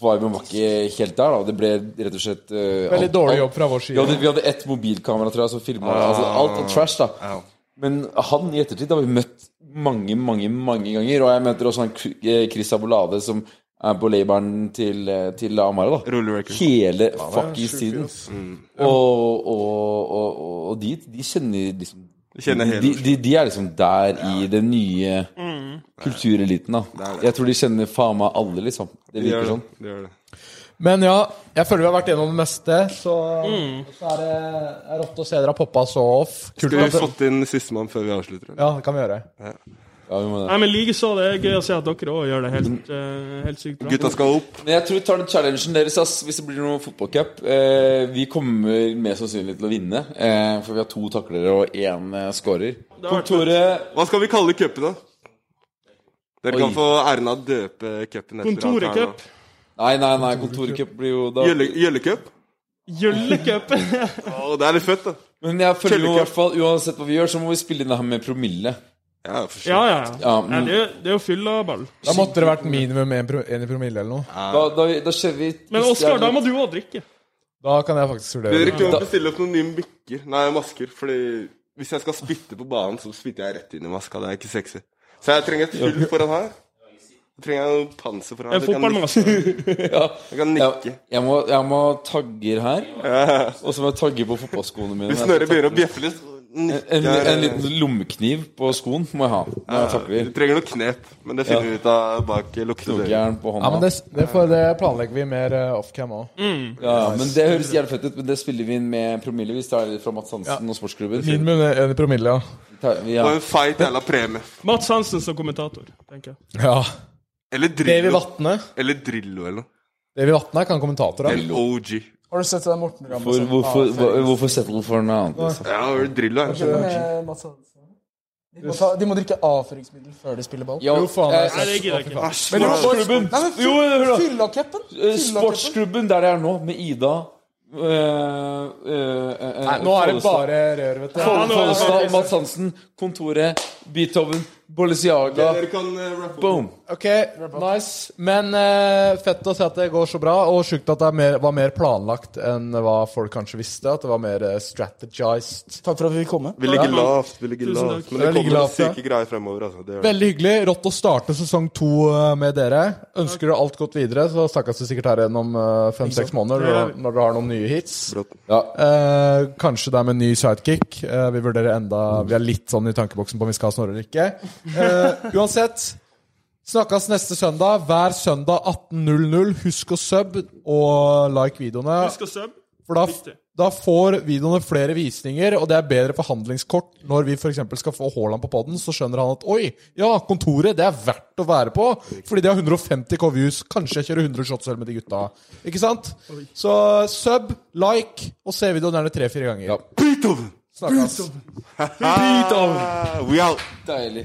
Speaker 4: Viben var ikke helt der, da. Det ble rett og slett eh,
Speaker 3: Veldig
Speaker 4: alt-
Speaker 3: dårlig
Speaker 4: alt-
Speaker 3: jobb fra vår
Speaker 4: Vi hadde,
Speaker 3: side.
Speaker 4: vi hadde ett mobilkamera, tror jeg, som filma altså, alt. var Trash, da.
Speaker 5: Ja.
Speaker 4: Men han i ettertid har vi møtt mange, mange mange ganger. Og jeg møter også han Kr- eh, Chris Abolade, som er på labelen til, eh, til Amara. da
Speaker 5: Rulle record.
Speaker 4: Hele fuckings tiden. Og, og, og, og, og de, de kjenner liksom
Speaker 5: De kjenner hele
Speaker 4: de,
Speaker 5: Oslo.
Speaker 4: de, de er liksom der i den nye kultureliten, da.
Speaker 5: er det.
Speaker 4: Jeg tror de kjenner faen meg alle, liksom. Det
Speaker 5: De gjør
Speaker 4: virker
Speaker 5: det.
Speaker 4: sånn.
Speaker 5: De gjør det.
Speaker 3: Men ja, jeg føler vi har vært gjennom det meste, så, så er det er rått å se dere har poppa så off. Kult
Speaker 5: Mm. Skal vi
Speaker 3: at det-
Speaker 5: fått inn sistemann før vi avslutter? eller?
Speaker 3: Ja, det kan vi gjøre.
Speaker 4: Ja, vi må det.
Speaker 7: Nei, men likeså. Det er gøy å se at dere òg gjør det helt, eh, helt sykt bra.
Speaker 5: Mm. Gutta skal opp.
Speaker 4: Men jeg tror vi tar den challengen deres ass, hvis det blir noe fotballcup. Eh, vi kommer mest sannsynlig til å vinne, eh, for vi har to taklere og én eh, scorer.
Speaker 7: Det har vært
Speaker 4: Kontoret
Speaker 5: Hva skal vi kalle cupen, da? Dere
Speaker 4: Oi.
Speaker 5: kan få æren av å døpe cupen etter
Speaker 7: Kontoret
Speaker 5: alt her nå.
Speaker 7: Cup.
Speaker 4: Nei, nei, nei, kontoret cup blir jo da
Speaker 5: Gjølle- Gjøllecup?
Speaker 7: Gjøllecup.
Speaker 5: Å, det er litt fett, da.
Speaker 4: Men jeg føler jo i
Speaker 5: Kjellercup.
Speaker 4: hvert fall, uansett hva vi gjør, så må vi spille inn det her med promille.
Speaker 5: Ja, for sure.
Speaker 7: [laughs] Ja, ja. ja.
Speaker 4: Ja, mm.
Speaker 7: Nei, det, er jo- det er jo fyllaball.
Speaker 6: Da måtte det vært min.
Speaker 3: Minimum én pro- en i promille eller noe.
Speaker 4: Da, da, da skjer vi
Speaker 7: Men Oskar, da må du òg drikke.
Speaker 3: Da kan jeg faktisk vurdere.
Speaker 5: Dere kan
Speaker 4: Da-
Speaker 5: bestille opp noen nye mikker. Nei, masker. Fordi hvis jeg skal spytte på banen, så spytter jeg rett inn i maska. Det er ikke sexy. Så jeg trenger et hull foran her. Så trenger jeg noe panser foran
Speaker 7: En altså.
Speaker 5: her. så jeg kan nikke-
Speaker 7: fotballmasse.
Speaker 5: [laughs] Jeg kan
Speaker 4: jeg,
Speaker 5: nikke.
Speaker 4: jeg, må, jeg må ha tagger her, og så må jeg tagge på fotballskoene mine.
Speaker 5: Hvis Snorre begynner å bjeffe litt, så
Speaker 4: En,
Speaker 5: nikker
Speaker 4: en
Speaker 5: jeg.
Speaker 4: liten lommekniv på skoen må jeg ha. Når jeg
Speaker 5: Du
Speaker 4: takler.
Speaker 5: trenger noe knep, men det finner vi ut av bak lukkede dører.
Speaker 4: Knokkjern på hånda.
Speaker 6: Ja, men det, det, får, det planlegger vi mer eh, offcam òg.
Speaker 5: Mm.
Speaker 4: Ja, ja, men det høres jævlig fett ut, men det spiller vi inn med promille. Vi tar det fra Mats Hansen og sportsklubben.
Speaker 6: Minimum en i promille, ja.
Speaker 4: Ta- vi- Ja.
Speaker 5: Og en feit jævla premie.
Speaker 7: Mats Hansen som kommentator, tenker jeg.
Speaker 6: ja.
Speaker 5: Eller
Speaker 6: Davy
Speaker 5: Drillo.
Speaker 6: Vatne.
Speaker 5: Eller Drillo eller noe.
Speaker 6: Davy Vatne er kan kommentator. Han.
Speaker 5: Eller OG.
Speaker 6: Har du sett det Morten Ramm? Ah,
Speaker 4: Hvor, hvorfor, hva- hvorfor settle for noe annet? Liksom?
Speaker 5: Ja, eller Drillo er kanskje
Speaker 6: De må, ta, Eh, de må drikke avføringsmiddel før de spiller ball.
Speaker 4: Ja,
Speaker 6: Jo, faen, det er
Speaker 4: eh,
Speaker 7: Nei, det gidder jeg ikke.
Speaker 5: Æsj,
Speaker 4: Men
Speaker 5: faen.
Speaker 4: sportsklubben
Speaker 6: Nei, men
Speaker 4: Jo, hør da.
Speaker 6: Fyllacupen!
Speaker 4: Eh, Sportsklubben der det er nå, med Ida eh, eh, eh,
Speaker 6: Nå er det
Speaker 4: Follestad.
Speaker 6: bare rør, vet du.
Speaker 7: Ja, nå er det
Speaker 4: Follestad,
Speaker 7: faktisk-
Speaker 4: Mats Hansen, Kontoret, Beethoven, Bollesiaga
Speaker 5: Dere kan eh, rappe opp.
Speaker 4: Boom!
Speaker 3: Ok, nice. Men eh, fett å se at det går så bra, og sjukt at det er mer, var mer planlagt enn hva folk kanskje visste. At det var mer eh, strategized.
Speaker 6: Takk for at vi fikk komme.
Speaker 5: Vi ligger lavt. vi ligger
Speaker 7: Tusen takk.
Speaker 5: lavt Men
Speaker 3: Dere
Speaker 5: det
Speaker 3: ligger
Speaker 5: kommer noen
Speaker 3: lavt, ja.
Speaker 5: syke greier fremover. altså det gjør det.
Speaker 3: Veldig hyggelig. Rått å starte sesong to eh, med dere. Ønsker dere alt godt videre, så snakkes vi sikkert her igjen om fem-seks måneder
Speaker 7: Det gjør
Speaker 3: når, når dere har noen nye hits.
Speaker 5: Bråten.
Speaker 3: Eh, kanskje det er med en ny sidekick. Eh, vi vurderer enda Vi er litt sånn i tankeboksen på om vi skal ha Snorre eller ikke. Eh, uansett, snakkes neste søndag. Hver søndag 18.00. Husk å sub og like videoene.
Speaker 7: Husk å sub.
Speaker 3: For da,
Speaker 7: Viktig.
Speaker 3: da får videoene flere visninger, og det er bedre forhandlingskort. Når vi f.eks. skal få Haaland på poden, så skjønner han at oi, ja, kontoret, det er verdt å være på. Fordi de har 150 K views. Kanskje jeg kjører 100 shots selv med de gutta. Ikke sant? Så sub, like, og se videoen gjerne tre-fire ganger.
Speaker 5: Beethoven!
Speaker 3: Snakkes.
Speaker 5: Ah, we out!
Speaker 4: Deilig.